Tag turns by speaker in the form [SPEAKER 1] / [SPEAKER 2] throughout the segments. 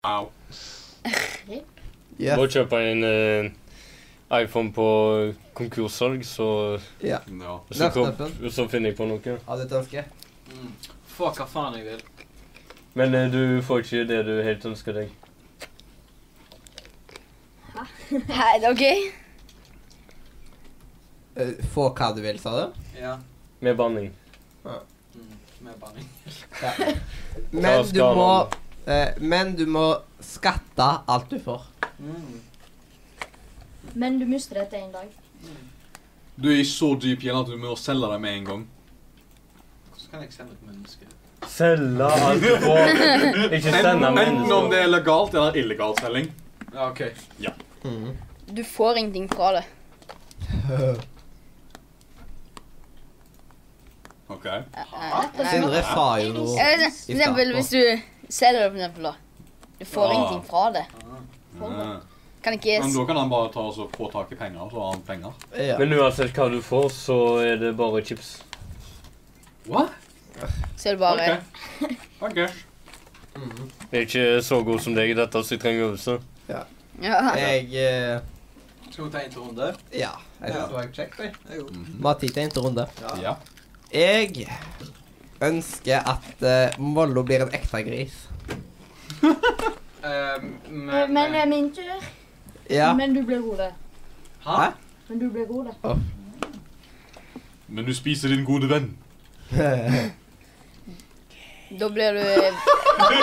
[SPEAKER 1] Au.
[SPEAKER 2] Ja.
[SPEAKER 3] Bare kjøp deg en eh, iPhone på konkurssalg, så,
[SPEAKER 2] ja.
[SPEAKER 1] Ja.
[SPEAKER 3] så,
[SPEAKER 2] Løft
[SPEAKER 3] kom,
[SPEAKER 2] knappen.
[SPEAKER 3] så finner jeg på noe.
[SPEAKER 2] Ja, det ønsker jeg.
[SPEAKER 4] Mm. Få hva faen jeg vil.
[SPEAKER 3] Men eh, du får ikke det du helt ønsker deg.
[SPEAKER 5] Nei, det er ok.
[SPEAKER 2] Eh, Få hva du vil, sa du?
[SPEAKER 4] Ja.
[SPEAKER 3] Med banning.
[SPEAKER 4] Mm. Med banning.
[SPEAKER 2] Ja.
[SPEAKER 3] Ta
[SPEAKER 2] Men du
[SPEAKER 3] skalaen.
[SPEAKER 2] må eh, Men du må skatte alt du får.
[SPEAKER 4] Mm.
[SPEAKER 5] Men du mister dette en dag.
[SPEAKER 1] Du er i så dyp gjeld at du må selge deg med en gang.
[SPEAKER 4] Hvordan kan jeg sende et menneske?
[SPEAKER 3] Selge alt du får. Ikke sende
[SPEAKER 1] Enten om det
[SPEAKER 3] mennesker.
[SPEAKER 1] er legalt eller illegal selging.
[SPEAKER 4] Ja, OK.
[SPEAKER 2] Mm.
[SPEAKER 5] Du får ingenting fra det.
[SPEAKER 1] Ok.
[SPEAKER 2] Sindre sa jo noe.
[SPEAKER 5] Eh, For eksempel hvis du selger det, for eksempel, da. Du får
[SPEAKER 1] Ja.
[SPEAKER 5] ingenting fra det.
[SPEAKER 4] Ah.
[SPEAKER 1] Ja.
[SPEAKER 5] Kan ikke
[SPEAKER 1] Mm. Men da kan han bare ta og så få tak i penger, og så har han penger.
[SPEAKER 2] Ja.
[SPEAKER 3] Men uansett hva du får, så er det bare chips.
[SPEAKER 1] What?
[SPEAKER 5] Så er det bare
[SPEAKER 1] Ok.
[SPEAKER 2] Mhm.
[SPEAKER 3] Jeg er ikke så god som deg i dette, så jeg trenger øvelse.
[SPEAKER 5] ja.
[SPEAKER 2] Jeg eh,
[SPEAKER 4] Skal vi ta en til runde?
[SPEAKER 2] Ja. Jeg
[SPEAKER 4] Ja.
[SPEAKER 2] synes det var kjekt, jeg.
[SPEAKER 4] Det er jo
[SPEAKER 2] Vi har tid til en til runde.
[SPEAKER 1] Ja.
[SPEAKER 2] Jeg ønsker at eh, Mollo blir en ekte gris.
[SPEAKER 4] Eh,
[SPEAKER 5] Men det er min tur.
[SPEAKER 2] Ja.
[SPEAKER 5] Men du blir hodet.
[SPEAKER 4] Hæ?
[SPEAKER 2] Hæ?
[SPEAKER 5] Men du blir hodet.
[SPEAKER 1] Men du spiser din gode venn.
[SPEAKER 5] Da blir du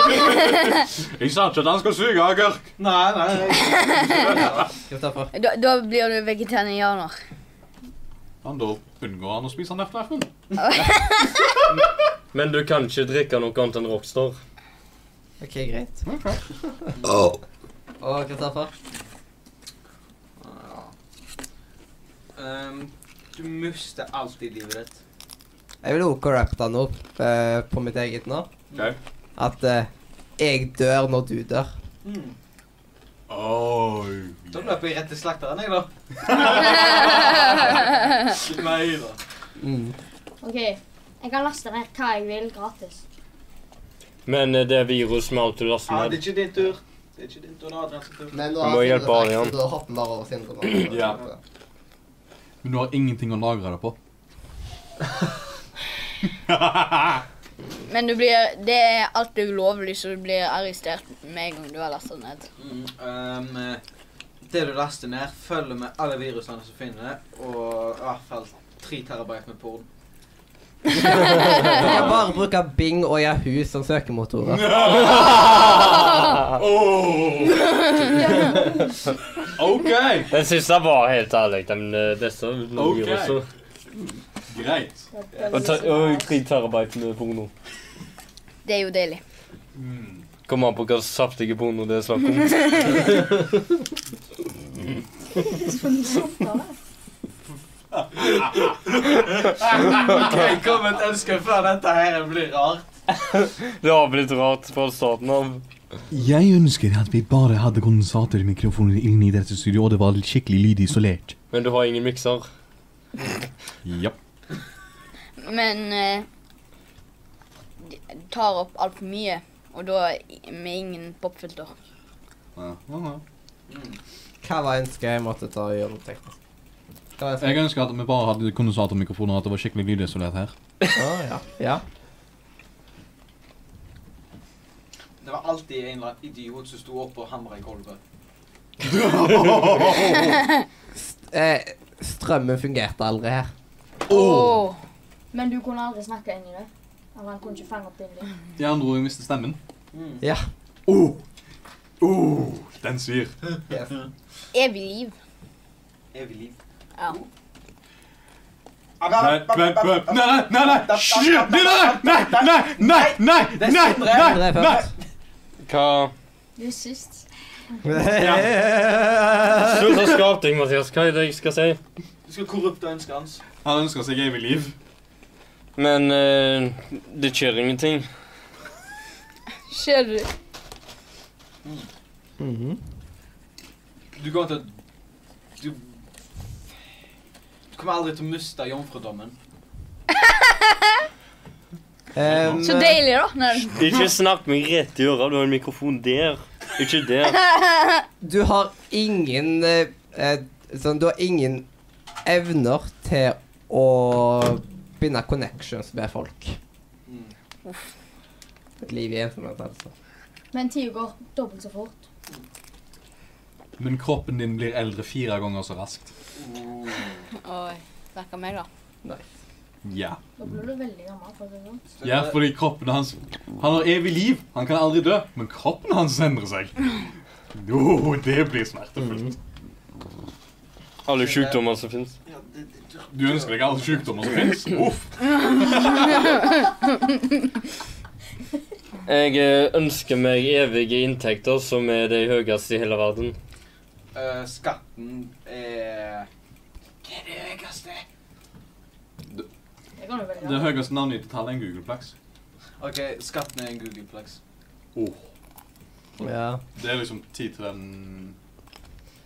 [SPEAKER 1] Jeg sa ikke at han skal suge agurk.
[SPEAKER 4] Nei, nei. nei.
[SPEAKER 2] Kristoffer.
[SPEAKER 5] Da, da blir du vegetarianer.
[SPEAKER 1] Men da unngår han å spise nerfnerfen.
[SPEAKER 3] Men du kan ikke drikke noe annet enn Rockstar.
[SPEAKER 2] OK, greit.
[SPEAKER 1] Okay.
[SPEAKER 2] Og Kristoffer.
[SPEAKER 4] Ja. Ehm, du mister alltid livet ditt.
[SPEAKER 2] Jeg vil også corrupte noe eh, på mitt eget nå.
[SPEAKER 1] Ok.
[SPEAKER 2] At eh, jeg dør når du dør.
[SPEAKER 4] Mm.
[SPEAKER 1] Oi.
[SPEAKER 4] Da løper jeg rett til slakteren, jeg, da. Nei da.
[SPEAKER 2] Mm.
[SPEAKER 6] Ok, jeg kan laste ned hva jeg vil gratis.
[SPEAKER 3] Men eh, det er virus med alt du
[SPEAKER 4] Ja,
[SPEAKER 3] laster
[SPEAKER 4] det er
[SPEAKER 3] ned.
[SPEAKER 4] ikke din tur. Det er ikke din tur, det er Adrian sin tur.
[SPEAKER 2] Men
[SPEAKER 3] Du har må Sindre hjelpe sagt, Adrian. så
[SPEAKER 2] Da hopper vi bare over Sindre.
[SPEAKER 1] Ja. Men du har ingenting å lagre det på.
[SPEAKER 5] Men du blir, det er alt er ulovlig, så du blir arrestert med en gang du har lasta ned.
[SPEAKER 4] Mm, ehm, eh, det du laster ned, følger med alle virusene som finner, og i hvert fall 3 terabyte med porn.
[SPEAKER 2] Du kan bare bruke Bing og Yahoo som søkemotorer.
[SPEAKER 1] OK.
[SPEAKER 3] Den siste var helt ærlig. Den eh, beste uten
[SPEAKER 1] Ok.
[SPEAKER 3] viruset.
[SPEAKER 1] Greit.
[SPEAKER 3] Og, ta, og tre terabyte med porno.
[SPEAKER 5] Det er jo deilig.
[SPEAKER 1] Mm.
[SPEAKER 3] Kommer an på hva saftige porno det er snakk om.
[SPEAKER 4] Jeg kommer til å ønske før dette her blir rart.
[SPEAKER 3] Det har blitt rart fra starten av.
[SPEAKER 7] Jeg ønsker at vi bare hadde kondensatormikrofoner inne i dette studioet, og det var skikkelig lydisolert.
[SPEAKER 3] Men du har ingen mikser.
[SPEAKER 1] Ja.
[SPEAKER 5] Men eh, de tar opp altfor mye, og da i- med ingen popfilter.
[SPEAKER 1] Ja, ja, ja.
[SPEAKER 4] Mm,
[SPEAKER 2] Hva var ønsket jeg måtte ta og gjøre noe teknisk? Hva var ønsket?
[SPEAKER 1] Jeg ønsker at vi bare hadde kondensatormikrofoner, at det var skikkelig lydisolert her.
[SPEAKER 2] Å, ja. ja.
[SPEAKER 4] Det var alltid en eller annen idiot som sto opp og hamra i gulvet.
[SPEAKER 2] Eh, strømmen fungerte aldri her.
[SPEAKER 5] Oh.
[SPEAKER 6] Men du kunne aldri snakke inn i det. Eller han kunne ikke fange opp din lyd.
[SPEAKER 1] De andre òg mister stemmen.
[SPEAKER 4] Mm.
[SPEAKER 2] Ja.
[SPEAKER 1] Oh. Oh. Den svir.
[SPEAKER 2] Yes.
[SPEAKER 5] Evig liv.
[SPEAKER 4] Evig liv.
[SPEAKER 5] Ja.
[SPEAKER 1] Nei, nei, nei, nei, nei, nei, Shit, nei, nei, nei, nei, nei, nei,
[SPEAKER 4] Det er
[SPEAKER 1] nei,
[SPEAKER 4] Sindre.
[SPEAKER 1] nei,
[SPEAKER 2] Sindre er
[SPEAKER 1] nei.
[SPEAKER 2] først.
[SPEAKER 3] Hva
[SPEAKER 6] Du er sist.
[SPEAKER 3] Slutt å skape ting, Mathias. Hva er det jeg skal si?
[SPEAKER 4] Du skal korrupte ønsket hans.
[SPEAKER 1] Han ønsker seg evig liv.
[SPEAKER 3] Men eh, det skjer ingenting.
[SPEAKER 5] Skjer du?
[SPEAKER 2] Mhm.
[SPEAKER 4] Du kommer til å Du Du kommer aldri til å miste jomfrudommen.
[SPEAKER 2] Em,
[SPEAKER 5] Så deilig, da. Når,
[SPEAKER 2] Eh,
[SPEAKER 3] Ikke snakk meg rett i øret. Du har en mikrofon der. Ikke det.
[SPEAKER 2] Du har ingen eh, eh, sånn, Du har ingen evner til å binde connections med folk.
[SPEAKER 4] Mm.
[SPEAKER 2] Et liv i ensomhet, altså.
[SPEAKER 6] Men tida går dobbelt så fort.
[SPEAKER 1] Men kroppen din blir eldre fire ganger så raskt.
[SPEAKER 5] Oi. Snakker meg, da.
[SPEAKER 1] Ja.
[SPEAKER 6] Da blir du veldig gammel. for å si det sånn.
[SPEAKER 4] Så
[SPEAKER 1] ja,
[SPEAKER 4] det-
[SPEAKER 1] fordi kroppen hans Han har evig liv. Han kan aldri dø. Men kroppen hans endrer seg. Jo, det blir smertefullt.
[SPEAKER 3] Alle sykdommer som finnes.
[SPEAKER 4] ja, det- det- det-
[SPEAKER 1] Du ønsker deg alle sykdommer som fins. Uff.
[SPEAKER 3] Jeg eh, ønsker meg evige inntekter, som er de høyeste i hele verden.
[SPEAKER 4] Eh, skatten er Hva er det høyeste?
[SPEAKER 6] Det kan du veldig
[SPEAKER 1] Det
[SPEAKER 6] gjerne.
[SPEAKER 1] høyeste navngitte tallet er en Google-plaks.
[SPEAKER 4] OK, skatten er en Googleplex.
[SPEAKER 2] Ja.
[SPEAKER 1] Det er liksom 10 til den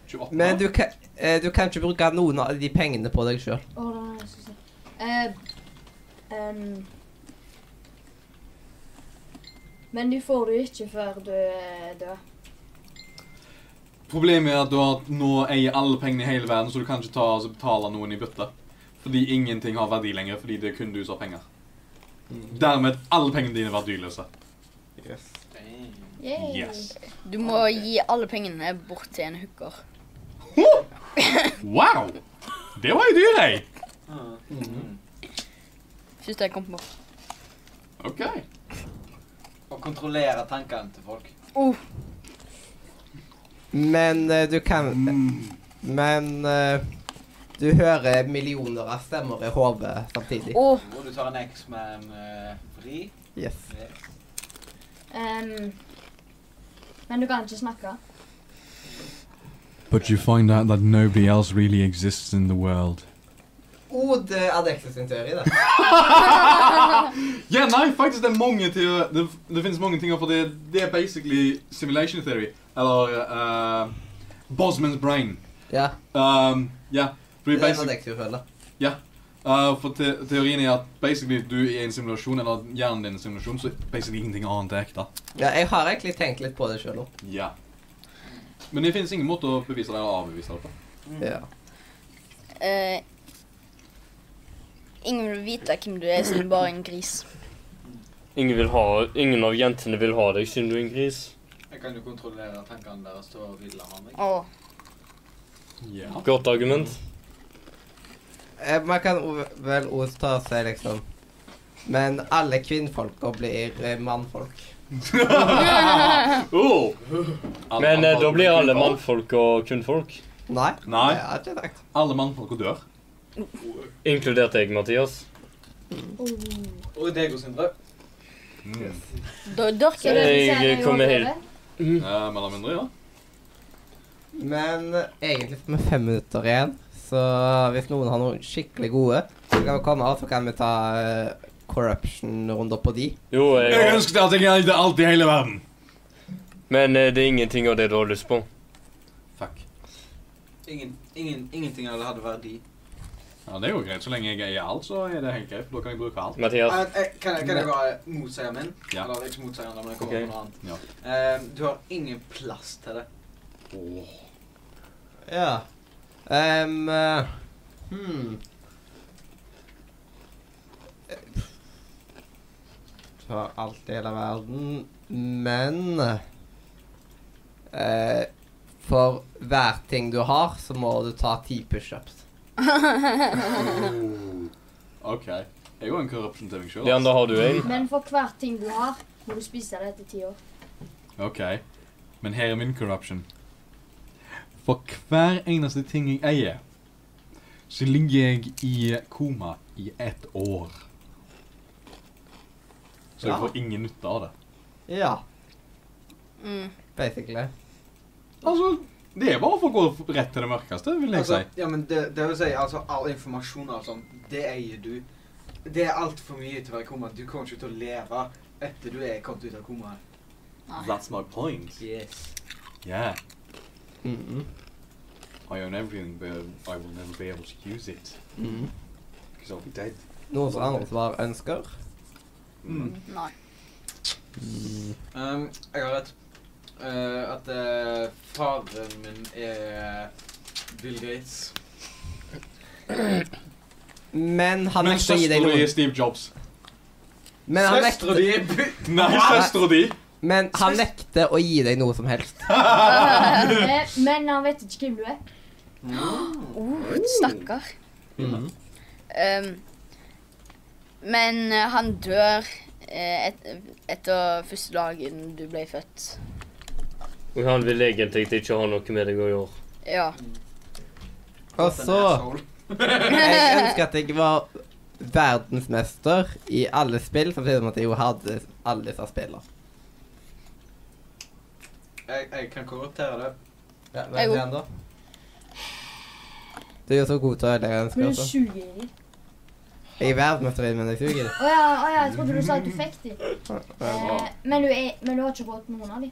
[SPEAKER 1] 28.
[SPEAKER 2] Men du kan, eh, du kan ikke bruke noen av de pengene på deg
[SPEAKER 6] Å,
[SPEAKER 2] sjøl.
[SPEAKER 6] det var det jeg skulle si. Eh, ehm, men de får du ikke før du eh, er død.
[SPEAKER 1] Problemet er at du har, nå eier alle pengene i hele verden, så du kan ikke ta, altså, betale noen i bytte. Fordi ingenting har verdi lenger, fordi det er kun du som har penger. Dermed er alle pengene dine verdiløse.
[SPEAKER 6] Yay.
[SPEAKER 1] Yes.
[SPEAKER 5] Du må gi alle pengene bort til en hooker.
[SPEAKER 1] Wow! Det var jo dyr, ei!
[SPEAKER 4] Ah.
[SPEAKER 1] Mhm.
[SPEAKER 5] Første jeg kom på.
[SPEAKER 1] OK.
[SPEAKER 4] Å kontrollere tankene til folk.
[SPEAKER 2] Men eh, du kan Men eh, du hører millioner av stemmer i hodet samtidig.
[SPEAKER 5] Å,
[SPEAKER 4] Og du tar en X med en eh, vri.
[SPEAKER 2] Yes.
[SPEAKER 6] Ehm, men du kan ikke snakke.
[SPEAKER 7] But you find out that nobody else really exists in the world.
[SPEAKER 2] Oh, det er Dexter sin teori, det.
[SPEAKER 1] Ja, nei, faktisk det er mange til, det, det finnes mange ting, for det, det er basically simulation theory. Eller eh, Bosman's brain.
[SPEAKER 2] Ja,
[SPEAKER 1] Um, ja, fordi
[SPEAKER 2] det er
[SPEAKER 1] basic,
[SPEAKER 2] hva Dexter føler.
[SPEAKER 1] Uh, for te teorien er at basically du er i en simulasjon, eller hjernen din er en simulasjon, så basically ingenting annet er ekte.
[SPEAKER 2] Ja, jeg har egentlig tenkt litt på det sjøl òg.
[SPEAKER 1] Ja. Men det finnes ingen måte å bevise det eller avbevise det på.
[SPEAKER 2] Ja.
[SPEAKER 5] eh, ingen vil vite hvem du er, siden du bare er en gris.
[SPEAKER 3] Ingen, vil ha, ingen av jentene vil ha deg siden du er en gris.
[SPEAKER 4] Jeg kan jo kontrollere tankene deres til å ville ha meg.
[SPEAKER 5] Å,
[SPEAKER 1] Ja.
[SPEAKER 3] Godt argument.
[SPEAKER 2] Eh, Man kan o- vel også ta seg liksom Men alle kvinnfolka blir eh, mannfolk.
[SPEAKER 1] Oh!
[SPEAKER 3] Men eh, da blir alle mannfolk og kvinnfolk.
[SPEAKER 2] Nei,
[SPEAKER 1] Nei.
[SPEAKER 2] det har jeg ikke sagt.
[SPEAKER 1] Alle mannfolk dør.
[SPEAKER 3] Inkludert deg, Mathias.
[SPEAKER 4] Og deg og Sindre.
[SPEAKER 1] Mm.
[SPEAKER 5] da dørker
[SPEAKER 6] Så det
[SPEAKER 5] du.
[SPEAKER 6] vil si at
[SPEAKER 3] Jeg
[SPEAKER 6] jeg
[SPEAKER 3] kommer
[SPEAKER 6] overlever?
[SPEAKER 1] Eh, mellom mindre, ja.
[SPEAKER 2] Men eh, egentlig så har vi fem minutter igjen, så hvis noen har noen skikkelig gode, så kan vi komme av, så kan vi ta eh, corruption-runder på de.
[SPEAKER 3] Jo, jeg
[SPEAKER 1] ønsker at jeg eide alt i hele verden.
[SPEAKER 3] Men eh, det er ingenting av det du har lyst på.
[SPEAKER 1] Fuck.
[SPEAKER 4] Ingen, ingen, ingenting av det hadde verdi.
[SPEAKER 1] Ja, Det er jo greit. Så lenge jeg eier alt, så er det helt greit. for Da kan jeg bruke alt.
[SPEAKER 3] Mathias.
[SPEAKER 4] Eh, eh, Kan, jeg- kan jeg bare motseieren min?
[SPEAKER 1] Ja.
[SPEAKER 4] Eller ikke motseieren, men jeg kommer
[SPEAKER 3] Ok.
[SPEAKER 4] på noe annet.
[SPEAKER 1] Ja.
[SPEAKER 4] Eh, du har ingen plass til det.
[SPEAKER 1] Oh,
[SPEAKER 2] Ja. Ehm, eh, hmm. Ta alt i hele verden, men eh, For hver ting du har, så må du ta ti pushups.
[SPEAKER 1] OK. Jeg er jo en korrupsjon til meg sjøl.
[SPEAKER 3] Leander, har du en?
[SPEAKER 6] Men for hvert ting du har, må du spise det etter ti år.
[SPEAKER 1] Ok, men her er min corruption. For hver eneste ting jeg eier, så ligger jeg i koma i ett år. Så jeg
[SPEAKER 2] Ja.
[SPEAKER 1] får ingen nytte av det.
[SPEAKER 2] Ja,
[SPEAKER 5] Mm.
[SPEAKER 2] basically.
[SPEAKER 1] Altså, det er bare for å gå rett til det mørkeste, vil jeg
[SPEAKER 4] Altså,
[SPEAKER 1] si.
[SPEAKER 4] ja, men det, det vil si, altså, all informasjon og alt sånt, det eier du. Det er altfor mye til å være i koma. Du kommer ikke til å leve etter du er kommet ut av komaen.
[SPEAKER 5] Nei.
[SPEAKER 1] That's my point.
[SPEAKER 4] Yes.
[SPEAKER 1] Yeah,
[SPEAKER 2] Mm
[SPEAKER 1] I own everything, but I will never be able to use it.
[SPEAKER 2] Mhm.
[SPEAKER 1] Because I'll be dead.
[SPEAKER 2] Noen som andre svar ønsker?
[SPEAKER 5] Nei.
[SPEAKER 2] Mm.
[SPEAKER 4] Um, jeg har rett. eh, at eh, faren min er Bill Gates.
[SPEAKER 2] Men han
[SPEAKER 1] Men
[SPEAKER 2] nekter å gi deg
[SPEAKER 1] søstera di er
[SPEAKER 2] noen
[SPEAKER 1] Steve Jobs.
[SPEAKER 2] Men han
[SPEAKER 4] Søstera
[SPEAKER 2] nekter,
[SPEAKER 4] di er Bill
[SPEAKER 1] Nei, søstera di!
[SPEAKER 2] men han nekter å gi deg noe som helst.
[SPEAKER 6] Eh, Men han vet ikke hvem du er.
[SPEAKER 5] Oh, stakkar.
[SPEAKER 2] Mhm.
[SPEAKER 5] Ehm, men eh, han dør eh, et, etter første dagen du ble født.
[SPEAKER 3] Og han vil egentlig ikke ha noe med deg å gjøre.
[SPEAKER 5] Ja.
[SPEAKER 2] Og så Jeg ønsker at jeg var verdensmester i alle spill, samtidig som at jeg jo hadde alle disse spillene.
[SPEAKER 4] Jeg, jeg kan korruptere det.
[SPEAKER 2] Ja,
[SPEAKER 5] er det
[SPEAKER 2] da? Du er jo så god til å ødelegge ønsker.
[SPEAKER 6] Men du
[SPEAKER 2] Også.
[SPEAKER 6] suger i dem.
[SPEAKER 2] Jeg er verdensmester i det, men jeg suger i det.
[SPEAKER 6] Å ja, å ja, jeg trodde du sa at du fikk dem.
[SPEAKER 2] Ja,
[SPEAKER 6] Eh, men, du er, men du har ikke råd til noen av dem.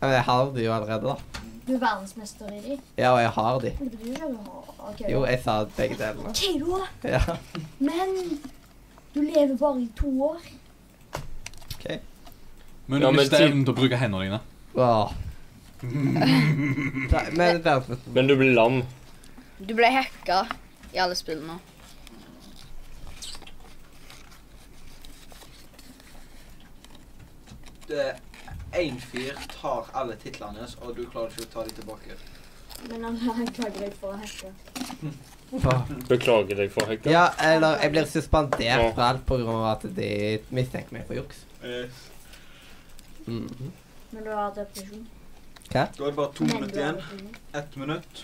[SPEAKER 2] Men jeg har det jo allerede, da.
[SPEAKER 6] Du er verdensmester i dem.
[SPEAKER 2] Ja, og jeg har de.
[SPEAKER 6] Men det betyr ikke at du har OK.
[SPEAKER 2] Jo, jeg sa begge delene.
[SPEAKER 6] OK, da.
[SPEAKER 2] Ja,
[SPEAKER 6] Men du lever bare i to år.
[SPEAKER 2] OK.
[SPEAKER 1] Men
[SPEAKER 3] Ja,
[SPEAKER 1] du
[SPEAKER 3] men
[SPEAKER 1] mister
[SPEAKER 3] til-
[SPEAKER 1] evnen til å bruke hendene dine.
[SPEAKER 2] Åh. Nei, Men verdensmester
[SPEAKER 3] Men du blir lam.
[SPEAKER 5] Du ble hacka i alle spillene.
[SPEAKER 4] Én fyr tar alle titlene hans, og du klarer ikke å ta dem tilbake.
[SPEAKER 6] Men han anklager deg for å hacke.
[SPEAKER 2] Åh.
[SPEAKER 3] Beklager deg for hekka.
[SPEAKER 2] Ja, eller jeg blir suspendert fra alt på grunn av at de mistenker meg for juks.
[SPEAKER 4] Eh,
[SPEAKER 2] Mhm.
[SPEAKER 6] Men du har depresjon.
[SPEAKER 4] da er det bare to
[SPEAKER 6] Men du har
[SPEAKER 4] minutter igjen.
[SPEAKER 6] depresjon.
[SPEAKER 4] Ett minutt.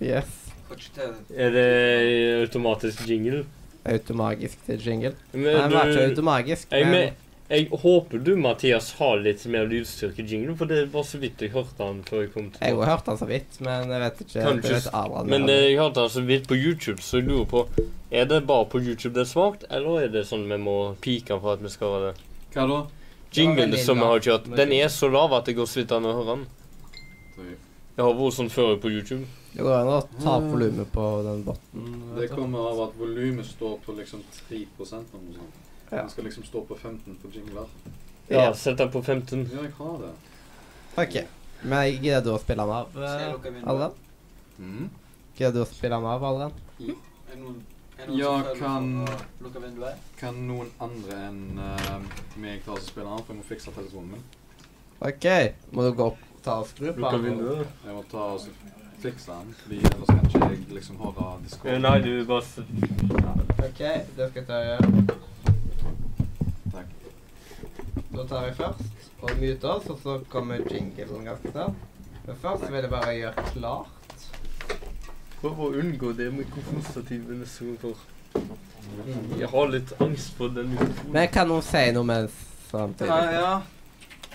[SPEAKER 2] Yes.
[SPEAKER 4] Får ikke til
[SPEAKER 3] Er det automatisk jingle?
[SPEAKER 2] Automagisk til jingle. Nei,
[SPEAKER 3] Men
[SPEAKER 2] den var ikke
[SPEAKER 3] du,
[SPEAKER 2] automagisk.
[SPEAKER 3] jeg,
[SPEAKER 2] men-
[SPEAKER 3] men, jeg håper du, Mathias, har litt mer lydstyrke i jinglen, for det var så vidt jeg hørte han før jeg kom til
[SPEAKER 2] Jeg har hørt han så vidt, men jeg vet ikke.
[SPEAKER 3] Kanskje-
[SPEAKER 2] jeg vet Adrian
[SPEAKER 3] Men
[SPEAKER 2] mer om
[SPEAKER 3] eh,
[SPEAKER 2] det.
[SPEAKER 3] jeg hørte altså vidt på YouTube, så jeg lurer på Er det bare på YouTube det er svakt, eller er det sånn vi må pike for at vi skal ha det?
[SPEAKER 1] Hva da?
[SPEAKER 3] Jinglen
[SPEAKER 2] veldig
[SPEAKER 3] som vi
[SPEAKER 2] lav.
[SPEAKER 3] har kjørt, den er så lav at det går så vidt an å høre den. Det har vært sånn før på YouTube.
[SPEAKER 2] Det går an å ta opp volumet på den botten.
[SPEAKER 1] Det kommer av at volumet står på liksom 3 eller noe sånt.
[SPEAKER 2] Ja.
[SPEAKER 1] Den skal liksom stå på 15 på jingler.
[SPEAKER 3] Ja,
[SPEAKER 2] Ja.
[SPEAKER 3] sett den på 15.
[SPEAKER 1] Ja, jeg har det.
[SPEAKER 2] OK. Men jeg gidder du å spille den av,
[SPEAKER 4] Se,
[SPEAKER 2] eh,
[SPEAKER 4] lukker vinduet.
[SPEAKER 2] Adrian?
[SPEAKER 1] Mm.
[SPEAKER 2] Gidder du å spille den av, Adrian?
[SPEAKER 4] Er det noen, er det noen
[SPEAKER 1] Ja,
[SPEAKER 4] som føler
[SPEAKER 1] kan-
[SPEAKER 4] for å lukke vinduet?
[SPEAKER 1] Kan noen andre enn eh, meg ta oss og spille den, for jeg må fikse telefonen min.
[SPEAKER 2] OK. Må du gå opp og ta og skru på den?
[SPEAKER 1] Jeg må ta og fikse den, fordi ellers kan ikke jeg liksom høre Discord.
[SPEAKER 3] du bare
[SPEAKER 2] OK, det skal jeg ta og gjøre.
[SPEAKER 1] Takk.
[SPEAKER 2] Da tar jeg først og muter oss, og så kommer jinglen ganske snart. Men først vil jeg bare gjøre klart.
[SPEAKER 3] Prøv å unngå det mikrofonstativet neste gang for Jeg har litt angst for den mikrofonen.
[SPEAKER 2] Men kan noen si noe mens
[SPEAKER 4] Ja,
[SPEAKER 2] samtidig?
[SPEAKER 4] ja.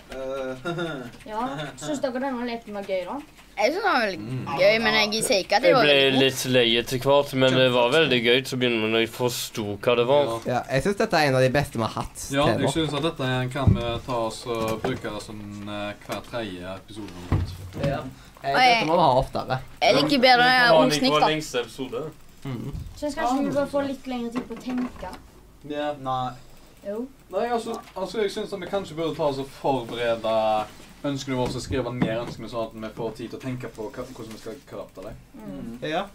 [SPEAKER 4] Eh,
[SPEAKER 6] Ja. Syns dere den leken var gøy, da?
[SPEAKER 5] Jeg syns det var veldig
[SPEAKER 1] Mm.
[SPEAKER 5] gøy, men jeg sier ikke at jeg
[SPEAKER 3] Jeg
[SPEAKER 5] var
[SPEAKER 3] ble
[SPEAKER 5] veldig god.
[SPEAKER 3] litt lei etter hvert, men det var veldig gøy til å begynne med når jeg forsto hva det var.
[SPEAKER 1] Ja.
[SPEAKER 2] Ja, jeg syns dette er en av de beste vi har hatt.
[SPEAKER 1] Ja,
[SPEAKER 2] til nå.
[SPEAKER 1] jeg synes at dette er en kan vi ta oss og bruke som eh, hver tredje episode. eller noe sånt.
[SPEAKER 2] Ja. Eh,
[SPEAKER 5] Oi.
[SPEAKER 2] Dette må vi ha oftere.
[SPEAKER 5] Jeg liker bedre Ung Snikk, da.
[SPEAKER 3] lengste episode.
[SPEAKER 2] Mm.
[SPEAKER 6] Syns kanskje du bør få litt lengre tid på å tenke.
[SPEAKER 1] Ja.
[SPEAKER 4] Nei.
[SPEAKER 6] Jo.
[SPEAKER 1] Nei, altså, altså jeg synes at vi kanskje burde ta oss og forberede ønskene våre og skrive ned ønskene, sånn at vi får tid til å tenke på hva, hvordan vi skal korrupte deg.
[SPEAKER 4] Mm.
[SPEAKER 2] Ja.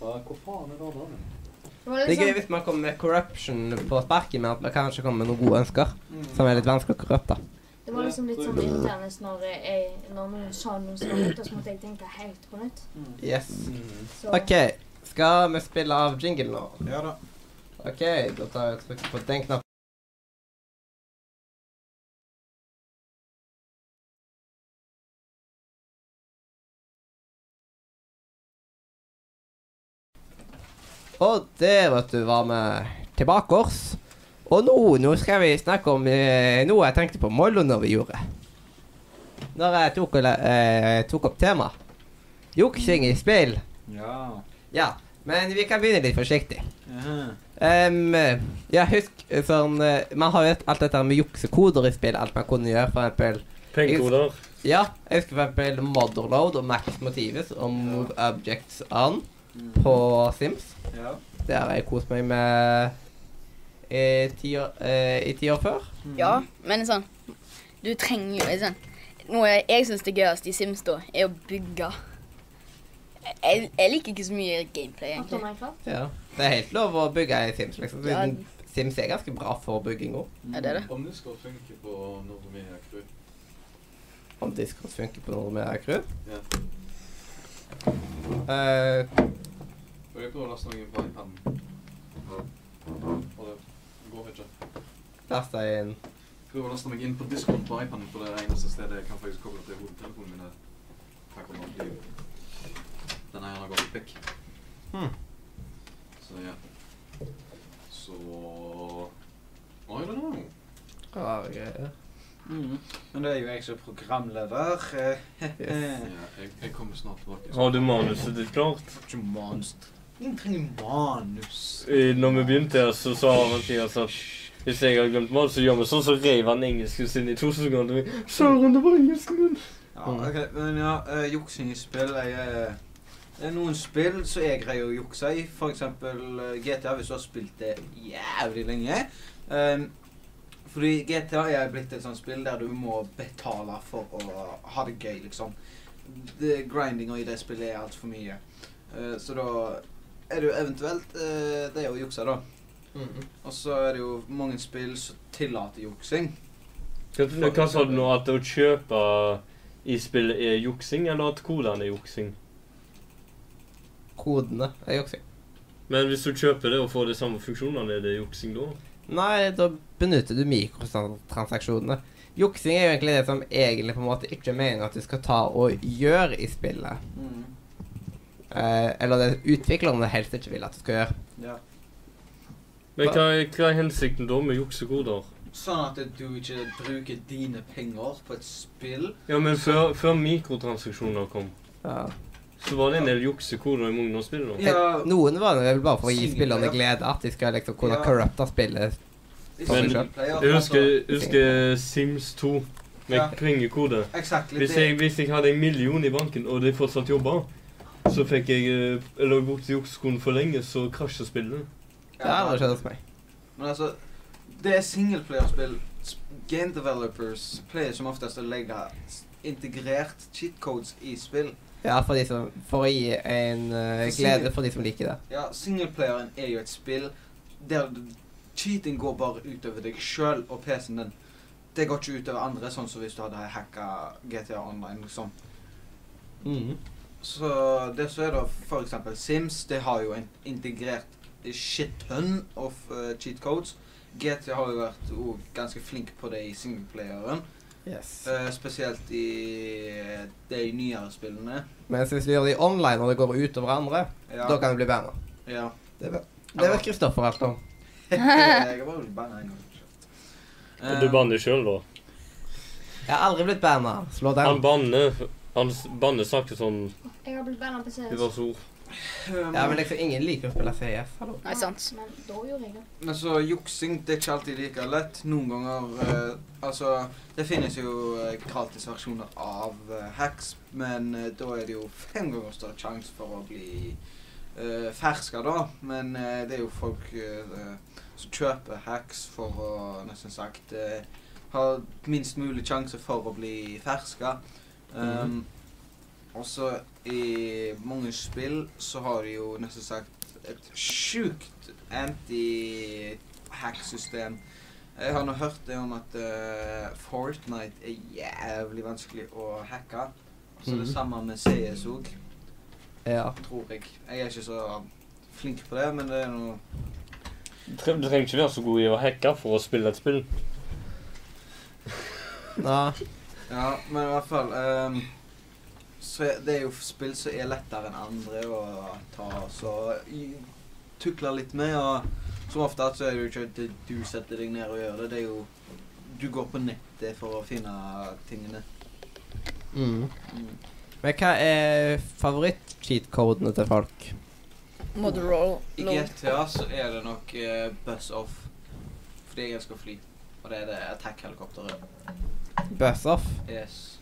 [SPEAKER 1] Hva hva faen er det da?
[SPEAKER 6] Det var
[SPEAKER 2] Det er gøy
[SPEAKER 6] liksom,
[SPEAKER 2] hvis man kommer med corruption på sparken, men at man kanskje kommer med noen gode ønsker som er litt vanskelig å korrupte.
[SPEAKER 6] det var liksom litt sånn irriterende når, jeg, når noen sa noe som var nytt, og så måtte jeg tenke helt på nytt.
[SPEAKER 2] Yes.
[SPEAKER 6] Så
[SPEAKER 2] OK, skal vi spille av jingle nå?
[SPEAKER 4] Ja da.
[SPEAKER 2] OK, da tar jeg og trykker på den knappen. Og der, vet du, var vi tilbakers. Og nå, nå skal vi snakke om eh, noe jeg tenkte på Mollo når vi gjorde. Når jeg tok, og le- eh, tok opp temaet. Juksing i spill.
[SPEAKER 4] Ja.
[SPEAKER 2] Ja, men vi kan begynne litt forsiktig.
[SPEAKER 4] Mhm.
[SPEAKER 2] Ehm, ja, husk sånn eh, Man har jo et- alt dette her med juksekoder i spill. Alt man kunne gjøre, for eksempel
[SPEAKER 3] Pengekoder.
[SPEAKER 2] Ja, jeg husker for eksempel Motherload og Max Motives og Move Objects On
[SPEAKER 4] Mm.
[SPEAKER 2] på Sims.
[SPEAKER 4] Ja.
[SPEAKER 2] Det har jeg kost meg med i ti år, eh, i ti år før.
[SPEAKER 5] Mm. Ja, men sånn Du trenger jo liksom, Noe jeg syns det er gøyest i Sims, da, er å bygge. Jeg, jeg liker ikke så mye gameplay,
[SPEAKER 6] Alt om
[SPEAKER 5] egentlig.
[SPEAKER 6] Minecraft?
[SPEAKER 2] Ja. Det er helt lov å bygge i Sims, liksom.
[SPEAKER 5] Ja.
[SPEAKER 2] Siden Sims er ganske bra for bygging òg.
[SPEAKER 5] Er det det?
[SPEAKER 8] Om det skal funke på når vi er crew.
[SPEAKER 2] Om Discord funker på noe med crew.
[SPEAKER 8] Ja.
[SPEAKER 2] Eh,
[SPEAKER 8] Og jeg prøver å laste noen på iPaden. Og det går ikke.
[SPEAKER 2] Lasta inn
[SPEAKER 8] Prøver å laste meg inn på Discord på iPaden, for det er det eneste stedet jeg kan faktisk koble til hodetelefonen min. er Her kommer den. Den her har gått vekk.
[SPEAKER 2] Hmm.
[SPEAKER 8] Så ja. Så I don't know.
[SPEAKER 2] rare greier.
[SPEAKER 4] Men det er jo jeg som er programleder. eh,
[SPEAKER 2] Yes.
[SPEAKER 8] Ja, jeg, jeg kommer snart tilbake.
[SPEAKER 3] Har du manuset ditt klart?
[SPEAKER 4] Ingen trenger manus.
[SPEAKER 3] Eh, Når vi begynte her, så sa Mathias at hvis jeg hadde glemt manuset, så gjør vi sånn, så reiv han engelsken sin i to sekunder. Søren, det var engelsken min!
[SPEAKER 4] Ja, ok, men ja, eh, juksing i spill jeg, eh, Det er noen spill som jeg greier å jukse i. For eksempel eh, GTA, hvis du har spilt det jævlig lenge. Ehm, fordi GTA er blitt et sånt spill der du må betale for å ha det gøy, liksom. Det- Grindinga i det spillet er altfor mye. Eh, så da er det jo eventuelt eh, det å jukse, da. Og så er det jo mange spill som tillater juksing.
[SPEAKER 3] Hva, hva sa du nå? At å kjøpe i spillet er juksing, eller at colaen er juksing?
[SPEAKER 2] Kodene er juksing.
[SPEAKER 3] Men hvis du kjøper det og får de samme funksjonene, er det juksing da?
[SPEAKER 2] Nei, da benytter du mikrotransaksjonene. Juksing er jo egentlig det som egentlig på en måte ikke er meningen at du skal ta og gjøre i spillet. Eh, eller det utviklerne helst ikke vil at du skal gjøre.
[SPEAKER 4] Ja.
[SPEAKER 3] Men hva, er- hva er hensikten da med juksekoder?
[SPEAKER 4] Sånn at du ikke bruker dine penger på et spill.
[SPEAKER 3] Ja, men før, før mikrotransaksjoner kom,
[SPEAKER 2] Ja.
[SPEAKER 3] så var det en del juksekoder i mange av spillene.
[SPEAKER 4] Ja,
[SPEAKER 2] Eh, Noen var det vel bare for å gi
[SPEAKER 4] Single
[SPEAKER 2] spillerne
[SPEAKER 4] player.
[SPEAKER 2] glede, at de skal liksom kunne
[SPEAKER 4] Ja.
[SPEAKER 2] corrupte spillet.
[SPEAKER 3] Men- Jeg
[SPEAKER 4] Altså,
[SPEAKER 3] husker, jeg husker Sims 2 med
[SPEAKER 4] Ja.
[SPEAKER 3] kringekode.
[SPEAKER 4] Exakt.
[SPEAKER 3] Hvis jeg, hvis jeg hadde en million i banken, og de fortsatt jobba, så fikk jeg eh, Eller brukte juksekoden for lenge, så krasja spillet.
[SPEAKER 2] Det har aldri skjedd hos meg.
[SPEAKER 4] Men altså, det er singleplayerspill. Game developers pleier som oftest å legge s- integrert cheat codes i spill.
[SPEAKER 2] Ja, for, de som, for å gi en eh, glede for de som liker det.
[SPEAKER 4] Ja, singleplayeren er jo et spill der du- cheating går bare utover deg sjøl og PC-en din. Det går ikke utover andre, sånn som hvis du hadde hacka GTA Online, liksom. Mm. Så det som er da for eksempel Sims, det har jo en integrert shit-ton of eh, cheat codes. GT har jo vært jo ganske flink på det i singleplayeren.
[SPEAKER 2] Yes.
[SPEAKER 4] eh, spesielt i eh, de nyere spillene.
[SPEAKER 2] Mens hvis du gjør det online og det går ut over andre,
[SPEAKER 4] Ja.
[SPEAKER 2] da kan det bli banna.
[SPEAKER 4] ja.
[SPEAKER 2] Det vet- det vet Kristoffer alt om.
[SPEAKER 4] Jeg har bare blitt banna en gang.
[SPEAKER 3] Og du
[SPEAKER 4] Eh,
[SPEAKER 3] banner sjøl, da?
[SPEAKER 2] Jeg har aldri blitt banna. Slå den.
[SPEAKER 3] Han banner Han s- banner sakte sånn
[SPEAKER 6] Jeg har blitt banna på CS.
[SPEAKER 3] diverse ord.
[SPEAKER 4] um,
[SPEAKER 2] Ja, men liksom ingen liker å spille CS. Hallo.
[SPEAKER 5] Nei, sant.
[SPEAKER 6] Men da gjorde jeg det.
[SPEAKER 4] Eh, Men så juksing det er ikke alltid like lett. Noen ganger eh, Altså, det finnes jo eh, gratis versjoner av eh, hacks, men eh, da er det jo fem ganger større sjanse for å bli uh, ferska, da. Men eh, det er jo folk eh, eh, som kjøper hacks for å nesten sagt eh, ha minst mulig sjanse for å bli ferska. Um, Også i mange spill så har de jo nesten sagt et sjukt anti-hack-system. Jeg har nå hørt det om at eh, Fortnite er jævlig vanskelig å hacke. Så det
[SPEAKER 2] Mhm.
[SPEAKER 4] samme med CS òg,
[SPEAKER 2] Ja.
[SPEAKER 4] tror jeg. Jeg er ikke så flink på det, men det er noe
[SPEAKER 3] Du tre- du trenger ikke være så god i å hacke for å spille et spill.
[SPEAKER 2] Nå,
[SPEAKER 4] Ja, men i hvert fall ehm, så er- Det er jo spill som er lettere enn andre å ta så i- tukle litt med. Og som ofte så er det jo ikke at du setter deg ned og gjør det. Det er jo Du går på nettet for å finne tingene.
[SPEAKER 2] mm.
[SPEAKER 4] Mm.
[SPEAKER 2] Men hva er favoritt-cheat-kodene til folk?
[SPEAKER 5] Motorola.
[SPEAKER 4] I GTA så er det nok eh, buzz off. Fordi jeg elsker å fly. Og det er det attack-helikopteret.
[SPEAKER 2] Buzz off.
[SPEAKER 4] Yes.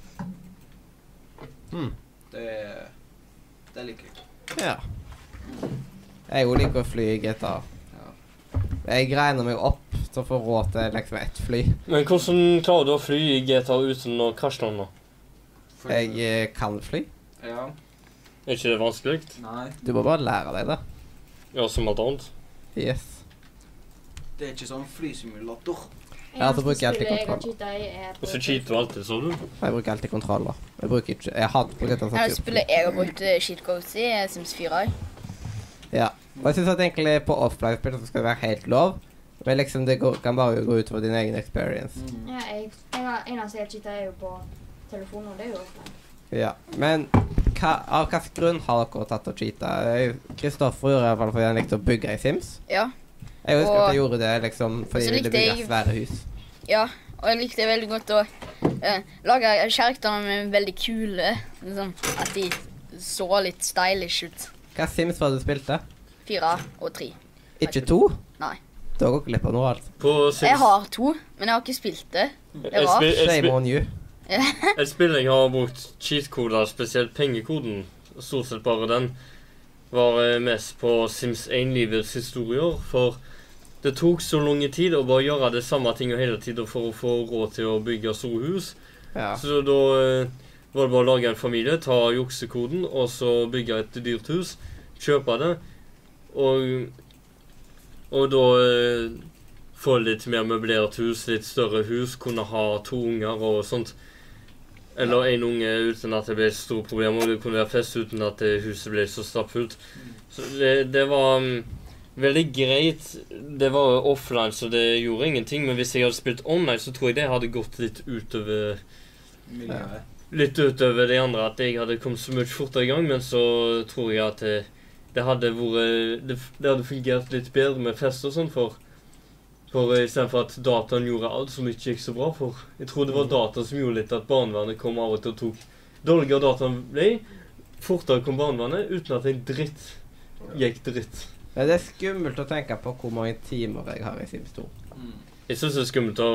[SPEAKER 2] Mm.
[SPEAKER 4] Det, det liker jeg.
[SPEAKER 2] Ja. Jeg òg liker å fly i GTA.
[SPEAKER 4] Ja.
[SPEAKER 2] Jeg greiner meg opp som får råd til liksom ett fly.
[SPEAKER 3] Men hvordan klarer du å fly i GTA uten å krasje noen? da?
[SPEAKER 4] For-
[SPEAKER 2] Jeg eh, kan fly.
[SPEAKER 4] Ja.
[SPEAKER 3] Er ikke det vanskelig?
[SPEAKER 4] Nei.
[SPEAKER 2] Du må bare lære deg det.
[SPEAKER 3] Ja, som alt annet.
[SPEAKER 2] Yes.
[SPEAKER 4] Det er ikke sånn flysimulator.
[SPEAKER 2] Ja, så bruker jeg alltid
[SPEAKER 3] Og så cheater du alltid, så du?
[SPEAKER 2] Jeg bruker alltid kontroller. Jeg bruker ikke Jeg hater bruker
[SPEAKER 5] Eller
[SPEAKER 2] tastatur.
[SPEAKER 5] spiller jeg og brukt eh, cheatcodes i eh, Sims 4. jeg.
[SPEAKER 2] Og jeg synes at egentlig på offline-spill så skal det være helt lov, men liksom det går, kan bare gå ut over din egen experience.
[SPEAKER 4] Mm.
[SPEAKER 6] Ja, jeg, jeg har, en av jeg cheater, er jo på telefonen, og det er jo offline.
[SPEAKER 2] Ja. Men hva, av hvilken grunn har dere tatt og cheata? Jeg- Kristoffer gjorde det i hvert fall fordi han likte å bygge i Sims.
[SPEAKER 5] Ja.
[SPEAKER 2] Jeg husker at
[SPEAKER 5] Og-
[SPEAKER 2] jeg gjorde det liksom fordi
[SPEAKER 5] Så
[SPEAKER 2] jeg ville
[SPEAKER 5] likte
[SPEAKER 2] bygge
[SPEAKER 5] jeg-
[SPEAKER 2] svære hus.
[SPEAKER 5] Og jeg likte veldig godt å eh, lage characterene mine veldig kule. Liksom, at de så litt stylish ut.
[SPEAKER 2] Hva Sims var det du spilte?
[SPEAKER 5] Fire og tre.
[SPEAKER 2] Ikke to?
[SPEAKER 5] Nei.
[SPEAKER 2] Da går glipp av noe, altså.
[SPEAKER 3] På Sims.
[SPEAKER 5] Jeg har to, men jeg har ikke spilt det.
[SPEAKER 3] Jeg,
[SPEAKER 5] rart.
[SPEAKER 3] spil, jeg,
[SPEAKER 2] Shame
[SPEAKER 3] spil,
[SPEAKER 2] on you.
[SPEAKER 3] et spill jeg har brukt cheat-koder, spesielt pengekoden, stort sett bare den, var eh, mest på Sims 1-livets historier, for det tok så lang tid å bare gjøre det samme tinget hele tiden for å få råd til å bygge store hus.
[SPEAKER 2] Ja.
[SPEAKER 3] Så da eh, var det bare å lage en familie, ta juksekoden, og så bygge et dyrt hus, kjøpe det, og, og da eh, få litt mer møblert hus, litt større hus, kunne ha to unger og sånt. Eller én unge uten at det ble et stort problem, og det kunne være fest uten at eh, huset ble så stappfullt. Så det, det var mm, veldig greit. Det var offline, så det gjorde ingenting. Men hvis jeg hadde spilt online, så tror jeg det hadde gått litt utover
[SPEAKER 4] Miljøet.
[SPEAKER 3] litt utover det andre at jeg hadde kommet så mye fortere i gang, men så tror jeg at eh, det hadde vært Det, f- det hadde fungert litt bedre med fest og sånn, for for Istedenfor at dataen gjorde alt som ikke gikk så bra. For jeg tror det var dataen som gjorde litt at barnevernet kom av og til og tok Dårligere dataen ble, fortere kom barnevernet uten at en dritt gikk dritt.
[SPEAKER 2] Men det er skummelt å tenke på hvor mange timer jeg har i Sims 2.
[SPEAKER 4] Mm.
[SPEAKER 3] Jeg syns det er skummelt å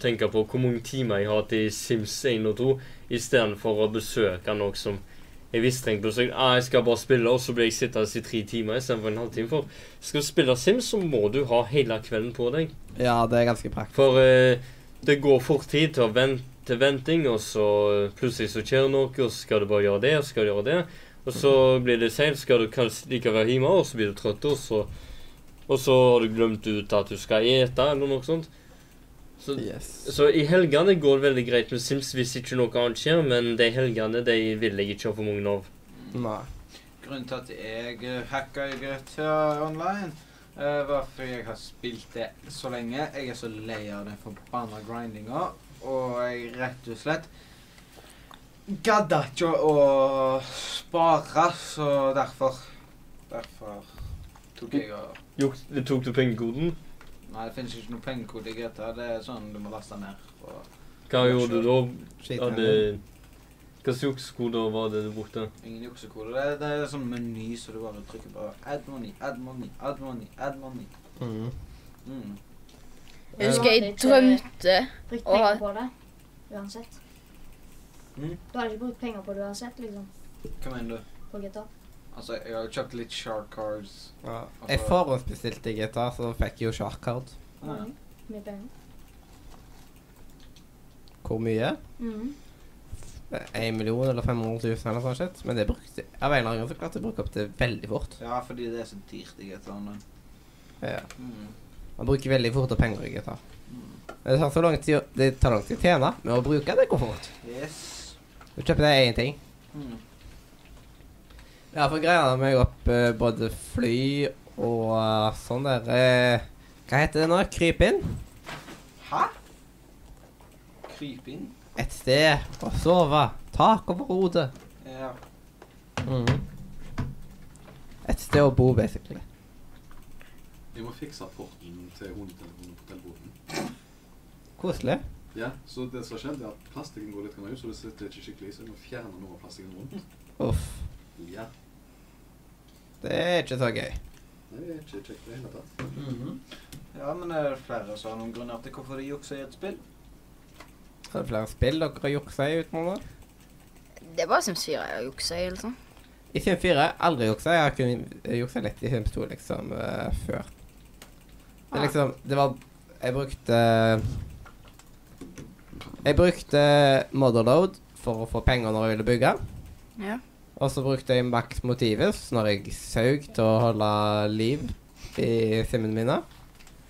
[SPEAKER 3] tenke på hvor mange timer jeg har hatt i Sims 1 og 2 istedenfor å besøke noe som jeg visste jeg besøkte. Ah, jeg skal bare spille, og så blir jeg sittende i tre timer istedenfor en halvtime. For skal du spille Sims, så må du ha hele kvelden på deg.
[SPEAKER 2] Ja, det er ganske praktisk.
[SPEAKER 3] For eh, det går fort tid til å vente til venting, og så eh, plutselig så skjer det noe, og så skal du bare gjøre det, og så skal du gjøre det. Og så blir det seint, skal du kanskje like være hjemme, og så blir du trøtt, og så Og så har du glemt ut at du skal ete, eller noe sånt. Så,
[SPEAKER 2] Yes.
[SPEAKER 3] så i helgene går det veldig greit med Sims hvis ikke noe annet skjer, men de helgene de vil jeg ikke ha for mange av.
[SPEAKER 2] Nei.
[SPEAKER 4] Grunnen til at jeg eh, hacka i GTA Online, eh, var fordi jeg har spilt det så lenge. Jeg er så lei av den forbanna grindinga, og jeg rett og slett gadda ikke å spare, så derfor Derfor tok jeg og
[SPEAKER 3] Jo, det tok du pengekoden?
[SPEAKER 4] Nei, det finnes ikke noe pengekode i GTA. Det er sånn du må laste ned. Og
[SPEAKER 3] Hva gjorde du da?
[SPEAKER 2] Skit i
[SPEAKER 3] Hadde,
[SPEAKER 2] det.
[SPEAKER 3] hva slags juksekoder var det du brukte?
[SPEAKER 4] ingen juksekode. Det, det er sånn meny, så du bare trykker på add money, add money, add money. add money.
[SPEAKER 2] Mm.
[SPEAKER 4] Mm.
[SPEAKER 5] Jeg
[SPEAKER 6] Ja.
[SPEAKER 5] husker jeg drømte
[SPEAKER 6] Brukt
[SPEAKER 5] Og-
[SPEAKER 6] penger på det, uansett.
[SPEAKER 4] Mm.
[SPEAKER 6] Du hadde ikke brukt penger på det uansett, liksom,
[SPEAKER 4] Hva mener du?
[SPEAKER 6] på GTA.
[SPEAKER 4] Altså, jeg har jo kjøpt litt shark cards.
[SPEAKER 2] Ja. Jeg forhåndsbestilte gitar, så fikk jeg jo shark card.
[SPEAKER 4] Ah, Ja.
[SPEAKER 6] Mye penger.
[SPEAKER 2] Hvor mye?
[SPEAKER 6] Mhm.
[SPEAKER 2] 1 million eller 500 000 eller sånn shit. Men det brukte av en eller annen grunn så klarte jeg å bruke opp det veldig fort.
[SPEAKER 4] Ja, fordi det er så dyrt i GTA nå.
[SPEAKER 2] Ja.
[SPEAKER 4] Mm.
[SPEAKER 2] Man bruker veldig fort opp penger i gitar. Det tar så lang tid, å- det tar lang tid å tjene, men å bruke det går fort.
[SPEAKER 4] Yes.
[SPEAKER 2] Du kjøper deg én ting.
[SPEAKER 4] Mm.
[SPEAKER 2] Ja, for greia med opp eh, både fly og eh, sånn der eh, Hva heter det nå? Kryp inn
[SPEAKER 4] Hæ? Krype inn?
[SPEAKER 2] et sted og sove. Tak over hodet.
[SPEAKER 4] Ja.
[SPEAKER 2] Et sted å bo, basically.
[SPEAKER 8] Jeg må fikse porten til hodetelefonen på telefonen.
[SPEAKER 2] Koselig.
[SPEAKER 8] Ja, så det som har skjedd, er at plastikken går litt grann ut, så det sitter ikke skikkelig i seg. Jeg må fjerne noe av plastikken rundt.
[SPEAKER 2] Uff.
[SPEAKER 8] Ja,
[SPEAKER 2] Det er ikke så gøy.
[SPEAKER 8] det er ikke kjekt i det hele tatt.
[SPEAKER 4] Mm-hmm. Ja, men er det flere som har noen grunner til hvorfor de jukser i et spill?
[SPEAKER 2] Er det flere spill dere har juksa i utenom det?
[SPEAKER 5] Det var Sims 4 jeg juksa i. liksom.
[SPEAKER 2] I Sim 4 aldri juksa. Jeg har kun juksa litt i Sims 2 liksom eh, før. Det er liksom Det var Jeg brukte Jeg brukte Motherload for å få penger når jeg ville bygge.
[SPEAKER 5] Ja.
[SPEAKER 2] Og så brukte jeg Max Motivus når jeg saug til å holde liv i simmene mine.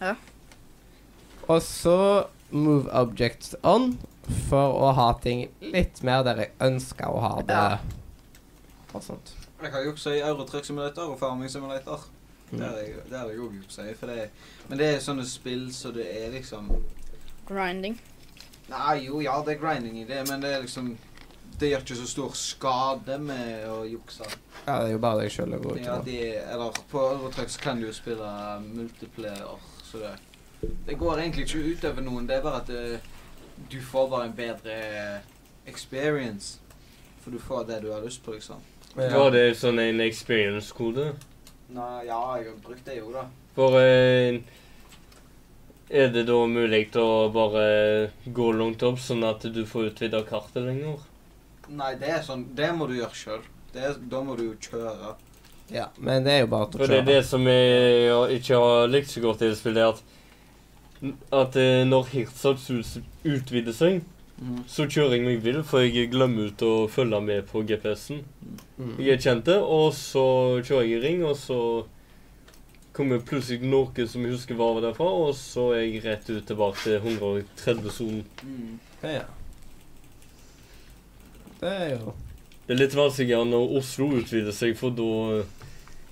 [SPEAKER 5] Ja.
[SPEAKER 2] Og så Move Objects On for å ha ting litt mer der jeg ønsker å ha det.
[SPEAKER 5] Ja.
[SPEAKER 2] Og sånt.
[SPEAKER 4] Jeg har juksa i Eurotruck-simulator og farming-simulator.
[SPEAKER 2] Mm.
[SPEAKER 4] Der er jeg- der er jeg òg juksa i. For det er, men det er sånne spill så det er liksom
[SPEAKER 5] Grinding.
[SPEAKER 4] Nei, jo, ja, det er grinding i det, men det er liksom Det gjør ikke så stor skade med å jukse.
[SPEAKER 2] Ja, det er jo bare deg sjøl å gå ut
[SPEAKER 4] Ja,
[SPEAKER 2] til.
[SPEAKER 4] de, eller på Eurotruck så kan du jo spille multiplayer, så det Det går egentlig ikke ut over noen, det er bare at eh, du får bare en bedre experience. For du får det du har lyst på, liksom.
[SPEAKER 3] Var det sånn en experience-kode?
[SPEAKER 4] Nei, ja, jeg har brukt det jo, da.
[SPEAKER 3] For eh, er det da mulig å bare gå langt opp, sånn at du får utvida kartet lenger?
[SPEAKER 4] Nei, det er sånn Det må du gjøre sjøl. Da må du jo kjøre.
[SPEAKER 2] Ja, men det er jo bare til å
[SPEAKER 3] For det er
[SPEAKER 2] kjøre.
[SPEAKER 3] det som jeg har- ikke har likt så godt i det spillet, er at, at eh, når Hirtshals hus utvider seg, så kjører jeg meg vill, for jeg glemmer ut å følge med på GPS-en.
[SPEAKER 2] Mm.
[SPEAKER 3] Jeg er kjent det, og så kjører jeg i ring, og så kommer plutselig noe som jeg husker var derfra, og så er jeg rett ut tilbake til 130-sonen.
[SPEAKER 4] Mm.
[SPEAKER 2] Ja, ja. Det er jo
[SPEAKER 3] Det er litt vanskeligere når Oslo utvider seg, for da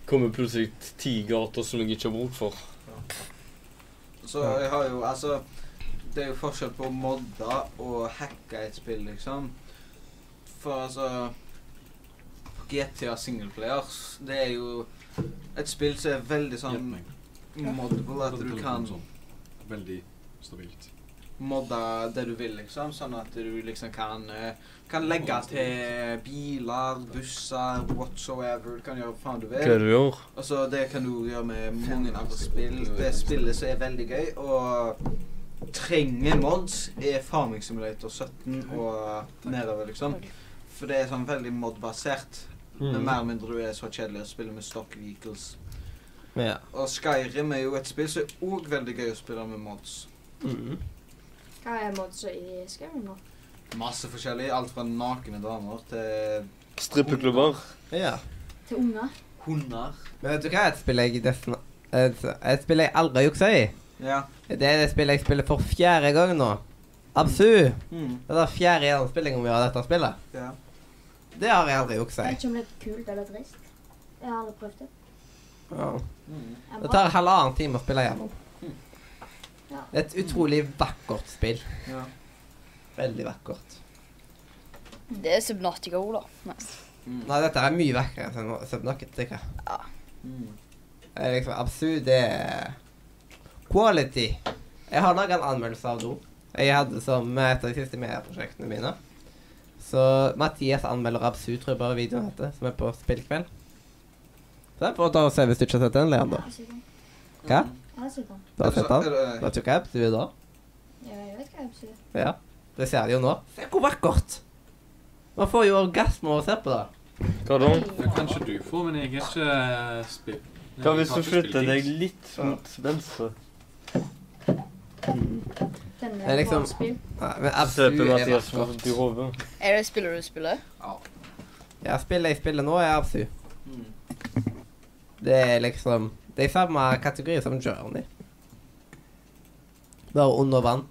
[SPEAKER 3] kommer plutselig ti gater som jeg ikke har bruk for.
[SPEAKER 4] Så jeg har jo Altså, det er jo forskjell på å modde og hacke et spill, liksom. For altså GTA singleplayers, det er jo et spill som er veldig sånn
[SPEAKER 8] Gjetning.
[SPEAKER 4] moddable, at du kan
[SPEAKER 8] Sånn. Veldig stabilt.
[SPEAKER 4] modde det du vil, liksom. Sånn at du liksom kan eh, Kan legge til biler, busser, whatsoever. Du kan gjøre hva faen du vil.
[SPEAKER 3] Hva er det du gjør?
[SPEAKER 4] Altså, det kan du gjøre med mange andre spill. Det spillet som er veldig gøy, og trenger mods, er Farming Simulator 17 og nedover, liksom. For det er sånn veldig modbasert. Men mer eller mindre du er så kjedelig å spille med stock vehicles.
[SPEAKER 2] Ja.
[SPEAKER 4] Og Skyrim er jo et spill som er òg veldig gøy å spille med mods.
[SPEAKER 2] Mm.
[SPEAKER 6] Hva er modsa i Skyrim nå?
[SPEAKER 4] Masse forskjellig. Alt fra nakne damer til
[SPEAKER 3] Strippeklubber.
[SPEAKER 2] ja.
[SPEAKER 6] Til unger?
[SPEAKER 4] hunder.
[SPEAKER 2] Men vet du hva et spill jeg nesten et, et spill jeg aldri juksa i?
[SPEAKER 4] Ja.
[SPEAKER 2] Det er det spillet jeg spiller for fjerde gang nå. Absu!
[SPEAKER 4] Mm.
[SPEAKER 2] Det er fjerde gjennomspilling vi har av dette spillet.
[SPEAKER 4] ja.
[SPEAKER 2] Det har jeg aldri juksa
[SPEAKER 6] Jeg
[SPEAKER 2] i.
[SPEAKER 6] vet ikke om det er kult eller trist. Jeg har aldri prøvd det.
[SPEAKER 2] Ja.
[SPEAKER 4] Mm.
[SPEAKER 6] Jeg
[SPEAKER 2] Det
[SPEAKER 6] bare-
[SPEAKER 2] tar halvannen time å spille gjennom.
[SPEAKER 6] Ja.
[SPEAKER 2] Det er et utrolig vakkert spill.
[SPEAKER 4] ja.
[SPEAKER 2] Veldig vakkert.
[SPEAKER 5] Det er Subnatica òg, da. Nei.
[SPEAKER 4] Mm.
[SPEAKER 2] Nei, dette er mye vakrere enn Subnocket, sikkert.
[SPEAKER 4] Mm.
[SPEAKER 2] Det er liksom absurd. Det er quality. Jeg har laga en anmeldelse av do. Jeg hadde som eh, et av de siste medieprosjektene mine. Så Mathias anmelder absurd, tror jeg bare videoen heter, som er på Spillkveld. Så det er bare å ta og se hvis du ikke har sett den,
[SPEAKER 6] Jeg
[SPEAKER 2] Leander.
[SPEAKER 6] har sett den.
[SPEAKER 2] Hva?
[SPEAKER 6] Jeg har sett den.
[SPEAKER 2] Du har sett den?
[SPEAKER 4] Mm. Er det-
[SPEAKER 2] Vet du hva absurd er da?
[SPEAKER 6] Ja, jeg vet hva jeg betyr.
[SPEAKER 2] Ja. Det ser de jo nå. Se hvor vakkert! Man får jo orgasme av å se på det.
[SPEAKER 3] Hva da?
[SPEAKER 8] Ja, kanskje du får, men jeg er ikke eh, spill...
[SPEAKER 3] Hva
[SPEAKER 8] Jeg
[SPEAKER 3] hvis du
[SPEAKER 8] har ikke
[SPEAKER 3] flytter
[SPEAKER 8] spilt
[SPEAKER 3] deg
[SPEAKER 8] Dings.
[SPEAKER 3] litt mot venstre?
[SPEAKER 6] Den
[SPEAKER 2] Det er
[SPEAKER 6] er
[SPEAKER 2] liksom-
[SPEAKER 6] bare spill.
[SPEAKER 2] Nei, men absurd
[SPEAKER 3] Søpe
[SPEAKER 2] er
[SPEAKER 3] Mathias mot i
[SPEAKER 2] vakkert.
[SPEAKER 3] hodet.
[SPEAKER 5] Er det spillet du spiller?
[SPEAKER 4] Ja.
[SPEAKER 2] Ja, spillet jeg spiller nå, er absurd.
[SPEAKER 4] Mm.
[SPEAKER 2] Det er liksom Det er i samme kategori som Journey. Bare under vann.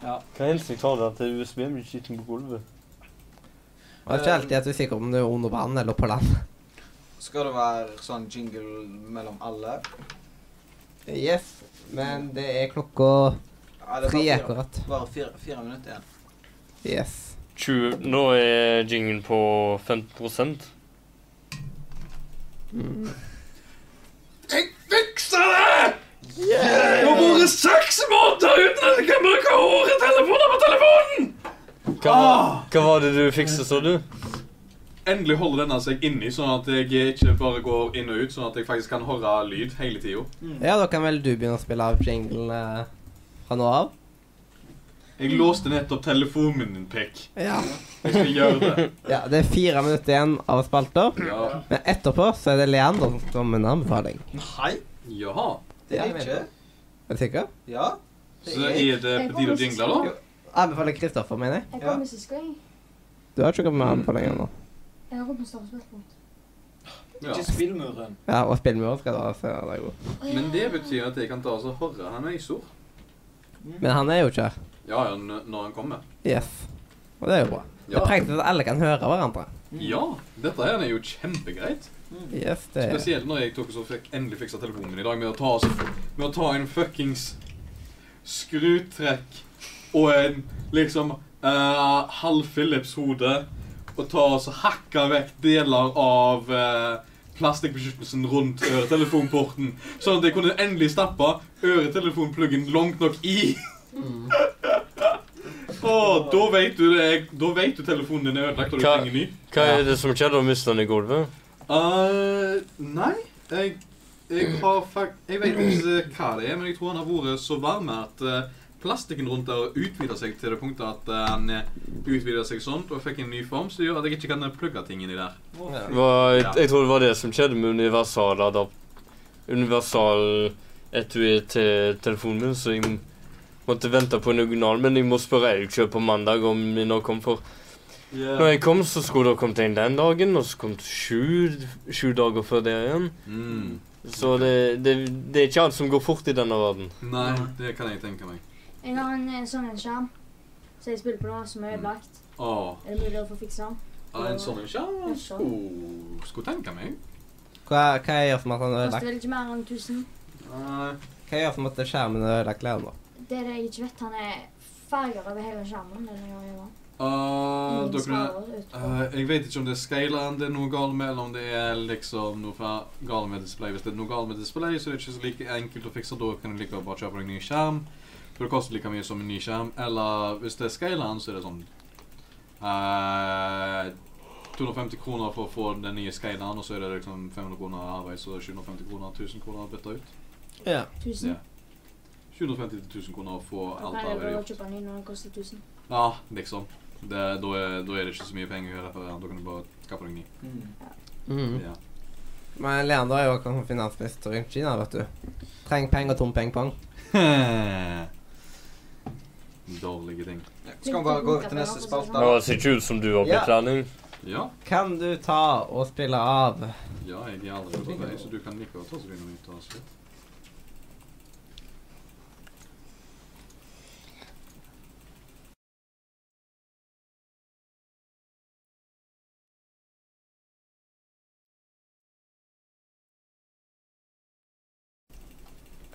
[SPEAKER 3] Hva hensikt har det at USB-en blir skitten på gulvet?
[SPEAKER 2] Det er ikke alltid at du er sikker om du er under vann eller på land.
[SPEAKER 4] Skal det være sånn jingle mellom alle?
[SPEAKER 2] Yes, men det er klokka
[SPEAKER 4] Ja, det
[SPEAKER 2] tre
[SPEAKER 4] er bare fire,
[SPEAKER 2] akkurat.
[SPEAKER 4] bare fire, fire minutter igjen.
[SPEAKER 2] Yes.
[SPEAKER 3] 20. Nå er jingen på 15 Jeg fikser det! Nå bor jeg seks måneder uten at jeg kan bruke håretelefoner på telefonen! Ah. Hva, hva var det du fikset, så du?
[SPEAKER 1] Endelig holder denne seg inni, sånn at jeg ikke bare går inn og ut, sånn at jeg faktisk kan høre lyd hele tida.
[SPEAKER 2] Ja, da kan vel du begynne å spille av jinglen eh, fra nå av?
[SPEAKER 1] Jeg låste nettopp telefonen din, Pekk.
[SPEAKER 2] Ja.
[SPEAKER 1] Jeg skal gjøre det.
[SPEAKER 2] ja. Det er fire minutter igjen av spalter,
[SPEAKER 1] Ja.
[SPEAKER 2] men etterpå så er det Leander som kommer med en anbefaling.
[SPEAKER 1] Jaha.
[SPEAKER 4] Det
[SPEAKER 2] Ja, jeg
[SPEAKER 4] er
[SPEAKER 2] vet
[SPEAKER 4] ikke.
[SPEAKER 2] Er du sikker?
[SPEAKER 4] Ja? Det
[SPEAKER 1] Så
[SPEAKER 4] er jeg.
[SPEAKER 1] er det på tide å jingle, da?
[SPEAKER 2] Anbefaler Kristoffer, mener jeg.
[SPEAKER 6] Jeg kommer sist gang.
[SPEAKER 2] Du har ikke kommet med anbefalinger nå.
[SPEAKER 6] Jeg har kommet med startspørsmål.
[SPEAKER 1] Ja.
[SPEAKER 4] Ikke spill muren.
[SPEAKER 2] Ja, og spillmuren skal da se det er god.
[SPEAKER 1] Men det betyr at jeg kan ta oss og høre han er sor.
[SPEAKER 2] Men han er jo ikke her.
[SPEAKER 1] Ja, ja, n- når han kommer.
[SPEAKER 2] Yes. Og det er jo bra. Det
[SPEAKER 1] Ja.
[SPEAKER 2] er praktisk at alle kan høre hverandre.
[SPEAKER 1] ja. Dette her er jo kjempegreit.
[SPEAKER 2] Yes, det er
[SPEAKER 1] Spesielt når jeg tok og så fikk endelig fiksa telefonen min i dag med å ta, oss- med å ta en fuckings skrutrekk og en liksom eh, halv Philips-hode og ta og så hakka vekk deler av eh, plastikkbeskyttelsen rundt øretelefonporten, sånn at jeg kunne endelig stappe øretelefonpluggen langt nok i. Å, da vet du det. Da vet du telefonen din er ødelagt og du
[SPEAKER 3] Hva-
[SPEAKER 1] trenger ny.
[SPEAKER 3] Hva er det som skjedde? Mista han i gulvet?
[SPEAKER 1] Eh, nei, jeg, jeg har fak... Jeg vet ikke hva det er, men jeg tror han har vært så varm at eh, plastikken rundt der utvider seg til det punktet at eh, han eh, utvider seg sånn og fikk en ny form, så det gjør at jeg ikke kan eh, plugge ting inni der.
[SPEAKER 2] Ja.
[SPEAKER 3] Hva- jeg,
[SPEAKER 1] Ja.
[SPEAKER 3] jeg tror det var det som skjedde med universal adap... Universal etui til telefonen min, så jeg m- måtte vente på en original. Men jeg må spørre Eilkjøp på mandag om min nå kom, for når jeg kom, så skulle det ha kommet en den dagen, og så kom det sju, sju dager før det igjen.
[SPEAKER 1] Mm.
[SPEAKER 3] Så det, det, det er ikke alt som går fort i denne verden.
[SPEAKER 1] Nei, det kan jeg tenke meg.
[SPEAKER 6] Jeg har en, en sånn en skjerm som jeg spiller på nå, som er ødelagt.
[SPEAKER 1] Åh,
[SPEAKER 6] Er det mulig å få fiksa den?
[SPEAKER 1] er det en sånn ikke?
[SPEAKER 6] En
[SPEAKER 1] Skulle skulle tenke meg.
[SPEAKER 2] Hva, hva gjør som at han er
[SPEAKER 6] Koster
[SPEAKER 2] ødelagt?
[SPEAKER 6] vel ikke mer enn 1000?
[SPEAKER 1] Nei.
[SPEAKER 2] Hva gjør som at skjermen er ødelagt der nå?
[SPEAKER 6] Det er det jeg ikke vet. Han er farger over hele skjermen. Det er det jeg gjør.
[SPEAKER 1] Eh,
[SPEAKER 6] Ingen
[SPEAKER 1] dere...
[SPEAKER 6] svarer utenpå.
[SPEAKER 1] Eh, jeg vet ikke om det er scaleren det er noe galt med, eller om det er liksom noe fra galt med display. Hvis det er noe galt med display, så er det ikke så like enkelt å fikse. Da kan du like godt bare kjøpe deg en ny skjerm. For det koster like mye som en ny skjerm. Eller hvis det er scaleren, så er det sånn eh, 250 kroner for å få den nye scaleren, og så er det liksom 500 kroner arbeid, så 750 kroner, 1000 kroner å bytte ut.
[SPEAKER 2] Ja.
[SPEAKER 6] 1000.
[SPEAKER 1] ja. 750 til 1000 kroner å få
[SPEAKER 6] Da kan
[SPEAKER 1] alt
[SPEAKER 6] jeg
[SPEAKER 1] arbeidet
[SPEAKER 6] bare
[SPEAKER 1] gjort.
[SPEAKER 6] kjøpe en ny når den koster 1000.
[SPEAKER 1] Ja, liksom. Det, da, er, da er det ikke så mye penger å gjøre for. Da kan du bare skaffe deg en ny.
[SPEAKER 4] Mm.
[SPEAKER 2] Mhm.
[SPEAKER 1] Ja.
[SPEAKER 2] Men Leander er jo akkurat som finansminister i Kina, vet du. Treng penger, tom peng, pang.
[SPEAKER 1] Dårlige ting.
[SPEAKER 4] Ja. Skal vi bare gå over til neste spalte?
[SPEAKER 3] Det ser ikke ut som du har blitt
[SPEAKER 2] Ja.
[SPEAKER 3] lærling.
[SPEAKER 1] Ja,
[SPEAKER 2] Kan du ta og spille av?
[SPEAKER 1] ja jeg er allerede på vei, så du kan like godt ta så begynne å ta oss litt.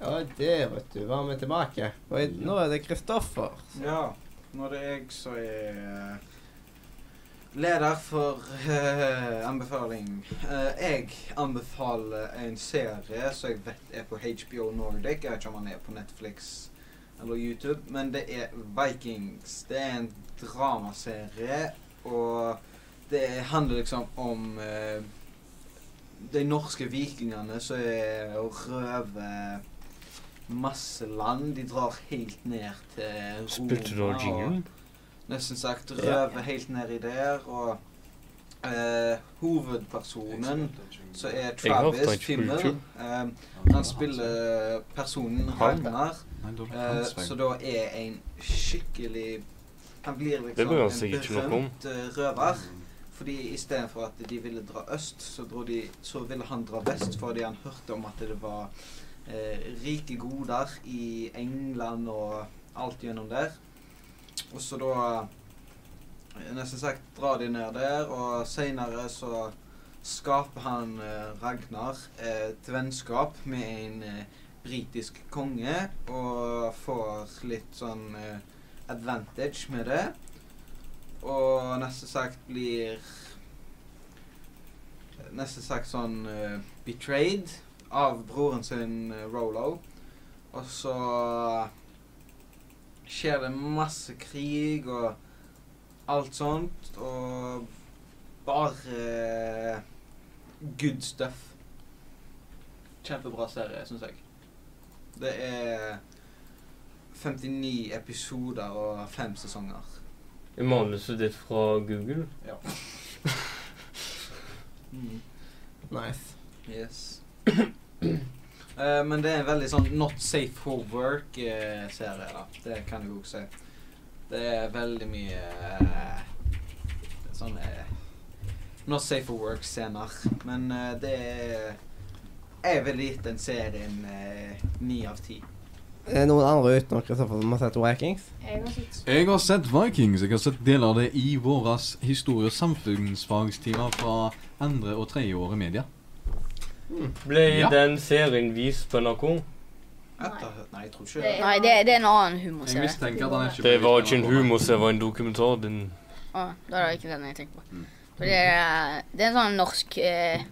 [SPEAKER 2] Ja, det, vet du. Var vi tilbake. Og i- nå er det Kristoffer.
[SPEAKER 4] Ja. Nå er det jeg som er eh, leder for eh, anbefaling. Eh, jeg anbefaler en serie som jeg vet er på HBO Nordic. Jeg vet ikke om den er på Netflix eller YouTube, men det er Vikings. Det er en dramaserie, og det handler liksom om eh, de norske vikingene som er og røver masse land. De drar helt ned til Roma.
[SPEAKER 3] Spilte du av
[SPEAKER 4] og-
[SPEAKER 3] jinglen?
[SPEAKER 4] nesten sagt
[SPEAKER 2] Ja.
[SPEAKER 4] røver helt nedi der, og eh, hovedpersonen, som er
[SPEAKER 3] Jeg har hatt
[SPEAKER 4] Travis
[SPEAKER 3] en
[SPEAKER 4] Fimmel,
[SPEAKER 3] YouTube.
[SPEAKER 4] eh, han spiller personen Ragnar, eh, som da er en skikkelig Han blir
[SPEAKER 3] Det
[SPEAKER 4] liksom
[SPEAKER 3] bryr han
[SPEAKER 4] en
[SPEAKER 3] seg ikke noe om.
[SPEAKER 4] berømt eh, røver. Fordi istedenfor at de ville dra øst, så, dro de, så ville han dra vest fordi han hørte om at det var eh, rike goder i England og alt gjennom der. Og så da eh, Nesten sagt drar de ned der, og seinere så skaper han eh, Ragnar eh, et vennskap med en eh, britisk konge, og får litt sånn eh, advantage med det. Og neste sagt blir Neste sagt sånn eh, betrayed av broren sin eh, Rolo. Og så skjer det masse krig og alt sånt, og bare good stuff. Kjempebra serie, syns jeg. Det er 59 episoder og fem sesonger.
[SPEAKER 3] Er manuset ditt fra Google?
[SPEAKER 4] Mm.
[SPEAKER 2] Nice.
[SPEAKER 4] Yes. Eh, men det er en veldig sånn not safe for work-serie, da. Det kan jeg jo også si. Det er veldig mye eh, sånn eh, not safe for work-scener. Men eh, det er Jeg ville gitt den serien eh, ni av ti.
[SPEAKER 2] Er det noen andre utenom Kristoffer som har sett Vikings?
[SPEAKER 6] Jeg har sett
[SPEAKER 1] Jeg har sett Vikings. Jeg har sett deler av det i våres historie- og samfunnsfagstimer fra andre- og tredjeåret media.
[SPEAKER 3] Ble
[SPEAKER 1] Ja.
[SPEAKER 3] den serien vist på NRK?
[SPEAKER 4] Etter, nei, jeg tror ikke
[SPEAKER 6] Det
[SPEAKER 4] det.
[SPEAKER 6] er-
[SPEAKER 5] Nei, det, det er en annen
[SPEAKER 1] Jeg
[SPEAKER 5] humorserie.
[SPEAKER 1] mistenker at han er ikke
[SPEAKER 3] Det var ikke en humor, det var en dokumentar. Den
[SPEAKER 5] Å, da er det ikke den jeg tenker på. For det er, det er en sånn norsk eh,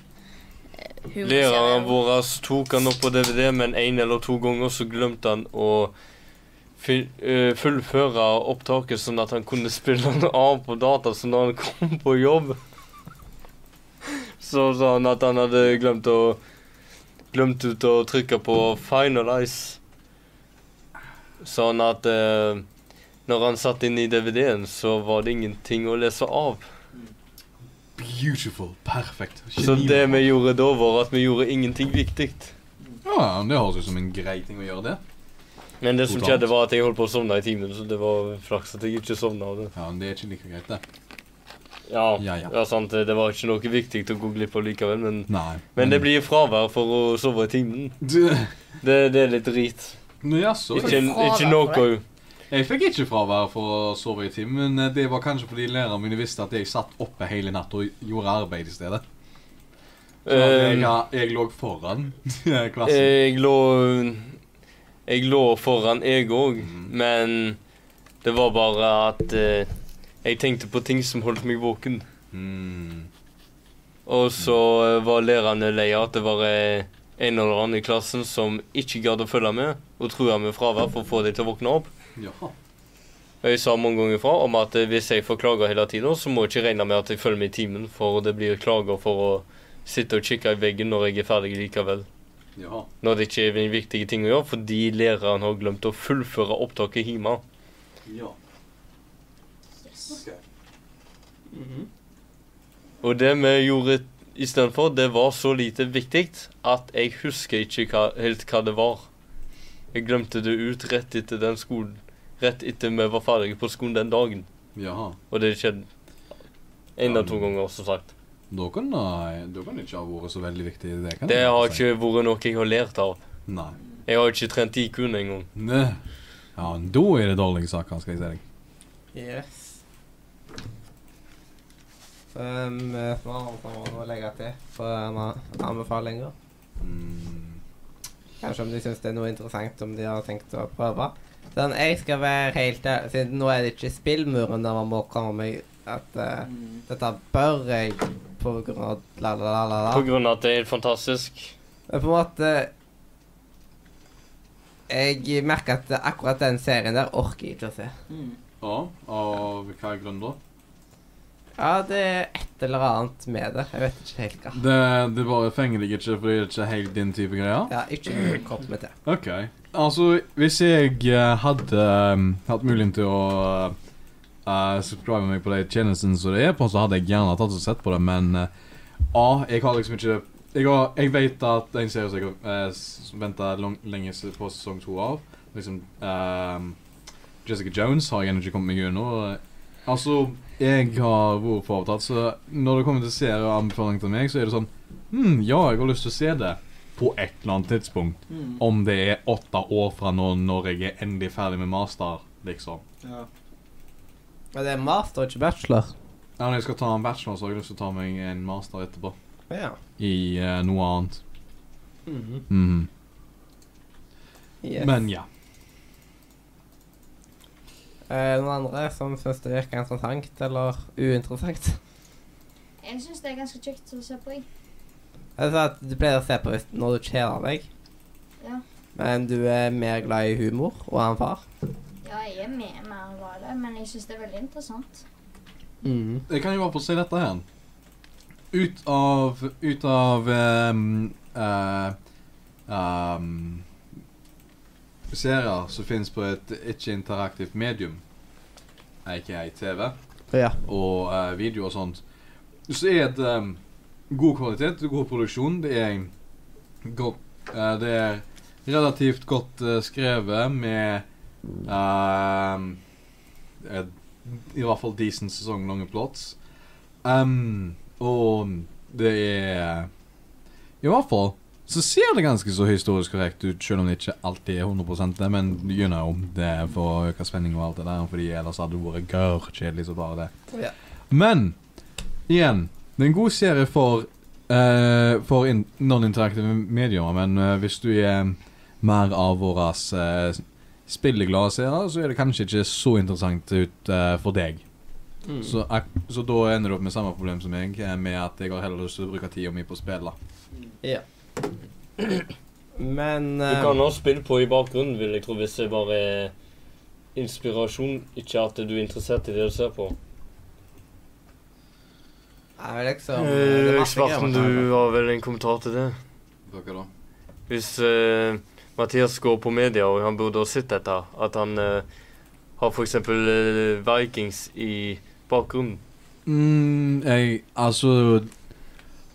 [SPEAKER 5] eh,
[SPEAKER 3] Læreren
[SPEAKER 5] humorserie.
[SPEAKER 3] vår tok han opp på DVD, men en eller to ganger så glemte han å fil- eh, fullføre opptaket, sånn at han kunne spille den av på data. Så når han kom på jobb, så sa han at han hadde glemt å Glemt ut å trykke på 'finalize'. Sånn at eh, når han satt inn i DVD-en, så var det ingenting å lese av.
[SPEAKER 1] Beautiful. Perfekt.
[SPEAKER 3] Så
[SPEAKER 1] Geni.
[SPEAKER 3] det vi gjorde da, var at vi gjorde ingenting viktig.
[SPEAKER 1] Ja, men Det høres ut som en grei ting å gjøre, det.
[SPEAKER 3] Men det som
[SPEAKER 1] Totalt.
[SPEAKER 3] skjedde var at jeg holdt på å sovne i timen, så det var flaks at jeg ikke sovna av det.
[SPEAKER 1] Ja, men Det er ikke like greit, det.
[SPEAKER 3] Ja,
[SPEAKER 1] Ja, ja.
[SPEAKER 3] ja, sant, det var ikke noe viktig å gå glipp av likevel, men,
[SPEAKER 1] Nei.
[SPEAKER 3] men det blir fravær for å sove i timen.
[SPEAKER 1] Du,
[SPEAKER 3] Det, det er litt drit.
[SPEAKER 1] Nå, jaså.
[SPEAKER 3] Ikke,
[SPEAKER 5] Fravær
[SPEAKER 3] ikke
[SPEAKER 5] for
[SPEAKER 3] noe
[SPEAKER 1] Jeg fikk ikke fravær for å sove i timen, men det var kanskje fordi læreren min visste at jeg satt oppe hele natta og gjorde arbeid i stedet. Så jeg,
[SPEAKER 3] Eh,
[SPEAKER 1] jeg lå foran klassen.
[SPEAKER 3] Jeg lå Jeg lå foran, jeg òg,
[SPEAKER 1] Mhm.
[SPEAKER 3] men det var bare at eh, jeg tenkte på ting som holdt meg våken.
[SPEAKER 1] Mm.
[SPEAKER 3] Og så eh, var lærerne lei av at det var eh, en eller annen i klassen som ikke gadd å følge med, og trua med fravær for å få dem til å våkne opp.
[SPEAKER 1] Ja.
[SPEAKER 3] Og jeg sa mange ganger fra om at eh, hvis jeg får klager hele tida, så må jeg ikke regne med at jeg følger med i timen, for det blir klager for å sitte og kikke i veggen når jeg er ferdig likevel.
[SPEAKER 1] Ja.
[SPEAKER 3] Når det ikke er en viktig ting å gjøre, fordi læreren har glemt å fullføre opptaket hjemme.
[SPEAKER 1] ja.
[SPEAKER 6] Yes.
[SPEAKER 1] Mhm.
[SPEAKER 3] Og det vi gjorde istedenfor, det var så lite viktig at jeg husker ikke hva, helt hva det var. Jeg glemte det ut rett etter den skolen. Rett etter vi var ferdige på skolen den dagen.
[SPEAKER 1] Jaha.
[SPEAKER 3] Og det skjedde en eller to
[SPEAKER 1] Ja, men-
[SPEAKER 3] ganger, som sagt.
[SPEAKER 1] Da kan, nei, da kan det ikke ha vært så veldig viktig. Det, kan
[SPEAKER 3] Det
[SPEAKER 1] jeg
[SPEAKER 3] har
[SPEAKER 1] si.
[SPEAKER 3] ikke vært noe jeg har lært av.
[SPEAKER 1] Nei.
[SPEAKER 3] Jeg har ikke trent IQ-en engang.
[SPEAKER 1] Nei. Ja, da er det dårlige saker, skal jeg si deg.
[SPEAKER 2] Yes. Um, eh, hva annet må man legge til for en a- anbefalinger?
[SPEAKER 1] Mm.
[SPEAKER 2] Kanskje om de syns det er noe interessant som de har tenkt å prøve. Sånn, jeg skal være helt ærlig, siden nå er det ikke spillmuren der man må komme meg at eh,
[SPEAKER 4] Mm.
[SPEAKER 2] dette bør jeg på grunn av la, la, la, la, la.
[SPEAKER 3] På grunn av at det er fantastisk.
[SPEAKER 2] Men på en måte Jeg merker at akkurat den serien der orker jeg ikke å se.
[SPEAKER 4] Mm.
[SPEAKER 1] Ja, av hva grunn da?
[SPEAKER 2] Ja, det er et eller annet med det. Jeg vet ikke helt hva.
[SPEAKER 1] Det, det bare fenger deg ikke fordi det er ikke helt din type greier?
[SPEAKER 2] Ja, ikke kopp med det.
[SPEAKER 1] Ok. Altså, hvis jeg eh, hadde eh, hatt muligheten til å eh, subscribe meg på de tjenestene som det er på, så hadde jeg gjerne tatt og sett på det, men eh, A, jeg har liksom ikke Jeg, har, jeg vet at det er en serie som jeg har uh, venta lenge s- på sesong to av, liksom eh, Jessica Jones har jeg ennå ikke kommet meg gjennom. Altså, jeg har vært på avtatt, så når det kommer til serier og anbefalinger til meg, så er det sånn Hm, ja, jeg har lyst til å se det. På et eller annet tidspunkt.
[SPEAKER 4] Mm.
[SPEAKER 1] Om det er åtte år fra nå når jeg er endelig ferdig med master, liksom.
[SPEAKER 4] Ja.
[SPEAKER 2] Men det er master, ikke bachelor.
[SPEAKER 1] Ja, når jeg skal ta en bachelor, så har jeg lyst til å ta meg en master etterpå.
[SPEAKER 2] Ja.
[SPEAKER 1] I eh, noe annet. Mhm.
[SPEAKER 2] Yes.
[SPEAKER 1] Men ja.
[SPEAKER 2] Eh, noen andre som syns det virker interessant eller uinteressant?
[SPEAKER 6] Jeg syns det er ganske kjekt å se på. Jeg.
[SPEAKER 2] Altså at Du pleier å se på hvis, når du kjeder deg,
[SPEAKER 6] Ja.
[SPEAKER 2] men du er mer glad i humor og han far.
[SPEAKER 6] ja, jeg er med mer glad i det, men jeg syns det er veldig interessant.
[SPEAKER 1] Jeg kan jo bare få si dette her. Ut av Ut av ehm, eh, ehm, Serier som finnes på et ikke-interaktivt medium, aka TV.
[SPEAKER 2] Ja.
[SPEAKER 1] og eh, video og sånt, så er det eh, god kvalitet, god produksjon. Det er godt Eh, det er relativt godt eh, skrevet med ehm, eh, I hvert fall decent sesonglange plots. Ehm, og det er I hvert fall så ser det ganske så historisk korrekt ut, selv om det ikke alltid er 100 det, men you know, det er for å øke spenning og alt det der, fordi ellers hadde det vært gørrkjedelig så bare det.
[SPEAKER 2] Ja.
[SPEAKER 1] Men igjen, det er en god serie for eh, for in non-interaktive medier, men eh, hvis du er mer av våre eh, spilleglade seere, så er det kanskje ikke så interessant ut eh, for deg.
[SPEAKER 2] Mm.
[SPEAKER 1] Så, ak så da ender du opp med samme problem som meg, eh, med at jeg har heller lyst til å bruke tida mi på å spille.
[SPEAKER 2] Men
[SPEAKER 3] Du
[SPEAKER 2] eh,
[SPEAKER 3] kan også spille på i bakgrunnen, vil jeg tro, hvis det bare er inspirasjon, ikke at du er interessert i det du ser på.
[SPEAKER 2] er det
[SPEAKER 3] Eh,
[SPEAKER 2] liksom det er masse greier man kan-
[SPEAKER 3] har vel en kommentar til det?
[SPEAKER 1] Dere da?
[SPEAKER 3] Hvis eh, Mathias går på media, og han burde ha sett dette, at han eh, har f.eks. Uh, Vikings i bakgrunnen
[SPEAKER 1] Mm, jeg, altså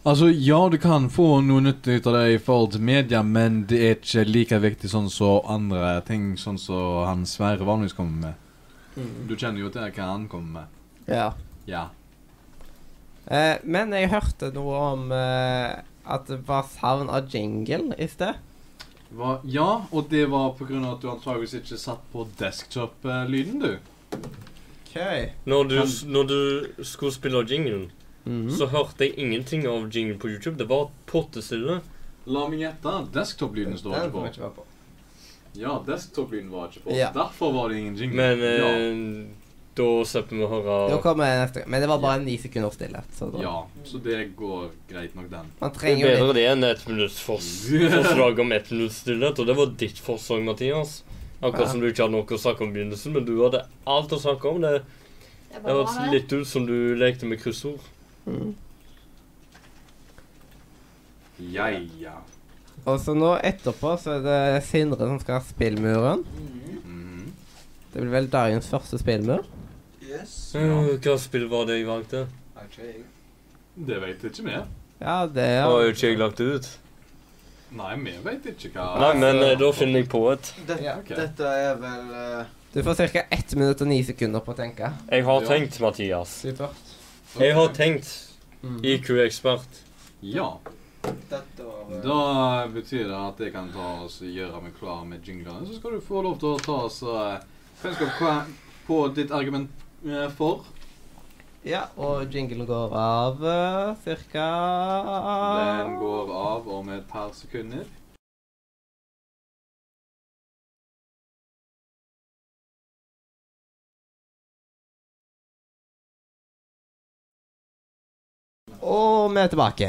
[SPEAKER 1] Altså, ja, du kan få noe nytte ut av det i forhold til media, men det er ikke like viktig sånn som andre ting, sånn som han Sverre vanligvis kommer med. Du kjenner jo til hva han kommer med.
[SPEAKER 2] Mhm. Ja.
[SPEAKER 1] Ja.
[SPEAKER 2] Eh, men jeg hørte noe om eh, at det var savn av jingle i sted.
[SPEAKER 1] Hva- ja, og det var på grunn av at du antageligvis ikke satt på desktop-lyden, du.
[SPEAKER 2] Okay.
[SPEAKER 3] Når du, når du skulle spille jinglen,
[SPEAKER 2] Mm.
[SPEAKER 3] så hørte jeg ingenting av jinglen på YouTube. Det var pottestille.
[SPEAKER 1] La meg gjette. Desktop-lyden står
[SPEAKER 2] Den
[SPEAKER 1] ikke
[SPEAKER 2] får vi
[SPEAKER 1] på.
[SPEAKER 2] ikke være på.
[SPEAKER 1] Ja, desktop-lyden var ikke på.
[SPEAKER 2] Ja.
[SPEAKER 1] Derfor var det ingen jingle.
[SPEAKER 3] Men
[SPEAKER 1] Mm. ja.
[SPEAKER 3] eh, da slipper vi å
[SPEAKER 2] Da
[SPEAKER 3] høre
[SPEAKER 2] kommer jeg neste gang. Men det var bare ni sekunder stillhet. Så da.
[SPEAKER 1] ja, så det går greit nok, den.
[SPEAKER 2] Man
[SPEAKER 3] Det er
[SPEAKER 2] trenger jo
[SPEAKER 3] bedre
[SPEAKER 2] litt
[SPEAKER 3] det enn ett minutts fors- forslag om ett minutts stillhet, og det var ditt forslag, Mathias. Akkurat som du ikke hadde noe å snakke om i begynnelsen, men du hadde alt å snakke om. Det
[SPEAKER 6] Det er
[SPEAKER 3] Det
[SPEAKER 6] bare
[SPEAKER 3] hørtes
[SPEAKER 6] bra, det.
[SPEAKER 3] litt ut som du lekte med kryssord.
[SPEAKER 1] Ja, ja.
[SPEAKER 2] Og så nå etterpå så er det Sindre som skal ha spillmuren.
[SPEAKER 4] Mm,
[SPEAKER 1] Mhm.
[SPEAKER 2] Det blir vel dagens første spillmur.
[SPEAKER 4] Yes.
[SPEAKER 3] Eh, Hva spill var det jeg valgte?
[SPEAKER 4] Ikke jeg.
[SPEAKER 1] Det vet ikke vi.
[SPEAKER 2] Ja, det
[SPEAKER 3] Ja.
[SPEAKER 2] er
[SPEAKER 3] Har jo ikke jeg lagt det ut.
[SPEAKER 1] Nei, vi vet ikke hva
[SPEAKER 3] Nei, men eh, da finner jeg på et.
[SPEAKER 4] Det,
[SPEAKER 2] Ja.
[SPEAKER 1] Ok.
[SPEAKER 4] Dette er vel eh,
[SPEAKER 2] Du får ca. 1 minutt og 9 sekunder på å tenke.
[SPEAKER 3] Jeg har
[SPEAKER 1] Ja.
[SPEAKER 3] tenkt, Mathias.
[SPEAKER 2] Du først.
[SPEAKER 3] Jeg har tenkt.
[SPEAKER 2] Mm.
[SPEAKER 3] IQ-ekspert.
[SPEAKER 1] Ja.
[SPEAKER 4] Dette var eh,
[SPEAKER 1] Da betyr det at jeg kan ta oss og gjøre meg klar med jinglene. Så skal du få lov til å ta oss eh, kunnskap hva- på ditt argument eh, for.
[SPEAKER 2] Ja, og jinglen går av uh, ca.
[SPEAKER 1] Den går av om et par sekunder.
[SPEAKER 2] Og vi er tilbake.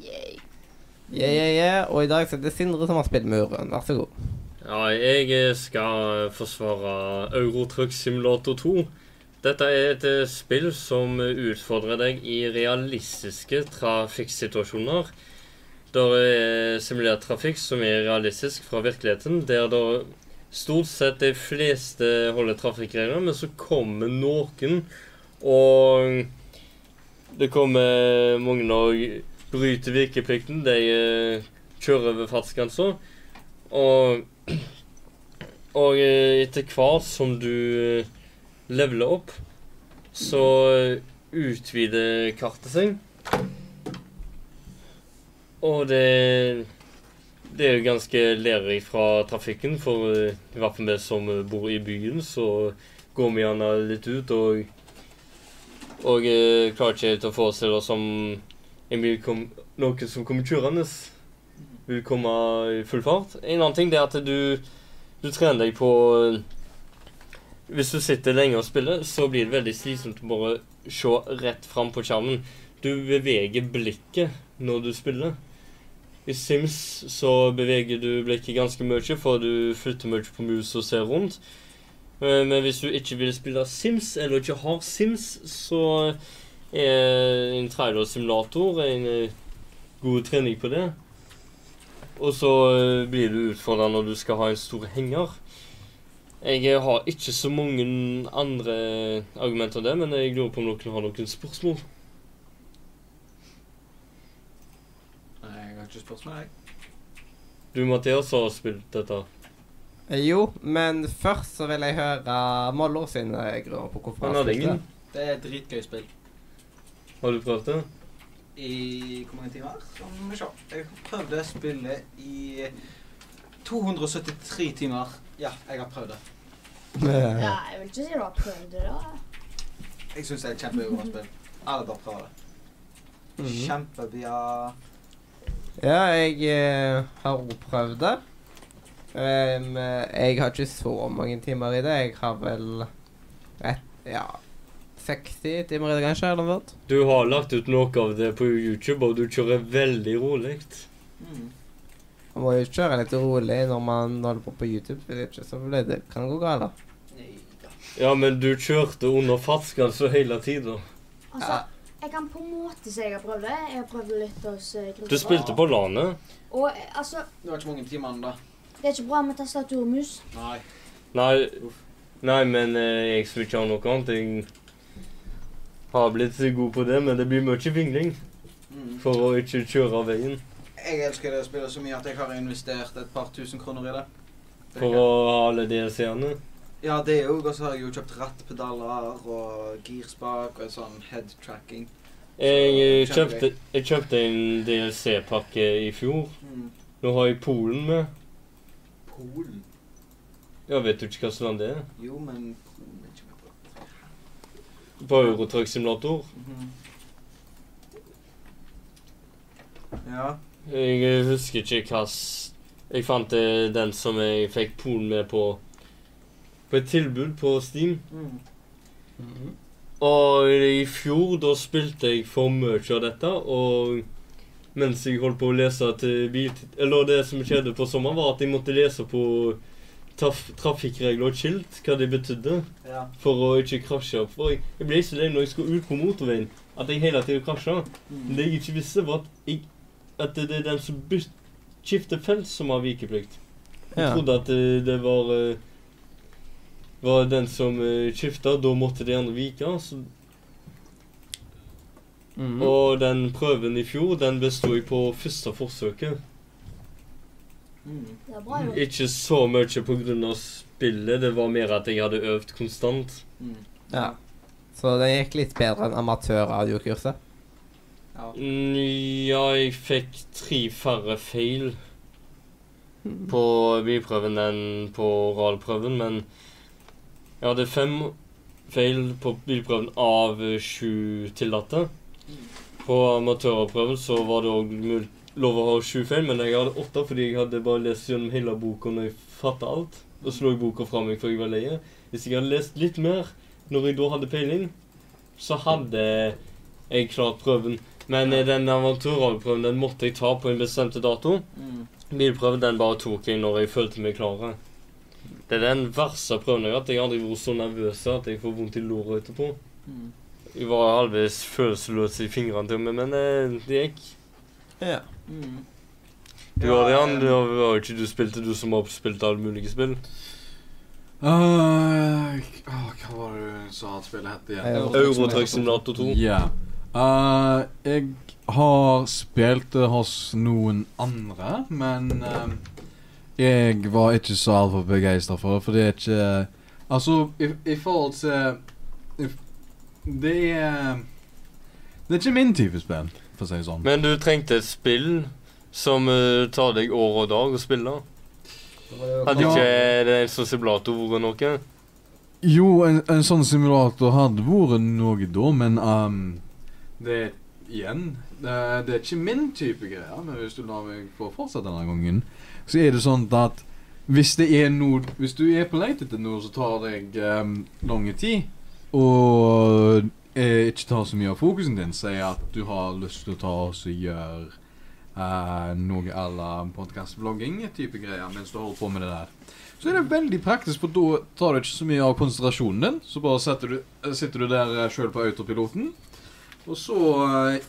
[SPEAKER 6] Yay.
[SPEAKER 2] Ja, ja, ja. Og i dag så er det Sindre som har spillmuren. Vær så god.
[SPEAKER 3] Ja, jeg eh, skal eh, forsvare Eurotruck Simulator 2. Dette er et eh, spill som eh, utfordrer deg i realistiske trafikksituasjoner. Der er simulert trafikk som er realistisk fra virkeligheten, der da stort sett de fleste holder trafikkregler, men så kommer noen, og det kommer mange og bryter virkeplikten, de eh, kjører over fartsgrensa, og og eh, etter hvert som du eh, leveler opp, så eh, utvider kartet seg. Og det Det er jo ganske lærerikt fra trafikken, for eh, i hvert fall vi som eh, bor i byen, så går vi gjerne litt ut og Og eh, klarer ikke helt å forestille oss om en bil kom, noen som kommer kjørende, vil komme i full fart. En annen ting det er at du du trener deg på eh, Hvis du sitter lenge og spiller, så blir det veldig slitsomt å bare se rett fram på skjermen. Du beveger blikket når du spiller. I Sims så beveger du blikket ganske mye, for du flytter mye på mus og ser rundt. Eh, Men hvis du ikke vil spille Sims, eller ikke har Sims, så er en trailer-simulator en eh, god trening på det. Og så eh, blir du utfordra når du skal ha en stor henger. Jeg eh, har ikke så mange andre argumenter enn det, men jeg lurer på om dere har noen spørsmål.
[SPEAKER 4] Nei, jeg har ikke spørsmål, jeg.
[SPEAKER 3] Du, Mathias, har spilt dette.
[SPEAKER 2] Eh, Jo, men først så vil jeg høre Mollo sin eh, grunn på hvorfor
[SPEAKER 3] Han hadde
[SPEAKER 2] spilte
[SPEAKER 3] ingen.
[SPEAKER 2] det.
[SPEAKER 4] Det er et dritgøy spill.
[SPEAKER 3] Har du prøvd det?
[SPEAKER 4] I hvor mange timer? Skal vi se. Jeg har prøvd det spillet i 273 timer. Ja, jeg har prøvd det.
[SPEAKER 6] Ja, jeg vil ikke si du har prøvd det, da.
[SPEAKER 4] Jeg syns det er et kjempebra spill. Alle bør prøve det.
[SPEAKER 2] Mhm.
[SPEAKER 4] Kjempebra.
[SPEAKER 2] Ja, jeg eh, har også prøvd det. Ehm, jeg har ikke så mange timer i det. Jeg har vel et, ja 60 timer i det, kanskje? eller noe sånt.
[SPEAKER 3] Du har lagt ut noe av det på YouTube, og du kjører veldig rolig.
[SPEAKER 4] Mm.
[SPEAKER 2] Man må jo kjøre litt rolig når man holder på på YouTube, for ikke så blir det kan gå galt.
[SPEAKER 4] Neida.
[SPEAKER 3] Ja, men du kjørte under fartsgrensa hele tida.
[SPEAKER 6] Altså, jeg kan på en måte si jeg har prøvd det. Jeg har prøvd det litt hos eh,
[SPEAKER 3] Du
[SPEAKER 6] Kristoffer.
[SPEAKER 3] spilte på LAN-et.
[SPEAKER 6] Og eh, altså,
[SPEAKER 4] Det var ikke mange timene, da.
[SPEAKER 6] det er ikke bra med tastatur og mus.
[SPEAKER 4] Nei.
[SPEAKER 3] Nei, nei men eh, jeg som ikke har noe annet, jeg har blitt god på det, men det blir mye vingling
[SPEAKER 4] Mm.
[SPEAKER 3] for å ikke kjøre av veien.
[SPEAKER 4] Jeg elsker det spillet så mye at jeg har investert et par tusen kroner i det. Det er
[SPEAKER 3] For å ha alle DLC-ene.
[SPEAKER 4] Ja, det òg. Og så har jeg jo kjøpt rattpedaler og girspak og en sånn head tracking.
[SPEAKER 3] Jeg eh,
[SPEAKER 4] Så, kjempe-
[SPEAKER 3] kjøpte, jeg kjøpte en DLC-pakke i fjor.
[SPEAKER 4] Mm.
[SPEAKER 3] Nå har jeg Polen med.
[SPEAKER 4] Polen?
[SPEAKER 3] Jeg vet jo ikke hva slags land det er.
[SPEAKER 4] Jo, men Polen er ikke med på.
[SPEAKER 3] På Eurotruck Simulator.
[SPEAKER 4] Mhm. Ja.
[SPEAKER 3] Jeg eh, husker ikke hva s- Jeg fant eh, den som jeg fikk Polen med på På et tilbud på Steam.
[SPEAKER 4] Mm.
[SPEAKER 3] Og i fjor da spilte jeg for mye av dette, og mens jeg holdt på å lese til biltid... Eller det som skjedde på sommeren, var at jeg måtte lese på traf trafikkregler og skilt, hva de betydde,
[SPEAKER 4] ja.
[SPEAKER 3] for å ikke krasje. For jeg, jeg ble så lei når jeg skulle ut på motorveien, at jeg hele tiden krasja. Men
[SPEAKER 4] Mm.
[SPEAKER 3] Det jeg ikke visste, var at, jeg, at det er den som byt, skifter felt, som har vikeplikt. Jeg
[SPEAKER 2] Ja.
[SPEAKER 3] trodde at eh, det var eh, Var den som eh, skifta, da måtte de andre vike. Så
[SPEAKER 2] Mhm.
[SPEAKER 3] Og den prøven i fjor, den besto jeg på første forsøket.
[SPEAKER 4] Mm.
[SPEAKER 6] Det er bra, jo.
[SPEAKER 3] Ikke så mye pga. spillet, det var mer at jeg hadde øvd konstant.
[SPEAKER 4] Mm.
[SPEAKER 2] Ja. Så den gikk litt bedre enn amatørradiokurset.
[SPEAKER 4] Ja.
[SPEAKER 3] Mm, Ja, jeg fikk tre færre feil på bilprøven enn på oralprøven, men jeg hadde fem feil på bilprøven av eh, sju tillatte. På amatørprøven så var det òg mul- lov å ha sju feil, men jeg hadde åtte fordi jeg hadde bare lest gjennom hele boka når jeg fatta alt. Da slo jeg boka fra meg før jeg var lei. Hvis jeg hadde lest litt mer når jeg da hadde peiling, så hadde jeg klart prøven. Men eh, den avanturalprøven den måtte jeg ta på en bestemte dato.
[SPEAKER 4] Mm.
[SPEAKER 3] Bilprøven den bare tok jeg når jeg følte meg klar. Det er den verste prøven jeg har hatt. Jeg har aldri vært så nervøs at jeg får vondt i låret etterpå.
[SPEAKER 4] Mm.
[SPEAKER 3] Jeg var halvveis følelsesløs i fingrene til og med, men eh, det gikk.
[SPEAKER 2] Ja.
[SPEAKER 4] Mm.
[SPEAKER 3] Du
[SPEAKER 4] Ja,
[SPEAKER 3] Adrian,
[SPEAKER 4] eh,
[SPEAKER 3] det var var jo ikke du spilte, du som har spilt alle mulige spill.
[SPEAKER 1] Eh, k- åh, hva var det du sa at spillet het
[SPEAKER 2] Eh,
[SPEAKER 3] Eh,
[SPEAKER 1] igjen?
[SPEAKER 3] Eurotruck Simulator 2.
[SPEAKER 1] Ja. Eh, jeg har spilt det hos noen andre, men eh, jeg var ikke så altfor begeistra for det, for det er ikke Altså, i, i forhold til i, Det er Det er ikke min type spill, for å si det sånn.
[SPEAKER 3] Men du trengte et spill som eh, tar deg år og dag å spille. Hadde
[SPEAKER 1] Ja.
[SPEAKER 3] ikke det en sånn simulator vært noe?
[SPEAKER 1] Jo, en, en sånn simulator hadde vært noe da, men ehm, Det er igjen det, det er ikke min type greier, men hvis du lar meg få fortsette denne gangen, så er det sånn at hvis det er noe Hvis du er på leit etter noe som tar deg um, lang tid, og eh, ikke tar så mye av fokusen din, si at du har lyst til å ta oss og gjøre eh, noe à la podkast-vlogging-type greier mens du holder på med det der så er det veldig praktisk, for da tar du ikke så mye av konsentrasjonen din. Så bare setter du, eh, sitter du der sjøl på autopiloten, og så eh,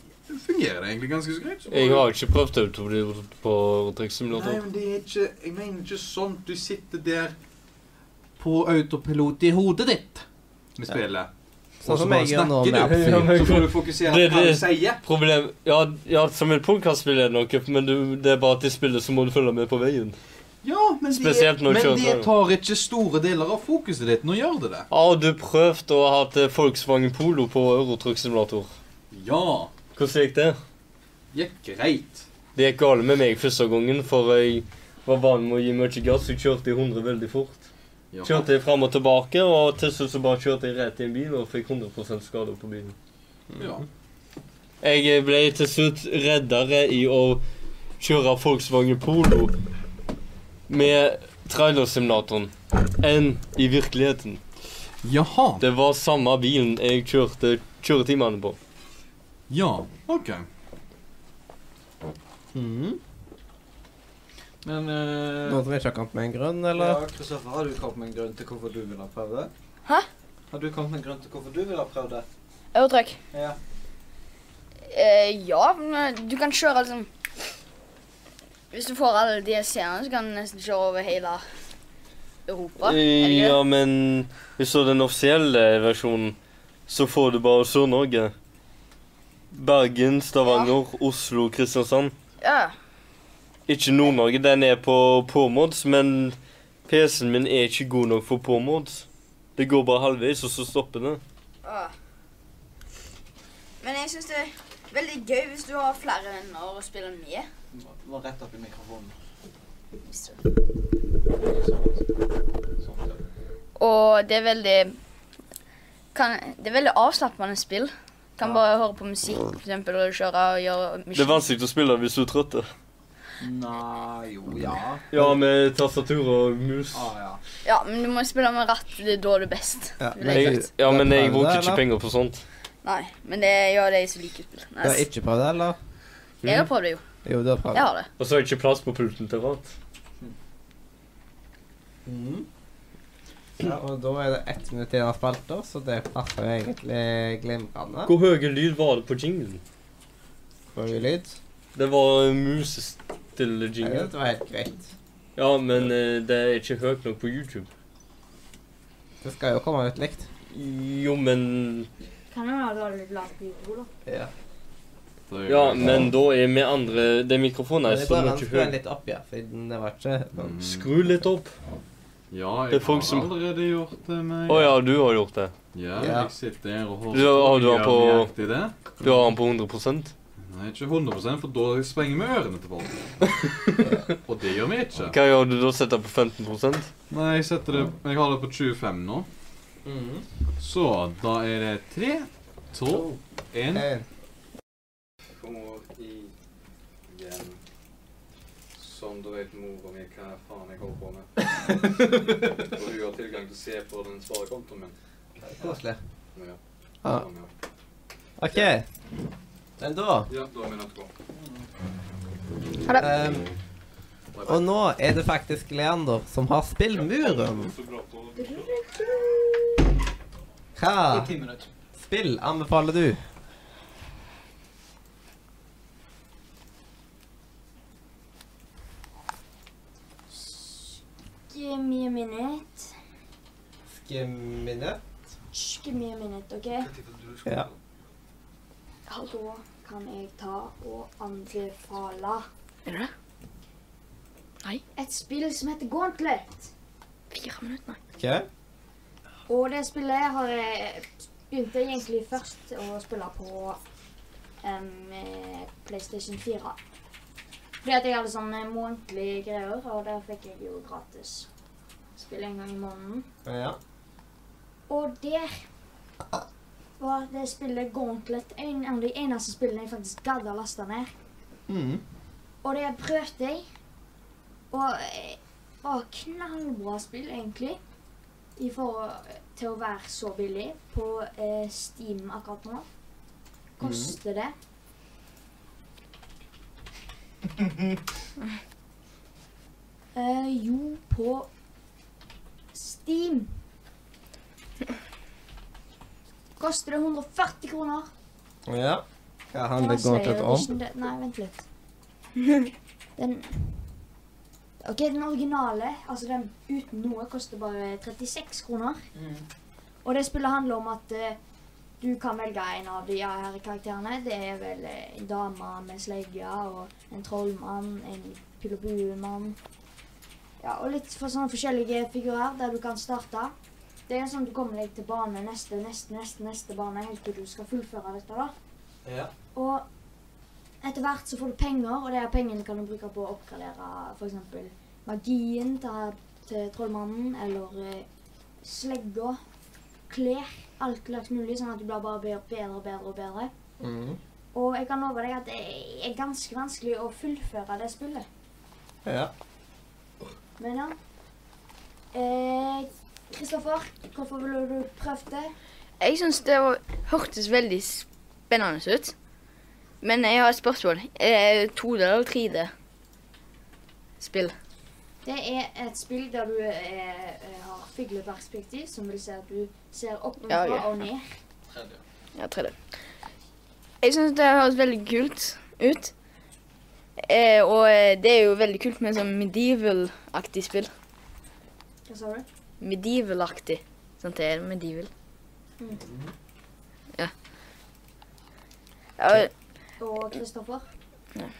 [SPEAKER 1] fungerer det egentlig ganske så greit. Så
[SPEAKER 3] Jeg
[SPEAKER 1] bare-
[SPEAKER 3] har ikke prøvd autopilot på Eurotruck
[SPEAKER 1] Nei,
[SPEAKER 3] Simulator.
[SPEAKER 1] men det er ikke Jeg mener ikke sånn. Du sitter der på autopilot i hodet ditt med spillet.
[SPEAKER 2] Sånn som
[SPEAKER 4] bare
[SPEAKER 2] jeg gjør nå.
[SPEAKER 4] snakker
[SPEAKER 2] med
[SPEAKER 4] du.
[SPEAKER 2] absolutt.
[SPEAKER 4] Så får du fokusere
[SPEAKER 3] Det-
[SPEAKER 4] på hva du
[SPEAKER 3] det-
[SPEAKER 4] sier.
[SPEAKER 3] Problem Ja, ja som en podkast spiller det noe, men du, det er bare at i spillet så må du følge med på veien.
[SPEAKER 1] Ja, men
[SPEAKER 3] Spesielt når du
[SPEAKER 1] men
[SPEAKER 3] kjører
[SPEAKER 1] det
[SPEAKER 3] trailer.
[SPEAKER 1] tar ikke store deler av fokuset ditt. Nå gjør det det.
[SPEAKER 3] Har du prøvd å ha hatt eh, Volkswagen Polo på Eurotruck Simulator?
[SPEAKER 1] Ja.
[SPEAKER 3] Hvordan gikk det?
[SPEAKER 1] Gikk greit.
[SPEAKER 3] Det gikk galt med meg første gangen, for jeg var vant med å gi mye gass. Jeg kjørte i 100 veldig fort.
[SPEAKER 1] Ja.
[SPEAKER 3] Kjørte jeg fram og tilbake, og til slutt så bare kjørte jeg rett i en bil og fikk 100 skade på bilen.
[SPEAKER 1] Ja.
[SPEAKER 3] Jeg ble til slutt reddere i å kjøre Volkswagen Polo med trailersimulatoren enn i virkeligheten.
[SPEAKER 1] Jaha.
[SPEAKER 3] Det var samme bilen jeg kjørte kjøretimene på.
[SPEAKER 1] Ja. OK.
[SPEAKER 3] Mm.
[SPEAKER 4] Men eh,
[SPEAKER 2] Noen som ikke har kommet med en grunn,
[SPEAKER 4] ja,
[SPEAKER 2] eller?
[SPEAKER 4] Kristoffer, har du kommet med en grunn til hvorfor du vil ha prøvd det?
[SPEAKER 5] Hæ?
[SPEAKER 4] Har du kommet med en grunn til hvorfor du vil ha prøvd det?
[SPEAKER 5] Eurotruck.
[SPEAKER 4] Ja.
[SPEAKER 5] Eh, ja, men du kan kjøre liksom Hvis du får alle DLC-ene, så kan du nesten kjøre over hele Europa. er det ikke det?
[SPEAKER 3] Eh, Ja, men hvis du har den offisielle versjonen, så får du bare Sør-Norge. Bergen, Stavanger, Oslo, Kristiansand.
[SPEAKER 5] Ja.
[SPEAKER 3] Ikke Nord-Norge. Den er på påmods, men PC-en min er ikke god nok for påmods. Det går bare halvveis, og så stopper det.
[SPEAKER 5] ja. Men jeg syns det er veldig gøy hvis du har flere venner å spille med.
[SPEAKER 4] Det var rett opp i mikrofonen.
[SPEAKER 5] Hvis du
[SPEAKER 4] Sånn, ja.
[SPEAKER 5] Og det er veldig kan, Det er veldig avslappende spill. Kan
[SPEAKER 4] Ja.
[SPEAKER 5] bare høre på musikk, for eksempel, og kjøre og gjøre
[SPEAKER 3] Det er vanskelig å spille hvis du er trøtt. da.
[SPEAKER 4] Nei, jo, ja.
[SPEAKER 3] Ja, med tastatur og mus.
[SPEAKER 4] Ah, ja.
[SPEAKER 5] Ja, men du må spille med ratt. Det er da du er best.
[SPEAKER 2] Ja,
[SPEAKER 5] vil
[SPEAKER 2] men
[SPEAKER 5] jeg
[SPEAKER 3] Jeg,
[SPEAKER 5] si.
[SPEAKER 3] ja, men jeg
[SPEAKER 2] Prøvde,
[SPEAKER 3] bruker ikke
[SPEAKER 2] eller?
[SPEAKER 3] penger på sånt.
[SPEAKER 5] Nei, men det er jo de som liker spill.
[SPEAKER 2] Du har
[SPEAKER 5] Nei,
[SPEAKER 2] ikke prøvd det, eller?
[SPEAKER 5] jeg har prøvd det, jo.
[SPEAKER 2] Jo, du har prøvd.
[SPEAKER 5] Jeg har det.
[SPEAKER 3] Og så er det ikke plass på pulten til rart.
[SPEAKER 4] Mhm.
[SPEAKER 2] Mm. Ja, og da er det ett minutt igjen av spalta, så det passer jo egentlig glimrende.
[SPEAKER 3] Hvor høy lyd var det på jinglen?
[SPEAKER 2] Får vi lyd?
[SPEAKER 3] Det var eh, musestille
[SPEAKER 2] Jeg
[SPEAKER 3] jingle.
[SPEAKER 2] synes det var helt greit.
[SPEAKER 3] Ja, men eh, det er ikke høyt nok på YouTube.
[SPEAKER 2] Det skal jo komme ut likt.
[SPEAKER 3] Jo, men
[SPEAKER 6] Kan jo ha dårlig lag på jorda.
[SPEAKER 2] Ja.
[SPEAKER 3] Ja, men da er vi andre Det er mikrofonen her,
[SPEAKER 2] Men det
[SPEAKER 3] så
[SPEAKER 2] går
[SPEAKER 3] det
[SPEAKER 2] an å
[SPEAKER 3] er
[SPEAKER 2] skru
[SPEAKER 3] ikke
[SPEAKER 2] den
[SPEAKER 3] høy.
[SPEAKER 2] litt opp, ja, siden det var ikke sånn.
[SPEAKER 3] Skru litt opp.
[SPEAKER 1] Ja,
[SPEAKER 3] Det
[SPEAKER 1] jeg
[SPEAKER 3] er folk
[SPEAKER 1] har
[SPEAKER 3] som-
[SPEAKER 1] allerede gjort det med
[SPEAKER 3] Å ja, du har gjort det.
[SPEAKER 1] Ja,
[SPEAKER 2] Ja.
[SPEAKER 1] jeg sitter her og holder
[SPEAKER 3] Du har- du har
[SPEAKER 1] på
[SPEAKER 3] på-
[SPEAKER 1] nøyaktig det.
[SPEAKER 3] Du har den på 100
[SPEAKER 1] Nei, ikke 100 for da sprenger vi ørene til folk. Og det gjør vi
[SPEAKER 3] Hva
[SPEAKER 1] ikke.
[SPEAKER 3] gjør du da? Setter på 15
[SPEAKER 1] Nei, jeg setter det Jeg har det på 25 nå.
[SPEAKER 3] Mm.
[SPEAKER 2] Mm.
[SPEAKER 1] Så da er det 3, 2, 1
[SPEAKER 2] En.
[SPEAKER 1] Kommer igjen. Som du vet, mora mi, hva faen jeg holder på med. Og hun har tilgang til å se på den sparekontoen min.
[SPEAKER 2] Koselig.
[SPEAKER 1] Ja.
[SPEAKER 2] Ja. OK. Men da
[SPEAKER 1] Ja, da er vi nødt til å gå.
[SPEAKER 5] Ha det.
[SPEAKER 2] ehm, Og nå er det faktisk Leander som har spillmuren. Hva Ah.
[SPEAKER 4] I ti minutter.
[SPEAKER 2] spill anbefaler du?
[SPEAKER 6] Give me a minute.
[SPEAKER 2] Skimmine.
[SPEAKER 6] Shh, Give me a minute, OK?
[SPEAKER 2] Ja.
[SPEAKER 6] Da kan jeg ta og anbefale
[SPEAKER 5] Er det det?
[SPEAKER 6] et spill som heter Gauntlet.
[SPEAKER 5] Fire minutter?
[SPEAKER 2] OK.
[SPEAKER 6] Og det spillet har jeg begynte jeg egentlig først å spille på em, eh, PlayStation 4. Fordi at jeg hadde sånne månedlige greier, og der fikk jeg jo gratis spill en gang i måneden.
[SPEAKER 2] Ja.
[SPEAKER 6] Og der var det spillet Gauntlet en av de eneste spillene jeg faktisk gadd å laste ned.
[SPEAKER 2] Mm.
[SPEAKER 6] Og det prøvde jeg. Og eh, var knallbra spill, egentlig. I forhold til å være så billig på eh, Steam akkurat nå. Koster det. eh, jo, på Steam koster det 140 kroner.
[SPEAKER 2] ja. Hva
[SPEAKER 6] Det
[SPEAKER 2] handler
[SPEAKER 6] var
[SPEAKER 2] Gauntlet
[SPEAKER 6] Slayer
[SPEAKER 2] om?
[SPEAKER 6] Edition, det- Nei, vent litt. Den OK, den originale, altså den uten noe, koster bare 36 kroner. Og det spillet handler om at eh, Du kan velge en av de her karakterene. Det er vel eh, en dame med slegge og en trollmann, en pilobuemann. Ja, og litt for sånne forskjellige figurer der du kan starte. Det er sånn at du kommer deg til bane neste, neste, neste, neste bane, helt til du skal fullføre dette da.
[SPEAKER 4] Ja.
[SPEAKER 6] Og etter hvert så får du penger, og de her pengene kan du bruke på å oppgradere for eksempel magien til, til trollmannen, eller eh, slegga, klær, alt slags mulig, sånn at du blir bare bedre, bedre og bedre og bedre.
[SPEAKER 2] Mhm.
[SPEAKER 6] Og jeg kan love deg at det er ganske vanskelig å fullføre det spillet.
[SPEAKER 2] Ja.
[SPEAKER 6] Men ja. Eh, Kristoffer, hvorfor ville du prøvd det?
[SPEAKER 5] Jeg syns det var, hørtes veldig spennende ut. Men jeg har et spørsmål. Er det 2D eller 3D-spill?
[SPEAKER 6] Det er et spill der du eh, har fugleperspektiv, som vil si at du ser opp
[SPEAKER 5] Ja,
[SPEAKER 6] ovenfra
[SPEAKER 5] ja.
[SPEAKER 6] og ned.
[SPEAKER 5] Ja, 3D. Jeg syns det høres veldig kult ut. Eh, og eh, det er jo veldig kult med sånn medieval-aktig spill.
[SPEAKER 6] Hva sa du?
[SPEAKER 5] Medieval-aktig. Sant Sånn det er medieval.
[SPEAKER 6] Mm.
[SPEAKER 5] Ja. ja.
[SPEAKER 6] Og Kristoffer?
[SPEAKER 4] Ehm,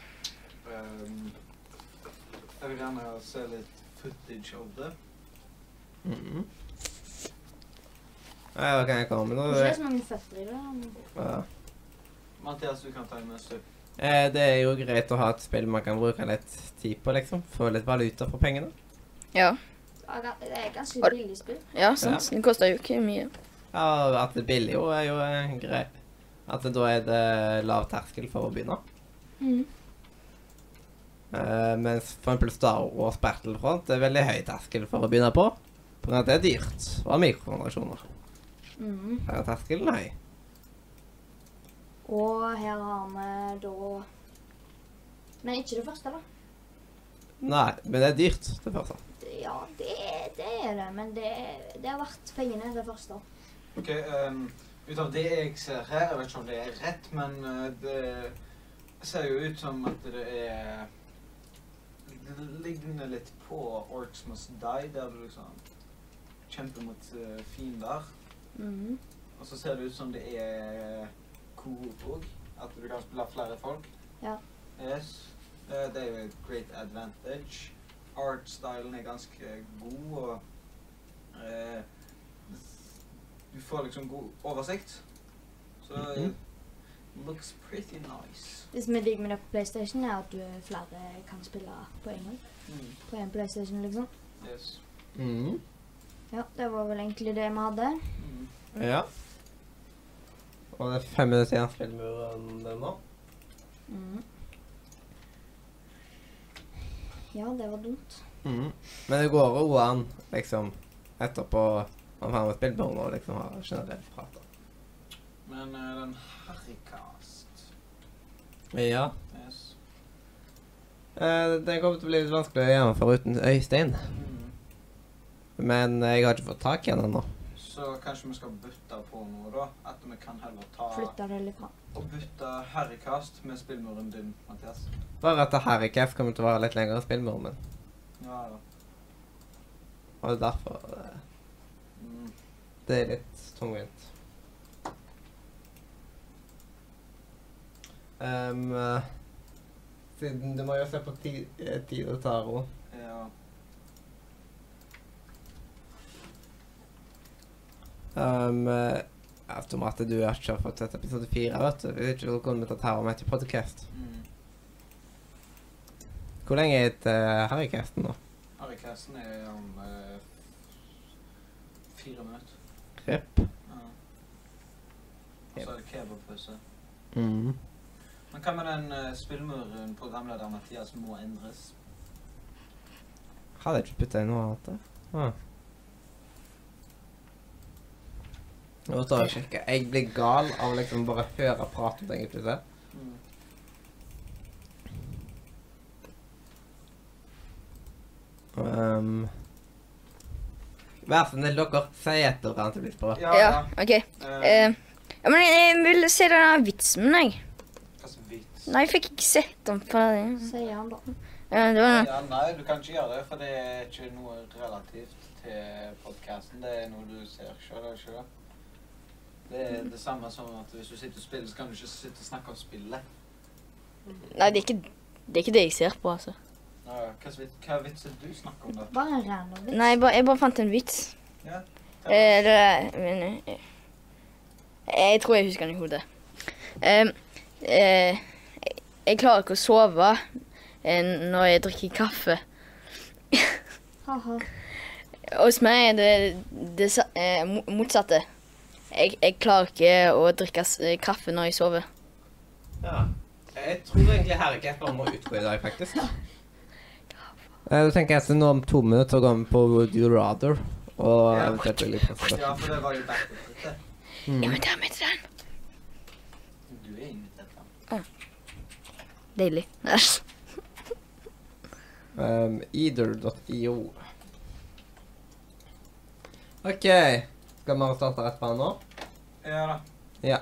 [SPEAKER 4] jeg vil gjerne se litt footage av det.
[SPEAKER 2] Mhm. Ja, da kan jeg komme med
[SPEAKER 6] Det er ikke
[SPEAKER 2] noe.
[SPEAKER 6] så mange føtter i det. men-
[SPEAKER 2] Ja.
[SPEAKER 4] Mathias, du kan ta en stund.
[SPEAKER 2] Eh, Det er jo greit å ha et spill man kan bruke litt tid på, liksom. Få litt valuta for pengene.
[SPEAKER 5] Ja,
[SPEAKER 6] Ja, ga- Det er et ganske
[SPEAKER 5] Har-
[SPEAKER 6] billig spill.
[SPEAKER 5] ja sant. Det koster jo ikke mye.
[SPEAKER 2] Ja, og At det er billig jo, er jo eh, greit. At det, da er det lav terskel for å begynne. Eh, mens for eksempel Star Wars Battlefront er veldig høy terskel for å begynne på. På grunn av at det er dyrt og har mikrotransaksjoner.
[SPEAKER 6] Mhm.
[SPEAKER 2] Her er terskelen høy.
[SPEAKER 6] Og her har vi da Men ikke det første, da.
[SPEAKER 2] Nei, men det er dyrt, det første.
[SPEAKER 6] Det- Ja, det, er- det er det, men det, er- det er verdt pengene, det første.
[SPEAKER 4] Ok, ehm, ut av det jeg ser her, jeg vet ikke om det er rett, men eh, det ser jo ut som at det er Det ligner litt på Orcs Must Die, der du liksom kjemper mot eh, fiender.
[SPEAKER 6] Mhm.
[SPEAKER 4] Og så ser det ut som det er coop òg, at du kan spille flere folk.
[SPEAKER 6] Ja.
[SPEAKER 4] Yes. Eh, Det er jo et great advantage. Art-stylen er ganske god, og eh, du får liksom god oversikt. Så eh, looks pretty nice.
[SPEAKER 6] Det som er digg med det på PlayStation, er at du flere kan spille på en gang.
[SPEAKER 4] Mm.
[SPEAKER 6] På en PlayStation, liksom.
[SPEAKER 4] Yes.
[SPEAKER 2] Mm.
[SPEAKER 6] Ja, det var vel egentlig det vi hadde.
[SPEAKER 4] Mm.
[SPEAKER 2] Ja. Og det er fem minutter igjen av spillmuren den nå.
[SPEAKER 6] Mhm. Ja, det var dumt.
[SPEAKER 2] Mm. Men det går jo an, liksom, etterpå om han har spillmuren og liksom har generelt prat.
[SPEAKER 4] Men eh, den Harrycast
[SPEAKER 2] Ja.
[SPEAKER 4] yes.
[SPEAKER 2] Eh, det kommer til å bli litt vanskelig å gjennomføre uten Øystein.
[SPEAKER 4] mm.
[SPEAKER 2] Men eh, jeg har ikke fått tak i han ennå.
[SPEAKER 4] Så kanskje vi skal bytte på noe, da? At vi kan heller ta
[SPEAKER 6] Flytta det litt fram.
[SPEAKER 4] og bytte herrekast med spillmuren din, Mathias.
[SPEAKER 2] Bare at Harrycast kommer til å være litt lengre enn spillmuren min.
[SPEAKER 4] Ja, ja.
[SPEAKER 2] Og derfor eh,
[SPEAKER 4] Mm.
[SPEAKER 2] Det er litt tungvint. Ehm, eh, siden du må jo se på ti- eh, tid og taro.
[SPEAKER 4] ja.
[SPEAKER 2] Um, Automatet, du har ikke fått sett episode fire, vet du. Hvis ikke så kunne vi tatt Taro med til podcast.
[SPEAKER 4] Mm.
[SPEAKER 2] Hvor lenge er et uh, Harrycasten nå?
[SPEAKER 4] Herrekasten er om eh, fire minutter.
[SPEAKER 2] Jepp.
[SPEAKER 4] Ja. Og så er det kebabpause.
[SPEAKER 2] Mm.
[SPEAKER 4] Men hva med den eh, spillmuren programleder Mathias må endres?
[SPEAKER 2] Hadde jeg ikke putta inn noe annet der? Ah. Nå tar jeg og sjekker. Jeg blir gal av å liksom bare høre prat om ting jeg ikke ser.
[SPEAKER 4] Mm.
[SPEAKER 2] Um, vær så snill, dere. Si et eller annet jeg blir på.
[SPEAKER 4] Ja,
[SPEAKER 5] Ja,
[SPEAKER 4] ja.
[SPEAKER 5] OK.
[SPEAKER 4] Eh,
[SPEAKER 5] Eh, ja, men jeg vil se denne vitsen min, jeg.
[SPEAKER 4] Hva slags vits?
[SPEAKER 5] Nei, jeg fikk ikke sett den på det.
[SPEAKER 6] Sier han da.
[SPEAKER 5] Ja, det var
[SPEAKER 4] Ja, nei, du kan ikke gjøre det, for det er ikke noe relativt til podkasten. Det er noe du ser sjøl, er det ikke det? Det er det samme som at hvis du sitter og spiller, så kan du ikke sitte og snakke om spillet.
[SPEAKER 5] Nei, det er ikke det, er ikke det jeg ser på, altså.
[SPEAKER 4] Nå, Hva, vit- hva vits er det du snakker om, da?
[SPEAKER 6] Bare en random vits.
[SPEAKER 5] Nei, jeg bare, jeg bare fant en vits.
[SPEAKER 4] Ja.
[SPEAKER 5] Eh, det men, eh, Jeg tror jeg husker den i hodet. Em, eh, jeg klarer ikke å sove eh, når jeg drikker kaffe.
[SPEAKER 6] Haha.
[SPEAKER 5] Hos meg er det det sa- eh, mo- motsatte. Jeg, jeg klarer ikke å drikke s- eh, kaffe når jeg sover.
[SPEAKER 2] Ja. Jeg tror egentlig Herre Kepper må utgå i dag, faktisk. Eh, Da tenker jeg at nå om to minutter går vi på Would you rather. Og
[SPEAKER 4] Ja.
[SPEAKER 2] eventuelt veldig
[SPEAKER 4] Ja, for det var jo backwards.
[SPEAKER 5] Ja,
[SPEAKER 2] Mm.
[SPEAKER 5] men der med den.
[SPEAKER 4] Du er invitert. da.
[SPEAKER 5] Deilig. Æsj.
[SPEAKER 2] um, Either.io. OK. Skal vi starte rett fra nå?
[SPEAKER 4] Ja da.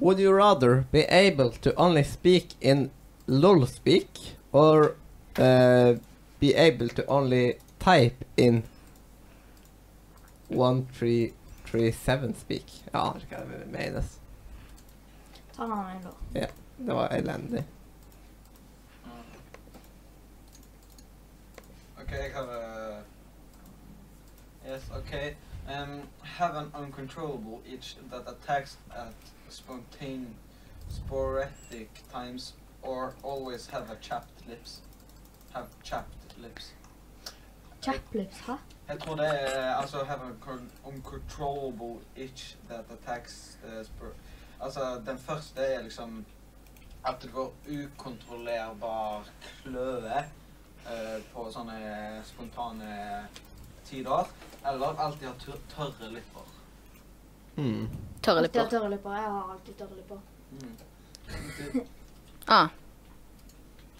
[SPEAKER 2] Would you rather be able to only speak in lol speak or uh, be able to only type in 1337 speak? Jeg aner ikke hva det menes.
[SPEAKER 6] Ta den en, da.
[SPEAKER 2] Det var elendig.
[SPEAKER 4] Hmm. Ok, jeg har uh, Yes, ok. Um, have an uncontrollable itch that attacks at spontane, sporadic times, or always have a chapped lips. Have chapped lips.
[SPEAKER 6] Chaplips, hæ?
[SPEAKER 4] Jeg tror det er altså have an con- uncontrollable itch that attacks uh, spor Altså, den første er liksom at du får ukontrollerbar kløe eh, på sånne spontane tider. Eller alltid ha tør tørre lipper.
[SPEAKER 2] Hmm.
[SPEAKER 5] Tørre
[SPEAKER 6] Alltid ha
[SPEAKER 5] lepper.
[SPEAKER 6] tørre lipper. Jeg har alltid tørre lipper.
[SPEAKER 4] Mm.
[SPEAKER 5] Ah,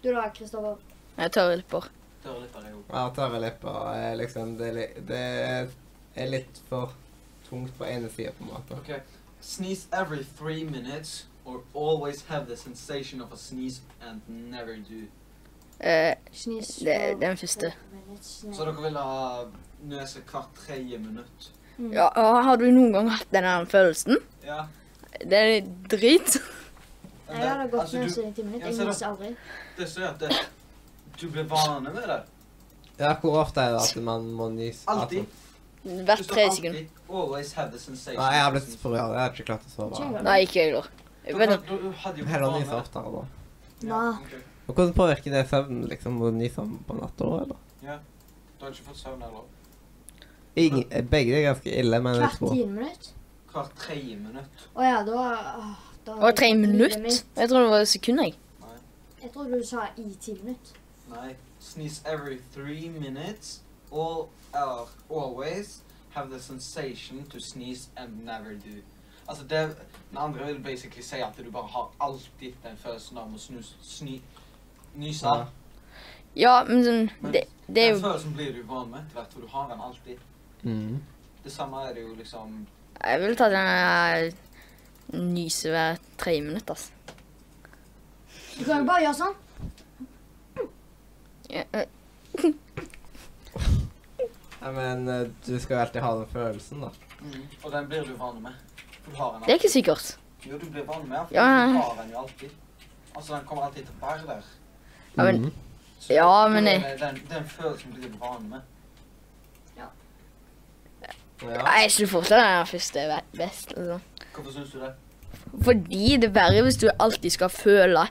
[SPEAKER 6] Du da, Kristoffer?
[SPEAKER 5] jeg har tørre lepper.
[SPEAKER 4] Tørre lipper er jo
[SPEAKER 2] Ja, tørre lepper er liksom det, er li- det er litt for tungt på ene sida, på en måte.
[SPEAKER 4] Ok. Sneeze every three minutes or always have the sensation of a sneeze and never do.
[SPEAKER 5] Eh,
[SPEAKER 6] Snis.
[SPEAKER 5] det det er den første.
[SPEAKER 4] Så dere vil ha nese hvert tredje minutt?
[SPEAKER 6] Mm.
[SPEAKER 5] Ja, og har du noen gang hatt den der følelsen?
[SPEAKER 4] Ja.
[SPEAKER 5] Det er
[SPEAKER 4] Men
[SPEAKER 5] drit.
[SPEAKER 6] Jeg
[SPEAKER 4] det-
[SPEAKER 6] hadde gått
[SPEAKER 4] altså,
[SPEAKER 6] ned
[SPEAKER 4] du-
[SPEAKER 6] til 90 minutter.
[SPEAKER 4] Ja,
[SPEAKER 6] Jeg
[SPEAKER 4] se da.
[SPEAKER 6] nyser aldri.
[SPEAKER 4] Det sier at det, du blir vane med det.
[SPEAKER 2] Ja, hvor ofte er det at man må nyse?
[SPEAKER 4] Alltid. Du
[SPEAKER 5] Hvert
[SPEAKER 4] står
[SPEAKER 5] tre
[SPEAKER 4] alltid
[SPEAKER 5] sekunder.
[SPEAKER 4] Always have the sensation.
[SPEAKER 2] Nei, jeg har blitt for rørt. Jeg har ikke klart å sove.
[SPEAKER 5] Nei, ikke jeg, da. Jeg vet
[SPEAKER 4] Du,
[SPEAKER 5] at-
[SPEAKER 4] du, du hadde jo blitt
[SPEAKER 2] Heller
[SPEAKER 4] vane med
[SPEAKER 2] nyse
[SPEAKER 4] det.
[SPEAKER 2] oftere, da.
[SPEAKER 4] Ja, ok.
[SPEAKER 2] Og Hvordan påvirker det søvnen liksom, å nyse om på natta òg, eller?
[SPEAKER 4] Du har ikke fått søvn heller.
[SPEAKER 2] Ingen, begge er ganske ille, men jeg
[SPEAKER 6] Hvert
[SPEAKER 2] tror
[SPEAKER 6] tiende minutt.
[SPEAKER 4] Hvert tredje minutt.
[SPEAKER 6] Å ja, da åh, da
[SPEAKER 5] Det
[SPEAKER 6] har
[SPEAKER 5] var
[SPEAKER 6] jeg
[SPEAKER 5] tre
[SPEAKER 6] brukt livet
[SPEAKER 5] minutter.
[SPEAKER 6] mitt.
[SPEAKER 5] Jeg tror det var sekunder, jeg.
[SPEAKER 6] Jeg tror du sa i ti minutter.
[SPEAKER 4] Nei. Sneeze every three minutes. All, or always have the sensation to sneeze and never do. Altså, det, den andre vil basically si at du bare har alltid den følelsen av å snus, sny, nyse.
[SPEAKER 2] Ja.
[SPEAKER 5] Ja, men sånn Det, det
[SPEAKER 4] Den
[SPEAKER 5] er jo
[SPEAKER 4] følelsen blir du van med etter hvert, for du har den alltid.
[SPEAKER 2] mm.
[SPEAKER 4] Det samme er det jo liksom
[SPEAKER 5] Jeg vil ta den der nyse hver tre minutter, altså.
[SPEAKER 6] Du kan jo bare gjøre sånn.
[SPEAKER 5] Ja, eh,
[SPEAKER 2] Nei, Men eh, du skal jo alltid ha den følelsen, da.
[SPEAKER 4] Og den blir du vane med. For du har den
[SPEAKER 5] Det er
[SPEAKER 4] alltid.
[SPEAKER 5] ikke sikkert.
[SPEAKER 4] Jo, du blir vane med den, for
[SPEAKER 5] Ja, ja,
[SPEAKER 4] du
[SPEAKER 5] ja.
[SPEAKER 4] har den jo alltid. Altså, den kommer alltid til å være der.
[SPEAKER 5] Ja, men-
[SPEAKER 2] Mhm.
[SPEAKER 4] Så
[SPEAKER 5] Ja, men
[SPEAKER 4] Den,
[SPEAKER 5] jeg-
[SPEAKER 4] den, den følelsen blir du vane med.
[SPEAKER 2] ja.
[SPEAKER 5] Nei, Jeg skulle fortsatt den der første er ve- best. Liksom.
[SPEAKER 4] Hvorfor syns du det?
[SPEAKER 5] Fordi det er verre hvis du alltid skal føle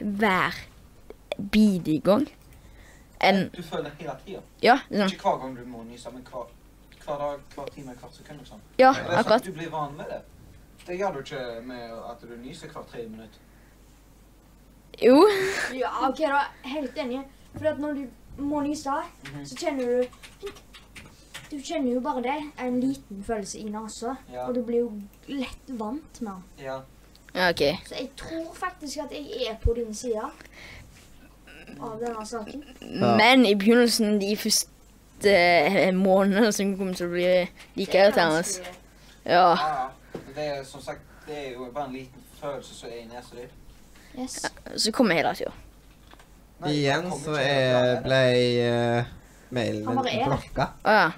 [SPEAKER 5] hver bidige gang enn
[SPEAKER 4] Du føler det hele tida.
[SPEAKER 5] Ja, liksom.
[SPEAKER 4] Ikke hver gang du må nyse, men hver, hver dag, hver time, hvert sekund. liksom.
[SPEAKER 5] Ja,
[SPEAKER 4] Og det er sånn
[SPEAKER 5] akkurat.
[SPEAKER 4] at Du blir vane med det. Det gjør du ikke med at du nyser hvert tredje minutt.
[SPEAKER 5] Jo.
[SPEAKER 6] Ja, OK, da. Helt enig. For at når du må nyse,
[SPEAKER 4] Mhm.
[SPEAKER 6] så kjenner du Du kjenner jo bare det. En liten følelse i nesa.
[SPEAKER 4] Ja.
[SPEAKER 6] Og du blir jo lett vant med den.
[SPEAKER 4] Ja.
[SPEAKER 5] Ja, OK.
[SPEAKER 6] Så jeg tror faktisk at jeg er på din side av denne saken.
[SPEAKER 5] Men i begynnelsen, de første eh, månedene, så kommer det til å bli like
[SPEAKER 6] Det er
[SPEAKER 5] irriterende.
[SPEAKER 6] vanskelig.
[SPEAKER 5] Ja.
[SPEAKER 4] ja. Det er som sagt det er jo bare en liten følelse som er i nesa di.
[SPEAKER 6] Yes.
[SPEAKER 5] Så kommer hele tida.
[SPEAKER 4] Nei,
[SPEAKER 2] Igjen
[SPEAKER 4] den kommer
[SPEAKER 2] så
[SPEAKER 4] ikke
[SPEAKER 2] er,
[SPEAKER 4] til å være der.
[SPEAKER 2] ble eh, mailen
[SPEAKER 6] Han
[SPEAKER 2] min
[SPEAKER 6] bare er der.
[SPEAKER 2] blokka.
[SPEAKER 5] Å ja.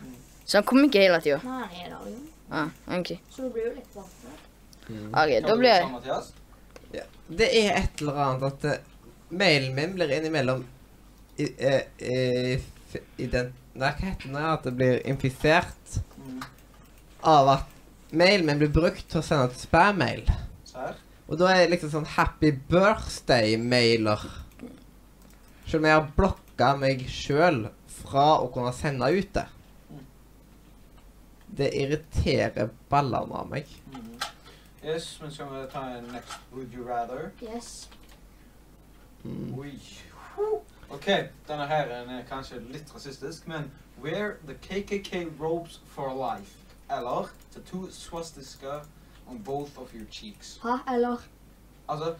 [SPEAKER 5] Så han kom ikke hele tida.
[SPEAKER 6] Nei, han er der jo.
[SPEAKER 5] Ah, OK.
[SPEAKER 6] Så du blir jo litt vant til det.
[SPEAKER 5] Ok, Da blir jeg
[SPEAKER 4] Mathias?
[SPEAKER 2] Det er et eller annet at eh, mailen min blir innimellom i, eh, eh, f- ident... Nei, hva heter det? At det blir infisert
[SPEAKER 4] Mm.
[SPEAKER 2] av at mailen min blir brukt til å sende ut spam-mail.
[SPEAKER 4] Serr?
[SPEAKER 2] Og da er det liksom sånn happy birthday-mailer. Selv om jeg har blokka meg sjøl fra å kunne sende ut det. Det irriterer ballene av meg.
[SPEAKER 4] Mhm. Yes, men skal vi ta en next would you rather?
[SPEAKER 6] Yes.
[SPEAKER 4] Oi. Huh. OK, denne her er kanskje litt rasistisk, men Wear the KKK robes for life. Eller tattoo swastiska on both of your cheeks.
[SPEAKER 6] Hæ, eller?
[SPEAKER 4] Altså,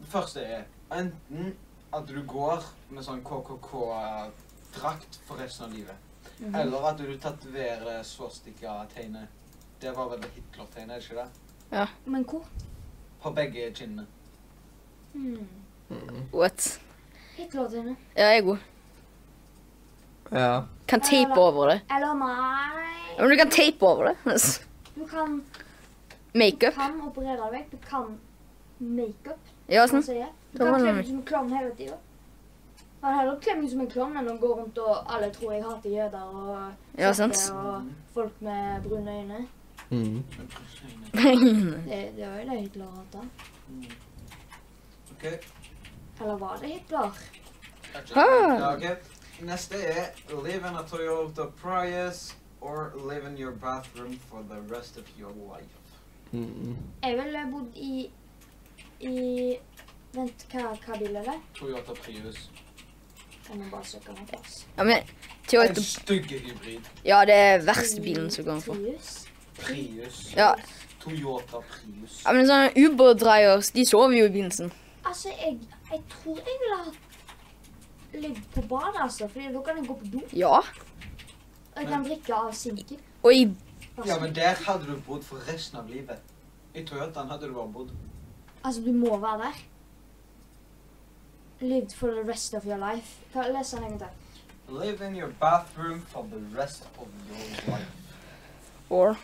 [SPEAKER 4] det første er enten at du går med sånn KKK-drakt for resten av livet,
[SPEAKER 6] Mhm.
[SPEAKER 4] eller at du tatoverer swastika-tegnet. Det var vel det Hitler-tegnet, er det ikke det?
[SPEAKER 6] Men hvor?
[SPEAKER 4] På begge kinnene.
[SPEAKER 6] Hmm.
[SPEAKER 5] What?
[SPEAKER 6] Hitler-tegnet.
[SPEAKER 5] Ja, jeg er god.
[SPEAKER 2] Ja.
[SPEAKER 5] Kan tape over det.
[SPEAKER 6] Eller nei.
[SPEAKER 5] Ja, Men du kan tape over det. Altså,
[SPEAKER 6] Du kan, du
[SPEAKER 5] Makeup.
[SPEAKER 6] kan operere deg vekk. Du kan makeup.
[SPEAKER 5] Ja,
[SPEAKER 6] Sånn.
[SPEAKER 5] sånn.
[SPEAKER 6] sier jeg. Du
[SPEAKER 5] Da
[SPEAKER 6] kan
[SPEAKER 5] var det
[SPEAKER 6] kle
[SPEAKER 5] meg.
[SPEAKER 6] deg som en klovn hele tida. Jeg har heller kledd meg som en klovn enn å gå rundt og alle tror jeg hater jøder og
[SPEAKER 5] Ja,
[SPEAKER 6] svarte
[SPEAKER 5] sant.
[SPEAKER 6] og folk med brune øyne. Det, det var jo det Hitler hata.
[SPEAKER 4] OK.
[SPEAKER 6] Eller var det Hitler?
[SPEAKER 5] Ah.
[SPEAKER 4] Ja, ok. Neste er Live in a Toyota Prius or live in your bathroom for the rest of your life.
[SPEAKER 6] Jeg ville bodd i i Vent, hva, hva bil er det?
[SPEAKER 4] Toyota Prius.
[SPEAKER 6] Jeg må bare søke meg først.
[SPEAKER 5] Ja, men
[SPEAKER 4] En
[SPEAKER 5] Toyota
[SPEAKER 4] stygg hybrid.
[SPEAKER 5] Ja, det er verste bilen som går for.
[SPEAKER 6] Prius.
[SPEAKER 4] Prius.
[SPEAKER 5] Ja,
[SPEAKER 4] Toyota Prius.
[SPEAKER 5] ja men sånne Uber-drivers, de sover jo i bilen sin.
[SPEAKER 6] Altså, jeg, jeg tror jeg ville ha ligget på badet, altså. Fordi da kan jeg gå på do.
[SPEAKER 5] Ja.
[SPEAKER 6] Og jeg kan drikke av sinken.
[SPEAKER 5] Og i
[SPEAKER 4] Ja, men der hadde du bodd for resten av livet. I Toyotaen hadde du bare bodd.
[SPEAKER 6] Altså, du må være der. Lived for the rest of your life. Hva, les den en gang til.
[SPEAKER 4] Live in your bathroom for the rest of your life.
[SPEAKER 5] Or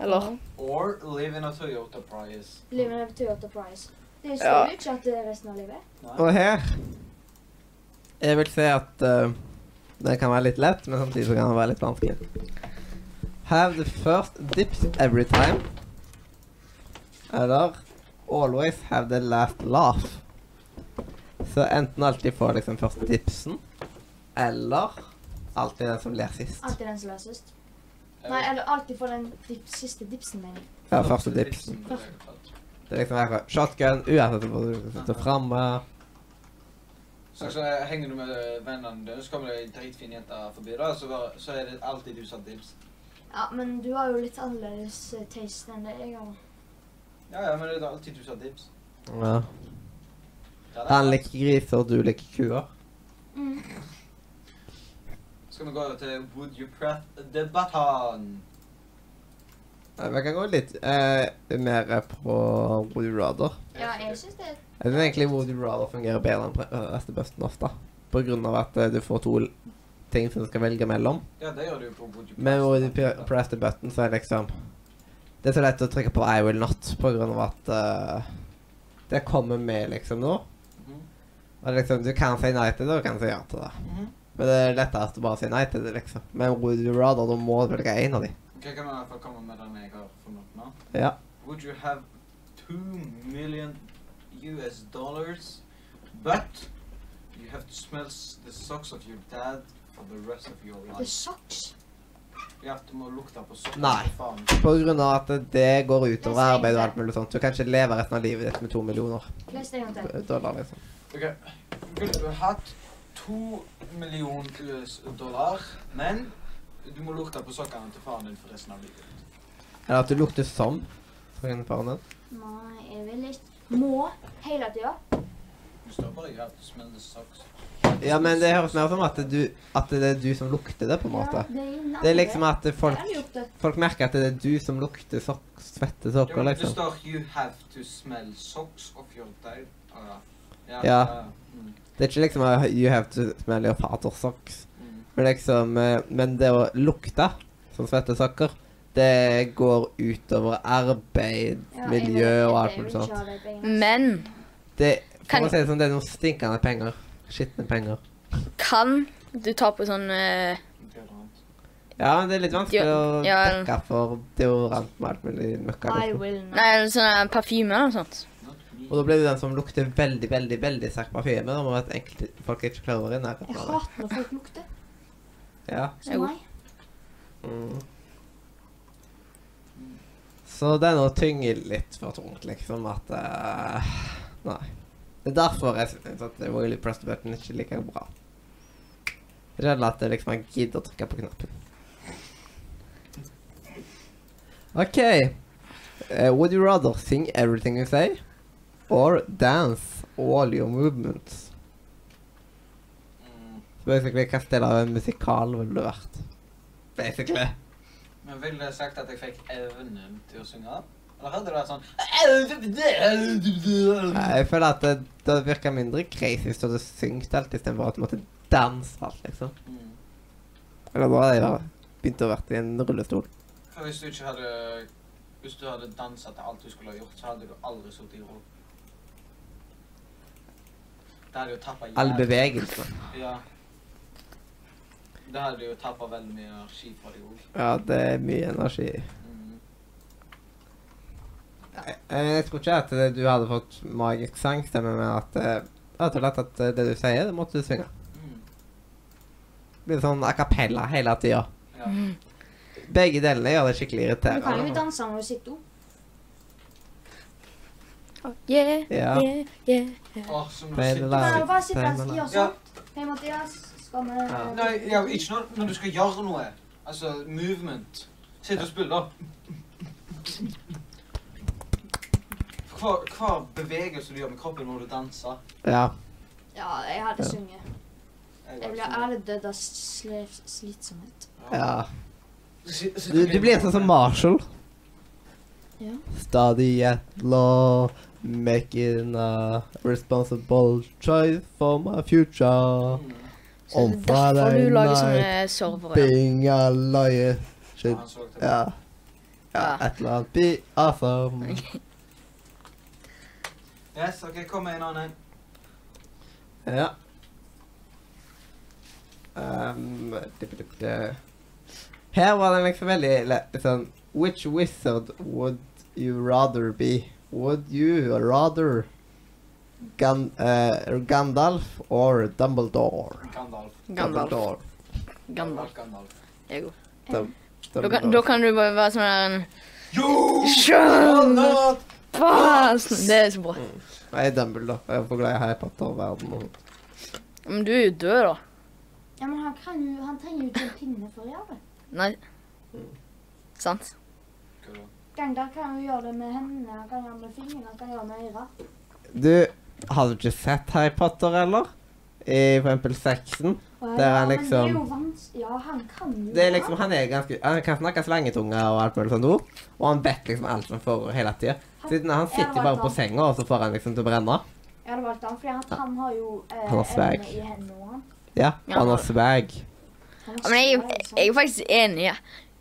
[SPEAKER 5] Eller
[SPEAKER 4] Or live in a Toyota Prius.
[SPEAKER 6] Live in a Toyota Prize. Det står
[SPEAKER 5] Ja.
[SPEAKER 6] jo ikke at det er resten av livet.
[SPEAKER 2] Og her Jeg vil si at eh, det kan være litt lett, men samtidig så kan det være litt vanskelig. Have the first dips every time. Eller always have the last laugh. Så enten alltid få liksom først dipsen, eller alltid den som ler sist.
[SPEAKER 6] Alltid den som løsest. Nei, eller alltid for den dip, siste dipsen min.
[SPEAKER 2] Ja, første dipsen. Det er liksom her, shotgun, uansett hvor du sitter framme.
[SPEAKER 4] Så, så henger du med vennene dine, så kommer det ei dritfin jente forbi, da, så, bare, så er det alltid du som har dips.
[SPEAKER 6] Ja, men du har jo litt annerledes eh, taste enn det jeg har.
[SPEAKER 4] Ja, ja, men det er alltid du som har dips.
[SPEAKER 2] Ja.
[SPEAKER 4] Ja, det er
[SPEAKER 2] Han
[SPEAKER 4] sant.
[SPEAKER 2] liker griser, du liker kuer.
[SPEAKER 6] Mm.
[SPEAKER 4] Skal vi gå over til Would you prep-debatten?
[SPEAKER 2] Nei, Vi kan gå litt eh, mer på Woody Rather.
[SPEAKER 6] Ja, jeg syns det. er-
[SPEAKER 2] Jeg synes egentlig Woody Rather fungerer bedre enn pre- øh, resten av bussen ofte. På grunn av at eh, du får to l- ting som du skal velge mellom.
[SPEAKER 4] Ja, det gjør du på Would you
[SPEAKER 2] Men Woody
[SPEAKER 4] prep-
[SPEAKER 2] Press the Button, så er det liksom Det er så lett å trykke på I will not, på grunn av at eh, det kommer med liksom nå.
[SPEAKER 4] Mhm.
[SPEAKER 2] Og det er liksom, Du kan si nei til det, og du kan si ja til det.
[SPEAKER 4] Mhm.
[SPEAKER 2] Men det er lettere å bare si nei til det, liksom. Men Woody Rather, da må du velge én av de.
[SPEAKER 4] Ok, kan jeg i hvert fall komme med den jeg har funnet nå?
[SPEAKER 2] Ja.
[SPEAKER 4] Would you have two million US dollars, but you have to smell s- the socks of your dad for the rest of your
[SPEAKER 6] The
[SPEAKER 4] life?
[SPEAKER 6] Socks.
[SPEAKER 4] Ja, du må lukte på sokker.
[SPEAKER 2] Nei.
[SPEAKER 4] Faen.
[SPEAKER 2] På grunn av at det går utover
[SPEAKER 6] Jeg sier
[SPEAKER 2] arbeid og
[SPEAKER 6] det.
[SPEAKER 2] alt mulig sånt. Du kan ikke leve resten av livet ditt med to millioner
[SPEAKER 6] Les det en gang til.
[SPEAKER 2] dollar, liksom.
[SPEAKER 4] Ok, ville du hatt to million US dollar, men du må lukte på sokkene til faren din for resten av livet?
[SPEAKER 2] Eller at du lukter som foran faren din.
[SPEAKER 6] Nei, jeg vil ikke. Må hele tida.
[SPEAKER 4] Du står bare i at du smell the socks.
[SPEAKER 2] Ja, men det høres mer ut som at, du, at det er du som lukter det, på en måte. Det er liksom at folk, folk merker at det er du som lukter sok svette
[SPEAKER 4] Ja,
[SPEAKER 2] sokker,
[SPEAKER 4] men Det
[SPEAKER 2] liksom.
[SPEAKER 4] står 'you have to smell socks of your dad'. Å, ja. Ja,
[SPEAKER 2] Ja.
[SPEAKER 4] Mm,
[SPEAKER 2] Det er ikke liksom uh, you have to smell your father's socks.
[SPEAKER 4] mm.
[SPEAKER 2] uh, Men liksom, eh, men det å lukte som svette sokker, det går utover arbeid,
[SPEAKER 6] Ja, jeg
[SPEAKER 2] miljø
[SPEAKER 6] vet-
[SPEAKER 2] og
[SPEAKER 6] jeg
[SPEAKER 2] alt
[SPEAKER 6] vil
[SPEAKER 2] mulig
[SPEAKER 6] ikke
[SPEAKER 2] sånt.
[SPEAKER 6] ha de pengene.
[SPEAKER 5] Men
[SPEAKER 2] Det,
[SPEAKER 5] Kan-
[SPEAKER 2] for å si det sånn, det er noen stinkende penger. Skitne penger.
[SPEAKER 5] kan du ta på sånn eh,
[SPEAKER 2] Ja, men det er litt vanskelig å
[SPEAKER 5] Ja, ja.
[SPEAKER 2] dekke for deodorant med alt mulig møkka.
[SPEAKER 6] I
[SPEAKER 2] lukten.
[SPEAKER 6] will not.
[SPEAKER 5] Nei, sånn parfyme eller noe sånt.
[SPEAKER 2] Og da blir du den som lukter veldig, veldig veldig sterk parfyme. Da må det være at enkelte folk ikke klarer å være i nærheten
[SPEAKER 6] Jeg
[SPEAKER 2] av det.
[SPEAKER 6] hater når folk lukter.
[SPEAKER 2] Ja.
[SPEAKER 5] Jo.
[SPEAKER 6] Som meg.
[SPEAKER 2] Mm. Så det er noe tynger litt for tungt, liksom, at eh, Nei. Det er derfor jeg syns at Royally Pressed Button ikke er like bra. Det er at jeg liksom jeg gidder å trykke på knappen. OK. Eh, would you rather sing everything you say or dance all your movements?
[SPEAKER 4] Mm.
[SPEAKER 2] Så basically, hvilken del av en musikal ville du vært? Basically.
[SPEAKER 4] Men ville du sagt at jeg fikk evnen til å synge? Eller hadde det vært sånn
[SPEAKER 2] Nei, Jeg føler at det, det virker mindre crazy hvis du hadde syngt alt istedenfor at du måtte danse alt, liksom.
[SPEAKER 4] Mm.
[SPEAKER 2] Eller da hadde jeg da begynt å vært i en rullestol.
[SPEAKER 4] For hvis du ikke hadde Hvis du hadde dansa til alt du skulle ha gjort, så hadde du aldri sittet i ro. Det hadde jo tappa
[SPEAKER 2] Alle bevegelsene.
[SPEAKER 4] Ja. Det hadde jo tappa veldig mye energi fra deg òg.
[SPEAKER 2] Ja, det er mye energi.
[SPEAKER 4] Mm.
[SPEAKER 2] Nei, eh, Jeg tror ikke at det- du hadde fått magisk sangstemme, men at eh, jeg tror lett at eh, det du sier, det måtte du synge.
[SPEAKER 4] Mm.
[SPEAKER 2] Litt sånn a cappella hele tida.
[SPEAKER 4] Ja.
[SPEAKER 2] Begge delene gjør det skikkelig
[SPEAKER 6] Du kan jo
[SPEAKER 2] irriterende.
[SPEAKER 6] danse når du sitter opp.
[SPEAKER 5] Yeah,
[SPEAKER 2] Ja.
[SPEAKER 5] yeah, yeah.
[SPEAKER 4] Åh, som du
[SPEAKER 2] Men det
[SPEAKER 6] Du
[SPEAKER 4] sitter
[SPEAKER 2] der-
[SPEAKER 6] kan jo bare sitte og
[SPEAKER 2] Nei,
[SPEAKER 6] gjøre
[SPEAKER 4] Ja.
[SPEAKER 6] sånt. Hei, Mathias. Skal vi
[SPEAKER 2] Ja.
[SPEAKER 4] Nei, ja, ikke når, når du skal gjøre noe. Altså movement. Sitte og spille. Hver, hver bevegelse du gjør med kroppen, må du danse.
[SPEAKER 2] Ja.
[SPEAKER 6] Ja, jeg hadde
[SPEAKER 2] Ja.
[SPEAKER 6] sunget.
[SPEAKER 4] Jeg
[SPEAKER 6] Jeg
[SPEAKER 4] var
[SPEAKER 6] ble
[SPEAKER 4] sånn.
[SPEAKER 6] ærlig dødd av sle- slitsomhet.
[SPEAKER 2] ja.
[SPEAKER 4] Si- sitte
[SPEAKER 2] Du,
[SPEAKER 4] og
[SPEAKER 2] du blir sånn som Marshall.
[SPEAKER 6] Ja.
[SPEAKER 2] Study at law, making a responsible choice for my future.
[SPEAKER 4] Mm.
[SPEAKER 5] Så
[SPEAKER 2] On
[SPEAKER 5] det er derfor
[SPEAKER 2] Friday
[SPEAKER 5] du lager sånne eh,
[SPEAKER 2] night,
[SPEAKER 5] servere.
[SPEAKER 2] Being a liar.
[SPEAKER 4] Ja,
[SPEAKER 2] Should,
[SPEAKER 4] han så det.
[SPEAKER 2] ja. ja. Et eller annet. Be awesome.
[SPEAKER 4] Yes, ok, kom med en annen.
[SPEAKER 2] Ja. Um, dip, dip, dip. Her var den liksom veldig lett. Liksom, Which wizard would you rather be? Would you rather Gan eh, Gandalf or Dumbledore?
[SPEAKER 4] Gandalf.
[SPEAKER 5] Gandalf. Gandalf.
[SPEAKER 4] Gandalf.
[SPEAKER 5] Jeg er god. Da kan, da
[SPEAKER 2] Dumbledore.
[SPEAKER 5] kan du bare være sånn her en
[SPEAKER 4] Jo!
[SPEAKER 5] Skjønn! Sånn, Det er så bra.
[SPEAKER 2] Jeg er Dumbledore. Jeg er for glad i Harry Potter-verdenen.
[SPEAKER 5] Men du er jo død, da.
[SPEAKER 6] Ja, men han, kan jo, han trenger jo ikke en pinne for å gjøre det.
[SPEAKER 5] Nei. Sant?
[SPEAKER 6] Gangdal kan jo gjøre det med hendene, han kan gjøre det med fingrene, han kan gjøre det med øra.
[SPEAKER 2] Du, har du ikke sett Harry Potter, eller? I for eksempel sexen?
[SPEAKER 6] Og
[SPEAKER 2] Det er
[SPEAKER 6] ja,
[SPEAKER 2] han
[SPEAKER 6] men Det
[SPEAKER 2] liksom-
[SPEAKER 6] er jo vanskelig. Ja, han kan jo
[SPEAKER 2] Det er liksom, Han er ganske, han kan snakke slangetunge og alt mulig sånt ord. Og han vet liksom alt som foregår hele tida. Siden han sitter jo bare på senga, og så får han liksom til å brenne.
[SPEAKER 6] Jeg hadde valgt han, fordi han, han har jo eh,
[SPEAKER 2] Han har svag.
[SPEAKER 6] evne i hendene og han.
[SPEAKER 2] Ja, og han har swag.
[SPEAKER 6] han
[SPEAKER 5] Ja, Men jeg, jeg er faktisk enig. ja.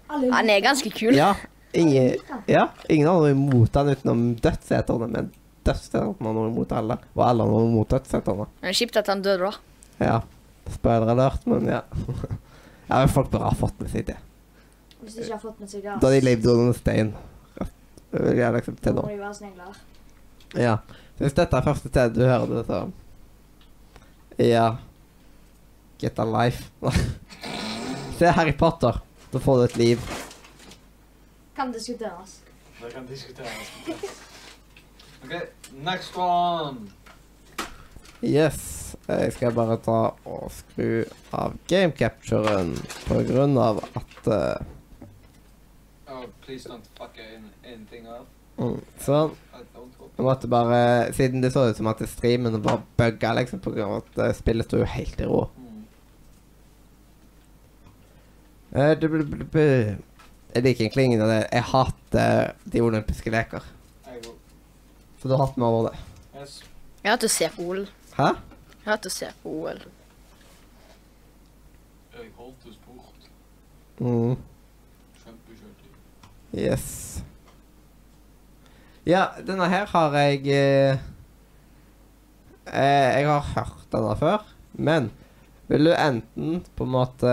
[SPEAKER 5] Han er ganske kul.
[SPEAKER 2] Ja, ingen, ja, ingen har noe imot han utenom dødsseterne, men dødsseterne har noe imot alle. Og alle har noe imot dødsseterne.
[SPEAKER 5] Men det er Kjipt at han døde, da.
[SPEAKER 2] Ja. Spoiler alert, men ja. Ja, men Folk burde ha fått med seg det.
[SPEAKER 6] Hvis de ikke har fått med seg det.
[SPEAKER 2] Da de levde under en stein. Det vil jeg
[SPEAKER 6] Da
[SPEAKER 2] akseptere nå.
[SPEAKER 6] må de være snegler.
[SPEAKER 2] Ja. Så hvis dette er første sted du hører det, så Ja. Get a life. Se Harry Potter. Da får du et liv.
[SPEAKER 6] Kan diskuteres.
[SPEAKER 4] Det kan diskuteres. Ok, next one.
[SPEAKER 2] Yes. Jeg skal bare ta og skru av gamecapturen på grunn av at eh,
[SPEAKER 4] Oh, please don't fuck in- anything up.
[SPEAKER 2] mm, Sånn.
[SPEAKER 4] I don't hope.
[SPEAKER 2] Jeg måtte bare Siden det så ut som at streamen var bugga, liksom, på grunn av at eh, spillet sto jo helt i ro.
[SPEAKER 4] Mm.
[SPEAKER 2] Eh, du- du- du- du- Jeg liker egentlig ingen av det. Jeg hater eh, de olympiske leker.
[SPEAKER 4] Jeg går.
[SPEAKER 2] Så da hatt vi over det.
[SPEAKER 4] Yes.
[SPEAKER 5] Jeg har hatt å se på OL.
[SPEAKER 2] Hæ?
[SPEAKER 5] Jeg har hatt å se på OL.
[SPEAKER 4] Jeg holdt oss bort.
[SPEAKER 2] Mm.
[SPEAKER 4] Kjempekjøttig.
[SPEAKER 2] Yes. Ja, denne her har jeg eh, eh, Jeg har hørt denne før, men vil du enten på en måte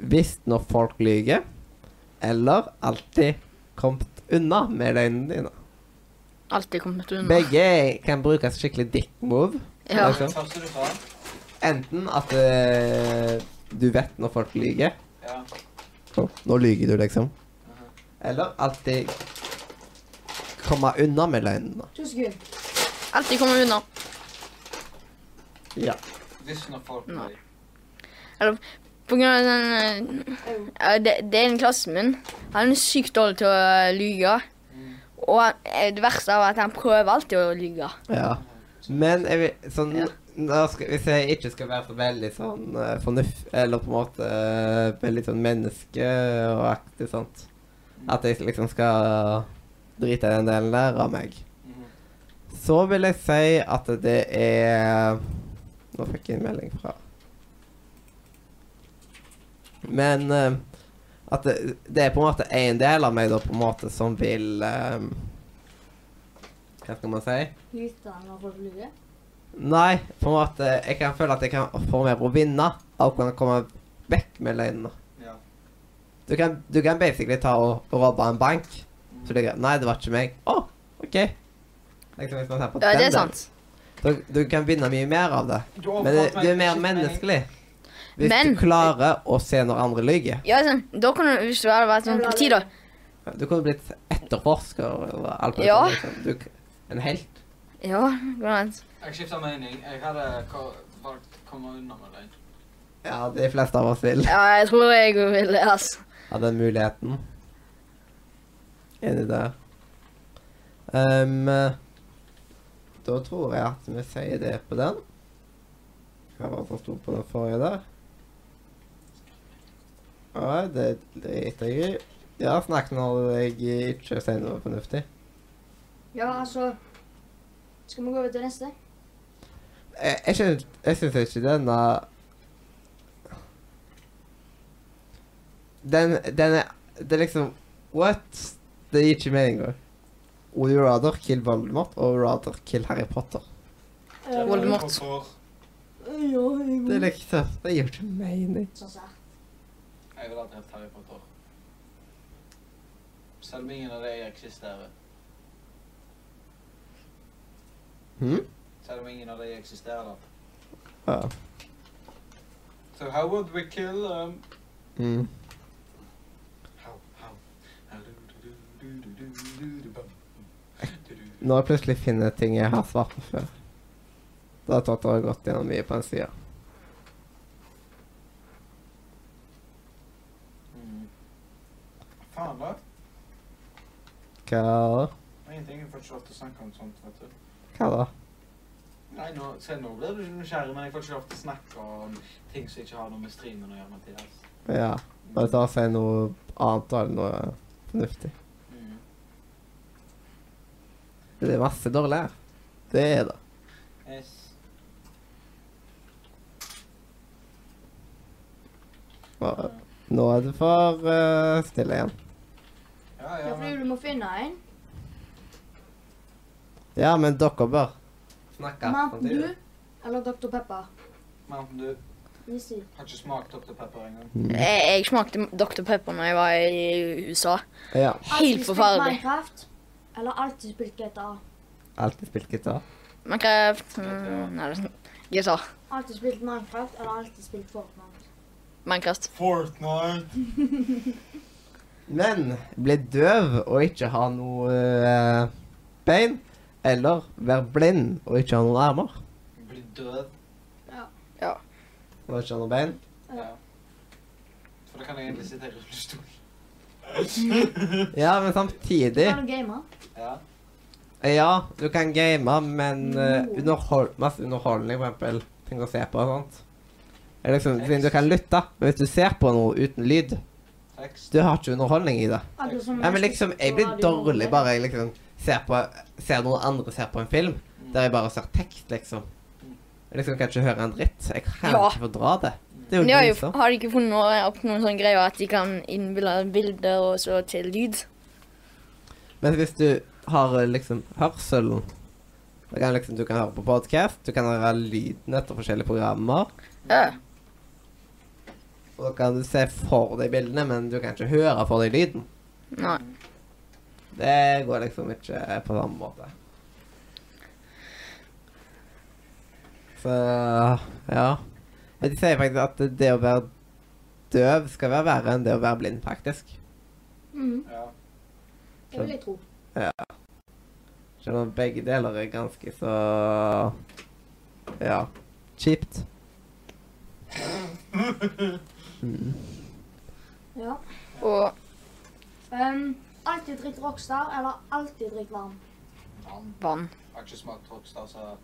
[SPEAKER 2] visst når folk lyver, eller alltid kommet unna med løgnene dine?
[SPEAKER 5] Alltid kommet unna.
[SPEAKER 2] Begge kan brukes skikkelig dick move.
[SPEAKER 5] Ja.
[SPEAKER 2] liksom.
[SPEAKER 4] Første du får.
[SPEAKER 2] Enten at eh, du vet når folk lyver.
[SPEAKER 4] Ja.
[SPEAKER 2] Å, Nå lyver du, liksom. Eller alltid komme unna med løgnene.
[SPEAKER 6] To sekunder.
[SPEAKER 5] Alltid kommet unna.
[SPEAKER 2] Ja.
[SPEAKER 4] Hvis når folk
[SPEAKER 5] Nei.
[SPEAKER 4] blir-
[SPEAKER 5] På grunn av den eh,
[SPEAKER 6] Au.
[SPEAKER 5] ja, det, det er en i klassen min. Han er sykt dårlig til å lyge.
[SPEAKER 4] Hmm,
[SPEAKER 5] Og han- eh, det verste er at han prøver alltid å lyge.
[SPEAKER 2] ja. Men jeg vil, sånn,
[SPEAKER 5] Ja.
[SPEAKER 2] nå skal, hvis jeg ikke skal være så veldig sånn eh, fornuft... Eller på en måte eh, veldig sånn menneskeaktig, sant. At jeg liksom skal drite i den delen der av meg.
[SPEAKER 4] Mhm.
[SPEAKER 2] Så vil jeg si at det er Nå fikk jeg en melding fra Men eh, at det, det er på en måte en del av meg da, på en måte som vil eh, Hva skal man si?
[SPEAKER 6] Lyter når folk lurer.
[SPEAKER 2] Nei, på en måte Jeg kan føle at jeg kan få mer å vinne av å kunne komme vekk med løgnene.
[SPEAKER 4] Ja.
[SPEAKER 2] Du kan, du kan basically ta og robbe en bank.
[SPEAKER 4] Hmm.
[SPEAKER 2] Så det er greit. Nei, det var ikke meg. Å, OK. Liksom, hvis man ser på
[SPEAKER 5] Ja,
[SPEAKER 2] den
[SPEAKER 5] det er
[SPEAKER 2] delen.
[SPEAKER 5] sant.
[SPEAKER 2] Du, du kan vinne mye mer av det.
[SPEAKER 4] Du har
[SPEAKER 2] Men det,
[SPEAKER 4] fått meg
[SPEAKER 2] du er mer
[SPEAKER 4] ikke mening.
[SPEAKER 2] menneskelig. Hvis
[SPEAKER 5] Men-
[SPEAKER 2] du klarer å se når andre lyver.
[SPEAKER 5] Ja, sånn. Da kunne du, hvis du hadde vært sånn politi, da.
[SPEAKER 2] Du kunne blitt etterforsker og alt det
[SPEAKER 5] Ja.
[SPEAKER 2] sånn, liksom. Du, k- en helt.
[SPEAKER 5] Ja, går an.
[SPEAKER 4] Jeg skifter mening. Jeg hadde ko- valgt å komme unna med løgn.
[SPEAKER 2] Ja, de fleste av oss vil
[SPEAKER 5] Ja, jeg tror jeg òg vil det, altså.
[SPEAKER 2] ha den muligheten. Enig der. Ehm, da tror jeg at vi sier det på den. Hva var det som sto på den forrige der? Ja, det driter jeg i. Ja, snakk når jeg ikke sier noe fornuftig.
[SPEAKER 6] Ja, altså Skal vi gå over til neste?
[SPEAKER 2] Jeg, Eh, jeg, syns, jeg syns ikke denne Den, den er Det er liksom What? Det gir ikke mening engang. Would you rather kill Voldemort og rather kill Harry Potter?
[SPEAKER 5] Eh, Voldemort.
[SPEAKER 6] Ja,
[SPEAKER 2] Det er liksom Det gir ikke mening.
[SPEAKER 6] Sånn sær.
[SPEAKER 4] Jeg vil ha drept Harry Potter. Selv om ingen av de eksisterer.
[SPEAKER 2] Hm?
[SPEAKER 4] Selv om ingen av de eksisterer. da.
[SPEAKER 2] Ja.
[SPEAKER 4] So how would we kill um,
[SPEAKER 2] Mm.
[SPEAKER 4] How, how? How-do-do-do-do-do-do-do-bum. Du-du.
[SPEAKER 2] Når jeg plutselig finner ting jeg har svart på før Da har Totter gått gjennom mye på en side.
[SPEAKER 4] Mm. Faen, da.
[SPEAKER 2] Hva
[SPEAKER 4] Ingenting. Jeg får ikke lov til å snakke om sånt. vet du.
[SPEAKER 2] Hva da?
[SPEAKER 4] Nei, nå, se, nå blir du nysgjerrig, men jeg får ikke lov til å snakke om ting som ikke har noe med streamen å gjøre. Mathias.
[SPEAKER 2] Ja. Bare ta og si noe annet eller noe fornuftig.
[SPEAKER 4] Mm.
[SPEAKER 2] Det er masse dårlig her. Det er det.
[SPEAKER 4] Yes.
[SPEAKER 2] Nå- Nå er det for eh, stille igjen.
[SPEAKER 4] Ja,
[SPEAKER 6] Ja,
[SPEAKER 4] ja,
[SPEAKER 6] fordi
[SPEAKER 4] men
[SPEAKER 6] du må finne en.
[SPEAKER 2] Ja, men dere bør snakke.
[SPEAKER 6] Mountain Dew eller Dr. Pepper.
[SPEAKER 4] Mountain Dew
[SPEAKER 6] Easy.
[SPEAKER 4] har ikke smakt Dr. Pepper engang.
[SPEAKER 2] Mm.
[SPEAKER 5] Jeg, jeg smakte Dr. Pepper når jeg var i USA.
[SPEAKER 2] Ja.
[SPEAKER 5] Helt forferdelig.
[SPEAKER 6] Minecraft eller alltid spilt GTA.
[SPEAKER 2] Alltid spilt gitar.
[SPEAKER 5] Minecraft mm, Nei, det er sånn. GTA.
[SPEAKER 6] Alltid spilt Minecraft eller alltid spilt Fortnite.
[SPEAKER 5] Minecraft.
[SPEAKER 4] Fortnite!
[SPEAKER 2] Men bli døv og ikke ha noe eh, bein. Eller være blind og ikke ha noen armer.
[SPEAKER 4] Blir død.
[SPEAKER 2] Og ikke ha noen bein.
[SPEAKER 4] Ja. For da kan jeg egentlig sitte i rullestol.
[SPEAKER 2] Ja, men samtidig
[SPEAKER 6] Kan du game?
[SPEAKER 4] Ja.
[SPEAKER 2] Ja, du kan game, men eh, underhold, masse underholdning, for eksempel. Ting å se på og sånt. Eller liksom, siden du kan lytte, men hvis du ser på noe uten lyd,
[SPEAKER 4] Tekst.
[SPEAKER 2] du har ikke underholdning i det.
[SPEAKER 6] Alle som
[SPEAKER 2] Ja, men liksom, jeg blir
[SPEAKER 6] Radio Norge.
[SPEAKER 2] dårlig bare jeg liksom ser på Ser noen andre ser på en film
[SPEAKER 4] Mm.
[SPEAKER 2] der jeg bare ser tekst, liksom. Jeg liksom kan ikke høre en dritt. Jeg kan
[SPEAKER 5] Ja.
[SPEAKER 2] ikke fordra det. Det er jo
[SPEAKER 5] Men de har,
[SPEAKER 2] ikke
[SPEAKER 5] jo,
[SPEAKER 2] minst, da.
[SPEAKER 5] har de ikke funnet noe, opp noen sånne greier at de kan innbille bilder og så til lyd?
[SPEAKER 2] Men hvis du har eh, liksom hørselen da kan liksom, Du kan høre på podkast, du kan høre lyden etter forskjellige programmer.
[SPEAKER 5] Ja.
[SPEAKER 2] Og da kan du se for deg bildene, men du kan ikke høre for deg lyden.
[SPEAKER 5] Nei.
[SPEAKER 2] Det går liksom ikke på samme måte. Så ja. Men de sier faktisk at det å være døv skal være verre enn det å være blind, faktisk.
[SPEAKER 6] Mhm,
[SPEAKER 4] Ja.
[SPEAKER 6] det vil jeg tro.
[SPEAKER 2] Selv om begge deler er ganske så ja kjipt. Mm.
[SPEAKER 6] Ja.
[SPEAKER 5] Og
[SPEAKER 6] Um, alltid drikk Rockstar, eller alltid drikk varm.
[SPEAKER 4] Vann.
[SPEAKER 5] vann.
[SPEAKER 4] Jeg har ikke smakt Rockstar, så